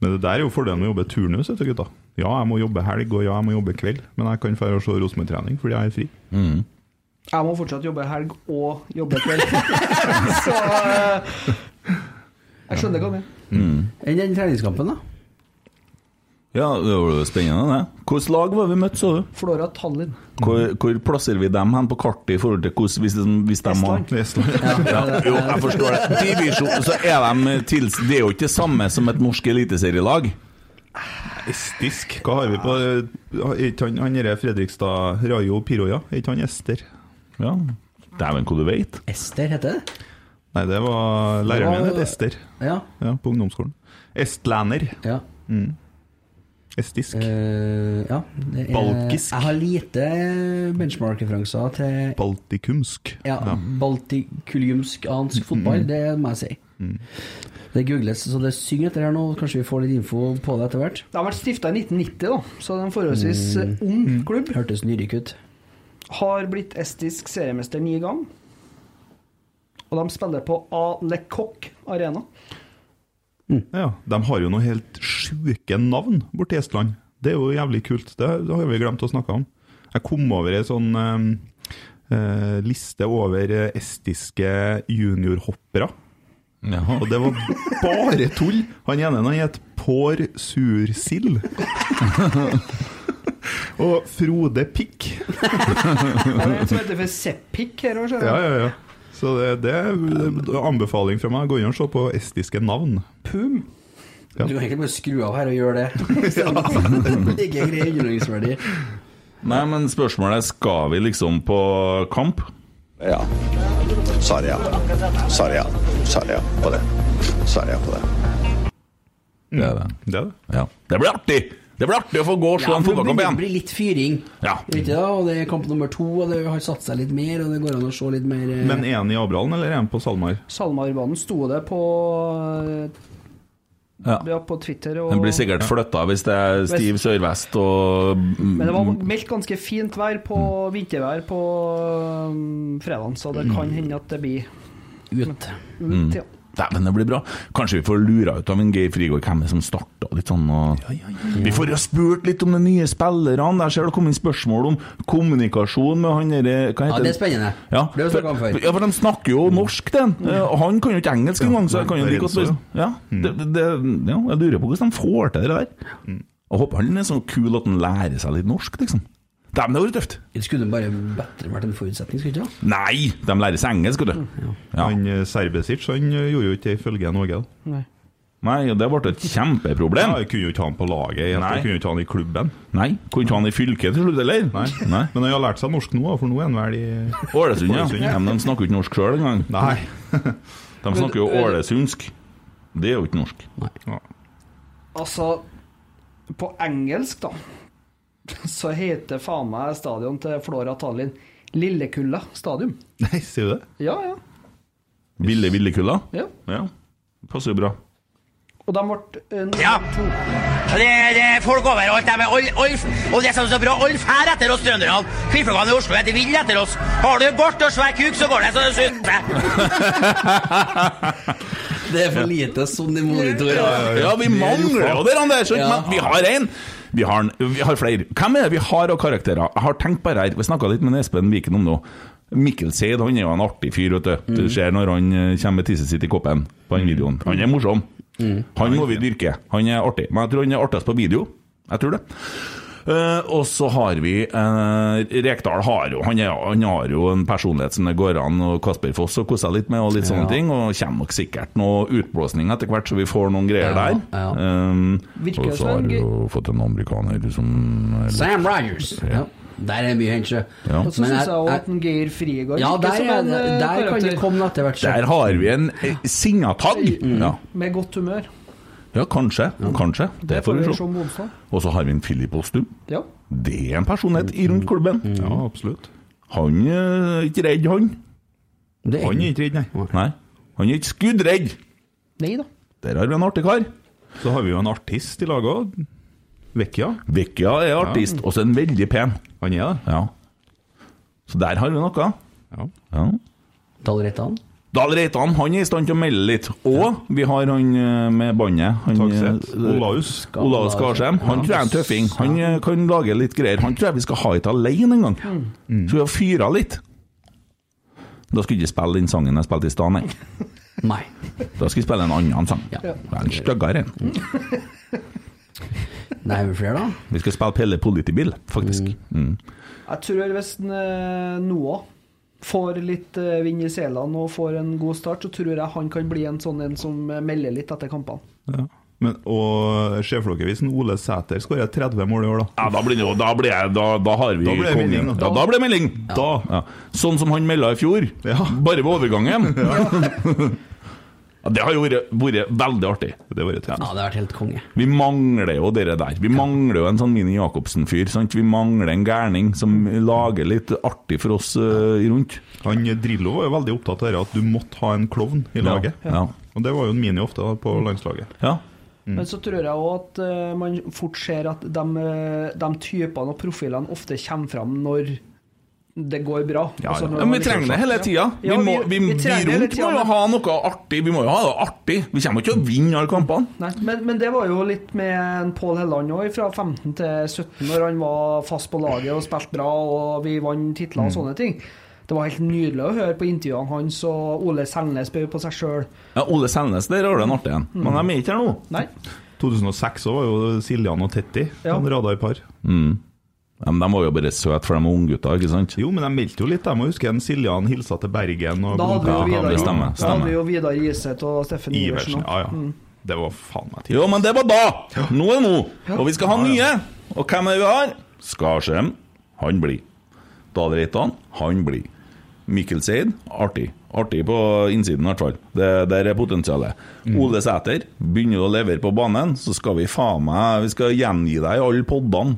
S13: Men det der er jo fordelen med å jobbe turnus, vet du, gutta. Ja, jeg må jobbe helg, og ja, jeg må jobbe kveld, men jeg kan dra og se Rosenborg-trening fordi jeg er fri.
S6: Jeg må fortsatt jobbe helg og jobbe kveld. Så eh, jeg skjønner hva du mener.
S5: Enn den treningskampen, da?
S7: ja, det var jo spennende, det. Hvilket lag var vi møtt, så du?
S6: Flora Tallinn.
S7: Hvor, hvor plasserer vi dem hen på kartet i forhold til hvordan hvis de, hvis de har
S6: Estland.
S7: ja, Jo, jeg forstår det. Divisjon, så er de tils, Det er jo ikke det samme som et norsk eliteserielag.
S13: Estisk. Eh, Hva har vi på eh, er ikke han, han derre Fredrikstad Rayo Piroja? Er ikke han Ester?
S7: Ja. Dæven, hva du veit.
S5: Ester heter det?
S13: Nei, det var læreren min het Ester
S5: Ja.
S13: ja, på ungdomsskolen. Estlander.
S5: ja.
S13: Estisk.
S5: Eh, ja. Det er-
S13: Balkisk.
S5: Jeg har lite benchmark-referanser til
S13: Baltikumsk.
S5: ja, baltikuliumsk-ansk fotball,
S7: Mm.
S5: det må jeg si. Det googles, så det synger etter her nå. Kanskje vi får litt info på det etter hvert.
S6: De ble stifta i 1990, da, så det er en forholdsvis
S7: Mm.
S6: eh, ung klubb.
S5: Hørtes nyrik ut.
S6: Har blitt estisk seriemester ni ganger. Og de spiller på Alekok Arena.
S13: Ja, de har jo noe helt sjuke navn borti Estland. Det er jo jævlig kult. Det, det har vi glemt å snakke om. Jeg kom over ei sånn eh, eh, liste over eh, estiske juniorhoppere.
S7: Jaha.
S13: Og det var bare tull! Han ene han het Pår Sursild. Og Frode Pikk.
S6: Det er en som heter for Sepik her òg, ser
S13: Ja,
S6: jeg.
S13: ja, ja. Så det, det er anbefaling fra meg. Gå inn og se på estiske navn.
S6: Pum.
S13: Ja.
S5: Du kan egentlig bare skru av her og gjøre det. Ikke grei underholdningsverdi.
S7: Nei, men spørsmålet er skal vi liksom på kamp?
S4: Ja. Svaret ja. Svaret ja. Svaret ja på det. Svaret ja på det.
S7: Mm. Det er det.
S13: Det er det.
S7: Ja. Det blir artig!
S4: Det blir artig å få gå og slå en
S5: for det
S4: fotballkamp
S5: blir-
S4: igjen.
S5: Det blir litt fyring.
S4: Ja.
S5: Vet du, da? og det er kamp nummer to, og det har satt seg litt mer, og det går an å se litt mer eh,
S7: Men er han i Abrahallen, eller er han på Salmar?
S6: SalMar-banen sto det på eh,
S4: Ja.
S6: ja, på Twitter. Og,
S4: Den blir sikkert flytta hvis det er stiv sørvest og
S6: Men det var meldt ganske fint vær på vintervær på um, fredagen, så det kan hende at det blir
S5: ut.
S4: Mm.
S6: ja.
S4: Dæven, det blir bra. Kanskje vi får lura ut av en Geir Frigård hvem det er som starta litt sånn. Og... Vi får jo spurt litt om de nye spillerne. Der ser det kommet inn spørsmål om kommunikasjon med han derre Hva
S5: Ja,
S4: heter
S5: det er spennende.
S4: Ja,
S5: Det har vi snakket om før.
S4: for, ja, for de snakker jo norsk, den. Eh, Og han kan jo ikke engelsk engang, så jeg kan jo Mm. like godt spørre. Ja, det, det, ja, jeg lurer på hvordan de får til det der. Jeg håper han er så kul at han lærer seg litt norsk, liksom. Dæven, det hadde vært tøft.
S5: Det skulle bare bedre vært en forutsetning, skulle det ikke?
S4: Nei, de lærer seg engelsk, vet du.
S7: Han eh, Serbesic han eh, gjorde jo ikke det ifølge Norge.
S6: Nei.
S4: Nei, og det ble et kjempeproblem.
S7: Ja, jeg kunne jo ikke ha han på laget, jeg
S4: Nei.
S7: kunne jo ikke ha han i klubben.
S4: Nei, kunne ikke ha han i fylket til slutt, eller? Nei. Nei.
S7: Men han har lært seg norsk nå, da, for nå er han vel i
S4: Ålesund, ja. ja. Men de snakker jo ikke norsk sjøl engang.
S7: Nei.
S4: De snakker jo ålesundsk. Det er jo ikke norsk. Ja.
S6: Altså, på engelsk, da, så heter faen meg stadion til Flora Tallinn Lillekulla stadion.
S7: Nei, sier du det?
S6: Ja, ja.
S4: Ville Villekulla?
S6: Ja.
S4: ja. Passer jo bra.
S6: Og de ble eh,
S14: Ja. Og Det, det er folk overalt. De er all, all, og det som er så bra, alle fær etter oss trønderne. Kvinnfolkene i Oslo er de vill etter oss. Har du bart og svær kuk, så går det så det suser.
S5: Det er for lite sånn i monitor.
S4: Ja, vi mangler jo der, Anders, ikke?
S5: Ja.
S4: men vi har én. Vi har, en- vi har flere. Hvem er det vi har av karakterer? Jeg har tenkt på det her. Vi snakka litt med Espen Viken om det. også. Mikkel Seid han er jo en artig fyr. vet
S5: Mm.
S4: Du Du ser når han eh, kommer med tisset sitt i koppen på den videoen. Han er morsom.
S5: Mm.
S4: Han må vi dyrke. Han er artig. Men jeg tror han er artigst på video. Jeg tror det. Eh, og så har vi eh, Rekdal har jo han, er, han har jo en personlighet som det går an å Kasper Foss og kose seg litt med, og litt sånne
S5: Ja.
S4: ting. Og kommer nok sikkert noe utblåsning etter hvert, så vi får noen greier
S5: Ja,
S4: der. Um,
S5: Virker
S4: og
S5: som
S4: så har
S5: en
S4: vi
S5: gøy-
S4: jo fått en amerikaner som eh, er litt-
S5: Sam Rogers. Ja. Der er mye hendt, sjø.
S4: Ja.
S6: Og så syns
S5: Men jeg-
S6: jeg også
S5: jeg-
S6: at en Geir Frigård
S5: Ja,
S6: virker
S5: der,
S6: som
S5: er,
S6: en, eh,
S5: der kan det
S6: karakter
S5: komme etter hvert. sjø.
S4: Der har vi en eh, singatagg! Ja.
S6: med godt humør.
S4: ja, kanskje. Kanskje. Det får vi
S6: se
S4: se.
S6: om onsdag.
S4: Og så har vi en Philip Ostum.
S6: Ja.
S4: Det er en personlighet i rundt klubben.
S7: Ja, absolutt.
S4: Han eh, er ikke redd, han.
S7: Han er ikke redd, nei.
S4: Nei. Han er ikke skuddredd.
S6: Nei da.
S4: Der har vi en artig kar.
S7: Så har vi jo en artist i laget òg. Vekkia.
S4: Vekkia er artist, og så er han veldig pen.
S7: Han er det.
S4: Ja. Så der har vi noe.
S7: Ja.
S4: Ja.
S5: Dahl Reitan.
S4: Dahl Reitan han er i stand til å melde litt. Og vi har han eh, med båndet. han,
S7: Takset.
S4: eh,
S7: Olaus.
S4: Olaus Skarsheim. Han tror jeg er en tøffing. Han eh, kan lage litt greier. Han tror jeg vi skal ha hit alene en gang. Så vi har fyra litt. Da skulle jeg ikke spille den sangen jeg spilte i stad, nei.
S5: Nei.
S4: Da skal jeg spille en annen sang. Det er En styggere en.
S6: Mm.
S5: Det er vel flere, da.
S4: Vi skal spille Pelle Politibil, faktisk. Mm.
S6: Jeg tror hvis en, eh, Noah får litt eh, vind i selene og får en god start, så tror jeg han kan bli en sånn en som eh, melder litt etter kampene.
S7: Ja. Men, og ser for dere hvis en Ole Sæter skårer 30 mål i år, da?
S4: Ja, da blir det jo Da, blir jeg, da, da har vi
S7: Da blir det
S4: kongen.
S7: melding, da.
S4: Ja, da blir det melding!
S7: Da!
S4: Ja. Sånn som han melda i fjor,
S7: Ja.
S4: bare ved overgangen. ja, det har jo vært, vært veldig artig.
S7: Det har vært
S5: Ja,
S7: tøft.
S5: det har vært helt konge.
S4: Vi mangler jo dere der. Vi mangler jo en sånn Mini Jacobsen-fyr. sant? Vi mangler en gærning som
S9: Mm.
S4: lager litt artig for oss eh, rundt.
S7: Han Drillo var jo veldig opptatt av det at du måtte ha en klovn i
S4: Ja,
S7: laget.
S4: ja.
S7: Og det var jo en mini ofte da,
S6: Mm.
S7: på landslaget.
S4: Ja. Mm.
S6: Men så tror jeg òg at eh, man fort ser at de, eh, de typene og profilene ofte kommer fram når det går bra.
S4: Ja,
S6: Altså
S4: ja.
S6: når
S4: Men vi
S6: man liksom-
S4: trenger det hele tida. Vi,
S6: Ja,
S4: må, vi, vi,
S6: trenger det hele
S4: rundt
S6: tida,
S4: må jo
S6: men-
S4: ha noe artig. Vi må jo ha det artig. Vi kommer jo ikke til å vinne alle kampene.
S6: Nei, men, men det var jo litt med en Pål Helland òg, fra 15 til 17, når han var fast på laget og spilte bra, og vi vant titler
S4: Mm.
S6: og sånne ting. Det var helt nydelig å høre på intervjuene hans, og Ole Selnes bød på seg sjøl.
S4: Ja, Ole Selnes, der har du en artig en. Men de er ikke her nå.
S6: Nei.
S7: 2006 så var jo Siljan og Tetti
S6: Ja.
S7: sånn radarpar.
S4: Ja, men de var jo bare søte, for de var unggutter, ikke sant?
S7: Jo, men de meldte jo litt, de òg. Husker jeg en Siljan hilsa til Bergen og
S6: Da hadde jo
S4: Ja,
S6: Vidar,
S4: det stemmer,
S6: da hadde
S4: stemmer.
S6: jo Vidar Iseth og Steffen
S7: Iversen.
S6: Iversen
S7: Ja,
S6: òg.
S7: ja. Det var faen meg tid.
S4: Jo, men det var da! Nå er nå! Og vi skal ha nye! Og hvem er det vi har? Skarsheim. Han blir. Dahl Reitan. Han blir. Mikkelseid, artig. Artig på innsiden, i hvert fall. Det, der er potensialet. Ole Sæter, begynner du å levere på banen, så skal vi faen meg Vi skal gjengi deg i alle poddene.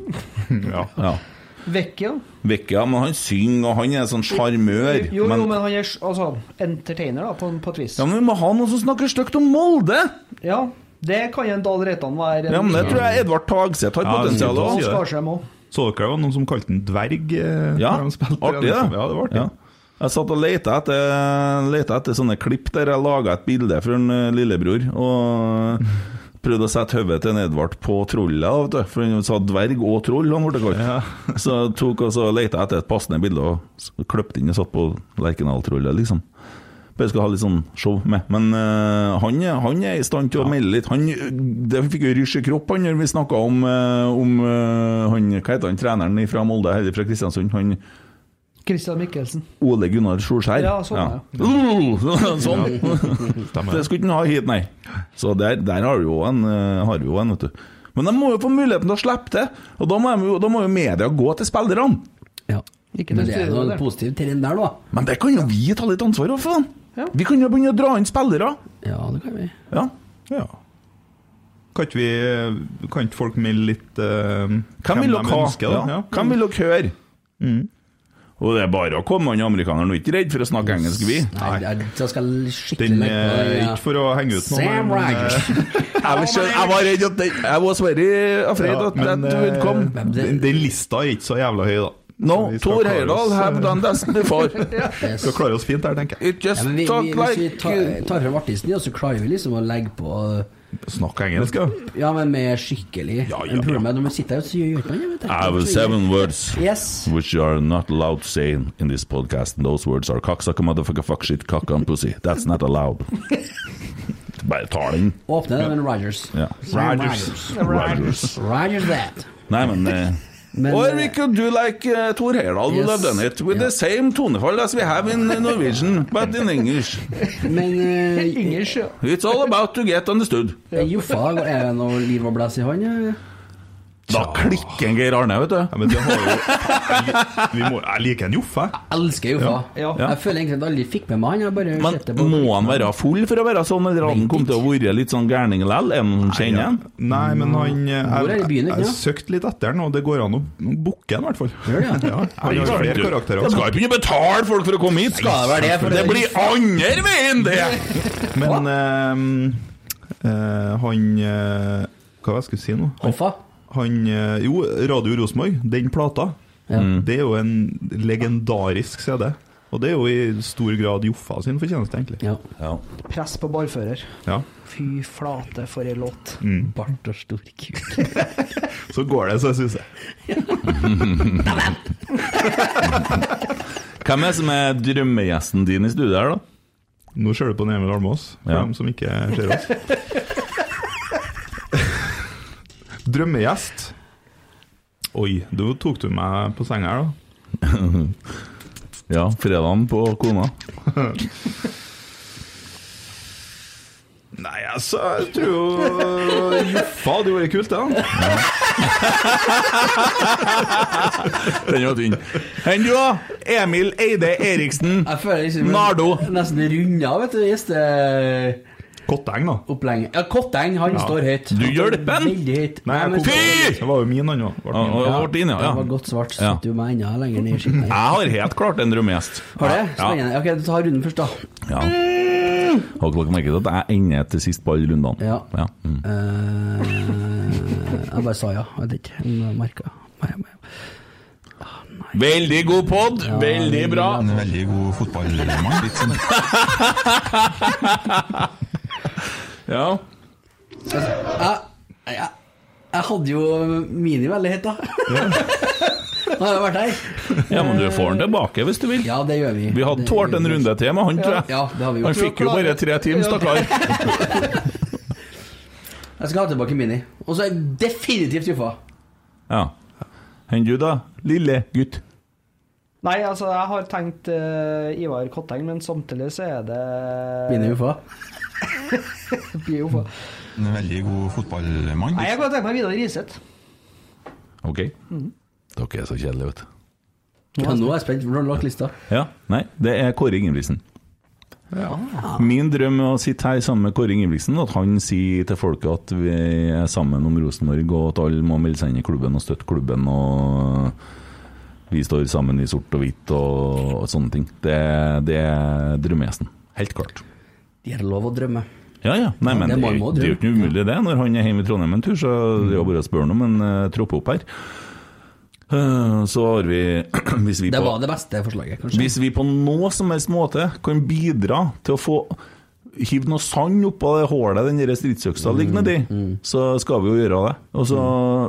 S4: ja.
S6: Vekke, da.
S4: Vekka, men han synger, og han er sånn sjarmør.
S6: Jo, jo,
S4: men-
S6: men han er s- altså, entertainer, da, på, på et vis.
S4: Ja, men vi må ha noen som snakker stygt om Molde!
S6: Ja, det kan jo en Dahl Reitan være.
S4: Ja, men det tror jeg Edvard Tagseth har
S7: Ja,
S4: potensial
S7: Edvard
S4: også.
S6: Skarsheim òg.
S7: Så dere det var noen som kalte den dverg? eh,
S4: Ja,
S7: i
S4: artig det.
S7: den? Ja, det var artig.
S4: Ja. Jeg satt og lette etter, lette etter sånne klipp der jeg laga et bilde fra en eh, lillebror. Og prøvde å sette hodet til en Edvard på trollet, da, vet du. for han sa dverg og troll. han ble kalt. Så jeg tok og så lette jeg etter et passende bilde og s- kløpte inn og satt på Lerkendal-trollet, liksom. Bare skal ha litt sånn show med. Men eh, han, er- han er i stand til å melde litt. Han det fikk jo rysj i kropp han når vi snakka om, eh, om eh, han, Hva heter han treneren fra Molde, eller fra Kristiansund? Han
S6: Christian Mikkelsen.
S4: Ole Gunnar Solskjær.
S6: Ja, sånn,
S4: ja. sånn.
S7: Stemmer.
S4: Det skulle ikke han ha hit, nei. Så der, der har vi jo en, eh, har vi jo en, vet du. Men de må jo få muligheten til å slippe til, og da må, de, jo- da må jo media gå til spillerne.
S5: Men det er noe positivt til den der, da.
S4: Men det kan jo vi ta litt ansvar for, faen. Vi kan jo begynne å dra inn spillere.
S5: Ja, det kan vi.
S4: Ja.
S7: Ja. Kan ikke vi Kan ikke folk melde litt eh,
S4: Hvem vil
S7: de
S4: dere ha?
S7: ønsker, da? Mm.
S4: Ja. Hvem vil dere høre? Og det er bare å komme, han amerikaneren er ikke redd for å snakke engelsk, vi.
S5: Nei, jeg, jeg skal skikkelig
S4: Den
S7: eh,
S5: legge
S4: er
S5: på den, eh, ja.
S4: ikke for å henge ut noe,
S5: Sam
S4: men, eh,
S5: Rogers.
S4: Jeg var, skjøn- jeg var redd at det, I was very afraid
S7: Ja,
S4: at that
S7: eh,
S4: would come.
S7: den, den lista er ikke så jævla høy, da.
S4: No,
S7: Så vi skal
S4: Thor
S7: klare
S4: Heyerdahl
S7: oss,
S4: have
S7: eh,
S4: done this before.
S7: Skal klare oss fint der, tenker jeg.
S4: It just
S5: Ja, men vi,
S4: talk
S5: vi, hvis vi
S4: like
S5: tar, tar frem artisten, ja, så klarer vi liksom å legge på
S7: Snakk engelsk, ja.
S5: Ja, men med skikkelig ja,
S4: ja.
S5: Når man sitter her, så gjør man det, vet du.
S4: I have seven words
S5: Yes.
S4: which you are not allowed to say in, in this podcast, and those words are cocksucker, motherfucker, fuck shit, cock and pussy. That's not allowed. Bare ta den.
S5: Åpne den med Rogers.
S4: Ja. Rogers. Rogers.
S5: Rogers that.
S4: Nei, men eh,
S5: Men,
S4: Or
S5: eh,
S4: we could do like uh, Thor Heyerdahl would have
S5: Yes.
S4: done it, with
S5: Ja.
S4: the same tonefall as we have in eh, Norwegian, but in English.
S5: Men eh,
S4: It's all about to get understood.
S5: Joffa, er det noe liv og blæs i han? ja?
S4: Da klikker en Geir Arne, vet du. Ja,
S7: men det har jo vi, vi må, Jeg liker en Joffe. jeg.
S5: Elsker Joffa.
S7: Ja. Ja.
S5: Jeg føler egentlig at jeg aldri fikk med meg han. Jeg bare
S4: Men
S5: sett det på
S4: må han være full for å være sånn, eller hadde han kommet til å være litt sånn gærning likevel? Er han kjenner han?
S7: Nei, men han eh,
S4: Hvor er
S7: Jeg,
S4: det byen,
S7: jeg,
S4: ikke
S7: jeg
S4: sant?
S7: søkte litt etter den, og det går an å booke den, i hvert fall.
S4: Gjør det, ja.
S7: Ja, han har flere karakterer.
S4: Jeg skal ikke begynne å betale folk for å komme hit!
S7: Skal det være det, for
S4: det
S7: det-
S4: blir andre veien, det!
S7: Men eh, eh, han eh, Hva var det jeg skulle si nå? Han, han eh, Jo, Radio Rosenborg, den plata.
S4: Mm.
S7: Det er jo en legendarisk CD. Og det er jo i stor grad Joffa sin fortjeneste, egentlig.
S5: Ja.
S6: Press på ballfører.
S7: Ja.
S6: Fy flate, for ei låt.
S7: Mm.
S5: Bart og stor kuk.
S7: Så går det, så jeg syns jeg.
S4: Hvem er det som er drømmegjesten din i studiet her, da?
S7: Nå ser du på Emil Almås, for
S4: Ja.
S7: dem som ikke ser oss. Drømmegjest. Oi, du tok du meg på senga her, da.
S4: ja, fredagen på kona.
S7: Nei, altså, jeg tror jo Joffa hadde jo vært kult, det. Ja.
S4: Den var tynn. Enn du, da? Emil Eide Eriksen.
S5: Jeg føler liksom
S4: Nardo.
S5: Nesten runda, vet du. Gjeste
S7: Kotteng, da.
S5: Opplegg. Ja, Kotteng, han
S7: Ja.
S5: står høyt.
S4: Du gjør det, Ben?
S5: Veldig høyt.
S7: Nei, jeg
S5: men-
S7: kom på det. Det var jo min, han òg.
S4: Ja, din, ja, ja.
S5: Det var godt svart.
S4: Ja.
S5: Satt jo meg enda lenger ned i skitten.
S4: Jeg har helt klart en drømmegjest.
S5: Har det?
S4: Ja.
S5: Spennende. Ok, du tar runden først, da.
S4: Ja. Har dere merket at jeg ender til sist på alle rundene?
S5: Ja.
S4: Ja. Mm.
S5: Eh, jeg bare sa ja. Jeg vet ikke om jeg merka.
S4: Veldig god pod,
S5: Ja,
S4: veldig
S5: veldig
S4: bra.
S5: bra.
S9: En veldig god fotballmann. Litt sånn
S4: Ja.
S5: Jeg, jeg, jeg hadde jo Mini veldig høyt, da. Nå har jeg vært her.
S4: ja, men du får den tilbake hvis du vil.
S5: Ja, det gjør vi.
S4: Vi hadde tålt en runde til med han, tror jeg.
S5: Ja, det har vi gjort.
S4: Han fikk jo bare tre timer, stakkar.
S5: Jeg skal ha tilbake Mini. Og så er jeg definitivt skuffa.
S4: Ja. Enn du, da? Lille gutt.
S6: Nei, altså, jeg har tenkt eh, Ivar Kotteng, men samtidig så er det
S5: Mini UFA.
S6: Blir Joffa.
S9: En veldig god fotballmann.
S6: Nei, jeg kan tenke meg Vidar Riseth.
S4: Ok. Dere er så kjedelige, vet du.
S5: Ja, nå er jeg spent. Hvordan har du lagt lista?
S7: Ja, nei, det er Kåre Ingebrigtsen. Min drøm er å sitte her sammen med Kåre Ingebrigtsen, at han sier til folket at vi er sammen om Rosenborg, og at alle må melde seg inn i klubben og støtte klubben, og vi står sammen i sort og hvitt og, og sånne ting. Det, det er drømmegjesten. Helt klart.
S5: Det er lov å drømme.
S7: Ja, ja. Nei, men
S5: det
S7: det,
S5: må
S7: er
S5: man
S7: jo-
S5: også
S7: det
S5: drømme.
S7: er jo ikke noe umulig, det. Når han er hjemme i Trondheim en tur, så det er jo bare å spørre ham om han eh, tropper opp her. Eh, Så har vi, hvis vi
S5: Det
S7: på
S5: var det beste forslaget, kanskje.
S7: Hvis vi på noe som helst måte kan bidra til å få Hiv noe sand oppå det hullet den der stridsøksa
S5: Mm,
S7: ligger nedi, så skal vi jo gjøre det. Og så,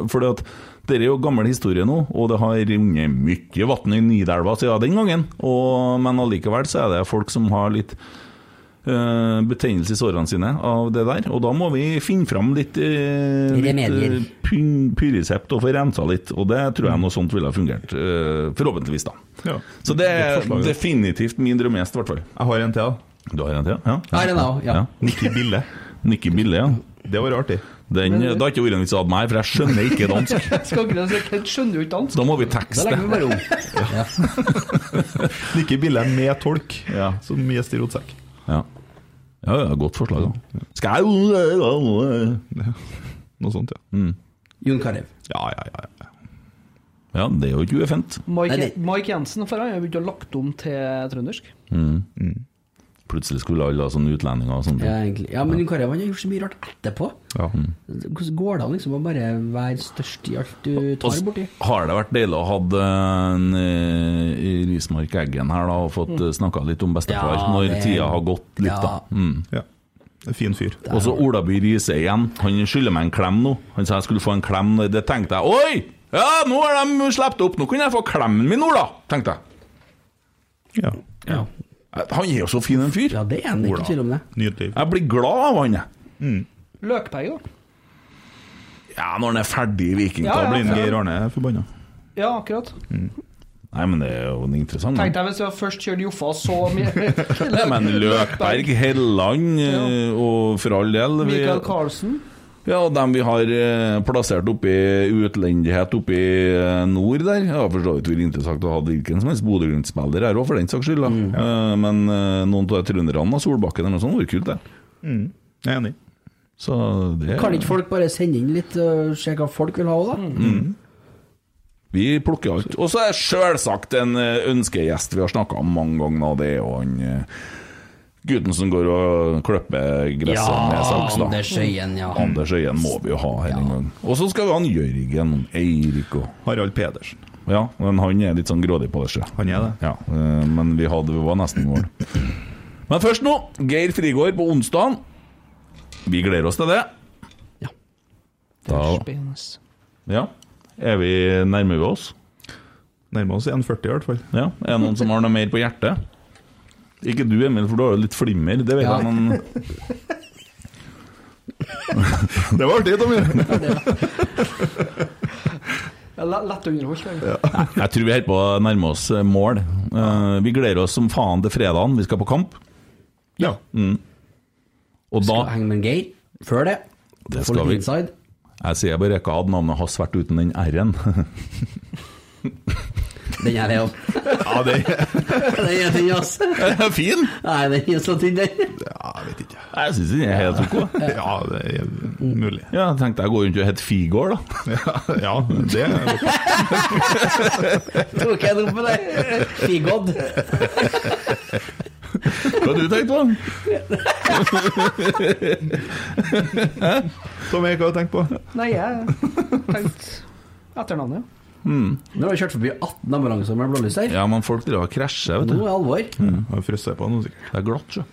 S7: fordi at Dette er jo gammel historie nå, og det har runnet mye vann i Nidelva siden den gangen. Og, men allikevel så er det folk som har litt eh, betennelse i sårene sine av det der. Og da må vi finne fram litt, eh,
S5: Remedier.
S7: litt eh, pyn- pyresept og få rensa litt. Og det tror jeg noe sånt ville ha fungert. eh, forhåpentligvis, da. Så det er
S15: Godt forslag, ja.
S7: definitivt min drømmegjest, i hvert fall. Jeg har en til, da. Du har en til, ja?
S15: Jeg har en til, ja.
S7: Nikki Bille. Nikki Bille, ja. Det var artig. Den, det har ikke vært en vits å ha meg, for jeg skjønner ikke dansk.
S6: Skal ikke det, så jeg skjønner jo ikke dansk.
S7: Da må vi
S6: Da
S7: tekste.
S6: legger vi bare om.
S15: Nikke Bille med tolk, som gjest i rotsekk.
S7: Ja. ja, ja, godt forslag, da. Skal jeg Noe sånt, ja. Mm.
S5: Jon Carew.
S7: Ja, ja, ja, ja. Ja, det er jo ikke ueffent.
S6: Mike, Mike Jensen for han har begynt å lagt om til trøndersk.
S7: Mm. Plutselig skulle alle ha sånne utlendinger og sånne
S5: Ja, egentlig. ja, men Jon Carew han har gjort så mye rart etterpå. Hvordan går det an liksom å bare være størst i alt du tar borti?
S7: Har det vært deilig å ha hatt eh, en eh, Rismark Eggen her da, og fått
S5: Mm.
S7: mm. snakka litt om bestefar
S5: Ja,
S7: når
S5: det-
S7: tida har gått litt,
S5: Ja.
S7: da? Mm. Fin fyr. Og så Olaby Riise igjen. Han skylder meg en klem nå. Han sa jeg skulle få en klem, og det tenkte jeg Oi! Ja, nå har de sluppet opp! Nå kunne jeg få klemmen min, Ola! tenkte jeg. Ja. Han er jo så fin en fyr. Ja, det
S5: er han, ikke tvil om det.
S7: Nydelig. Jeg blir glad av han, jeg.
S6: Løkberg, da.
S7: Ja, når han er ferdig i Viking,
S6: Ja, ja,
S7: da blir han
S6: ja.
S7: Geir Arne forbanna.
S6: Ja, akkurat.
S7: Nei, men det er jo en interessant.
S6: Tenkte jeg hvis jeg først kjørte Joffa så mye
S7: Nei, men Løkberg, Helland eh, og for all del vi,
S6: Michael Carlsen.
S7: Ja, dem vi har eh, plassert oppe i utlendighet oppe i eh, nord der. Ja, for så vidt ville interessant å ha hvilken som helst Bodø-Glimt-spiller her òg, for den saks skyld. da.
S5: Mm.
S7: Eh, Men eh, noen av trønderne av Solbakken eller noe sånt, det var kult, det.
S5: Mm.
S7: Jeg er enig. Så det
S5: Kan ikke folk bare sende inn litt og se hva folk vil ha òg, da?
S7: Mm. Vi plukker alt. Og så er selvsagt en eh, ønskegjest vi har snakka om mange ganger, og det er jo han eh, gutten som går og klipper gresset
S5: Ja,
S7: med saks, da.
S5: Anders Øyen, ja.
S7: Anders Øyen må vi jo ha her en gang. Og så skal vi ha han Jørgen, Eirik og Harald Pedersen. Ja, men han er litt sånn grådig på det. sjø. Ja, eh, men vi hadde vi var nesten i mål. Men først nå, Geir Frigård på onsdagen. Vi gleder oss til det. Ja. Da ja. Er vi, nærmer vi oss? Nærmer oss 1,40 i hvert fall. Ja. Er det noen som har noe mer på hjertet? Ikke du, Emil, for du har jo litt flimmer. Det vet
S15: Ja.
S7: jeg, men Det var artig, Tommy.
S6: Ja, le- Lett underholdt. egentlig.
S7: Jeg tror vi holder på å nærme oss eh, mål. Eh, vi gleder oss som faen til fredagen. Vi skal på kamp. Ja. Mm. Og da Skal
S5: henge med Geir før det.
S7: Det
S5: Få litt
S7: skal vi.
S5: inside.
S7: Jeg sier bare ikke hadde navnet hans vært uten den R-en.
S5: Den er det, jo.
S7: ja, det
S5: Den er tynn, ass.
S7: Fin?
S5: Nei, den er så tynn, den.
S7: Jeg syns den er helt ok. Ja, det er mulig. Ja, jeg tenkte jeg går rundt og heter Figård, da. ja, det
S5: Tok jeg den opp med deg? Figod.
S7: Hva har du tenkt på?
S15: Tommy, hva har du tenkt på?
S6: Nei, jeg tenkte etternavnet.
S5: Nå har jeg kjørt forbi 18 ambulanser med blålys her.
S7: Ja, men folk driver og krasjer, vet du.
S5: Nå er det alvor.
S7: Mm. Har frosset på noe, sikkert. Det er glatt, sjø.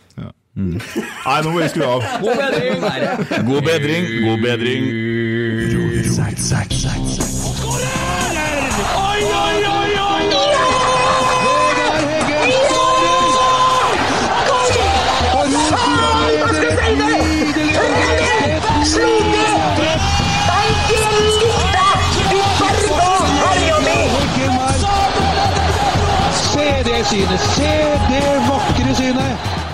S7: Mm.
S15: Nei, nå må vi skru av.
S5: God bedring!
S7: God bedring, god bedring.
S16: Oi, oi, oi, oi!
S8: Se det synet! Se det vakre synet!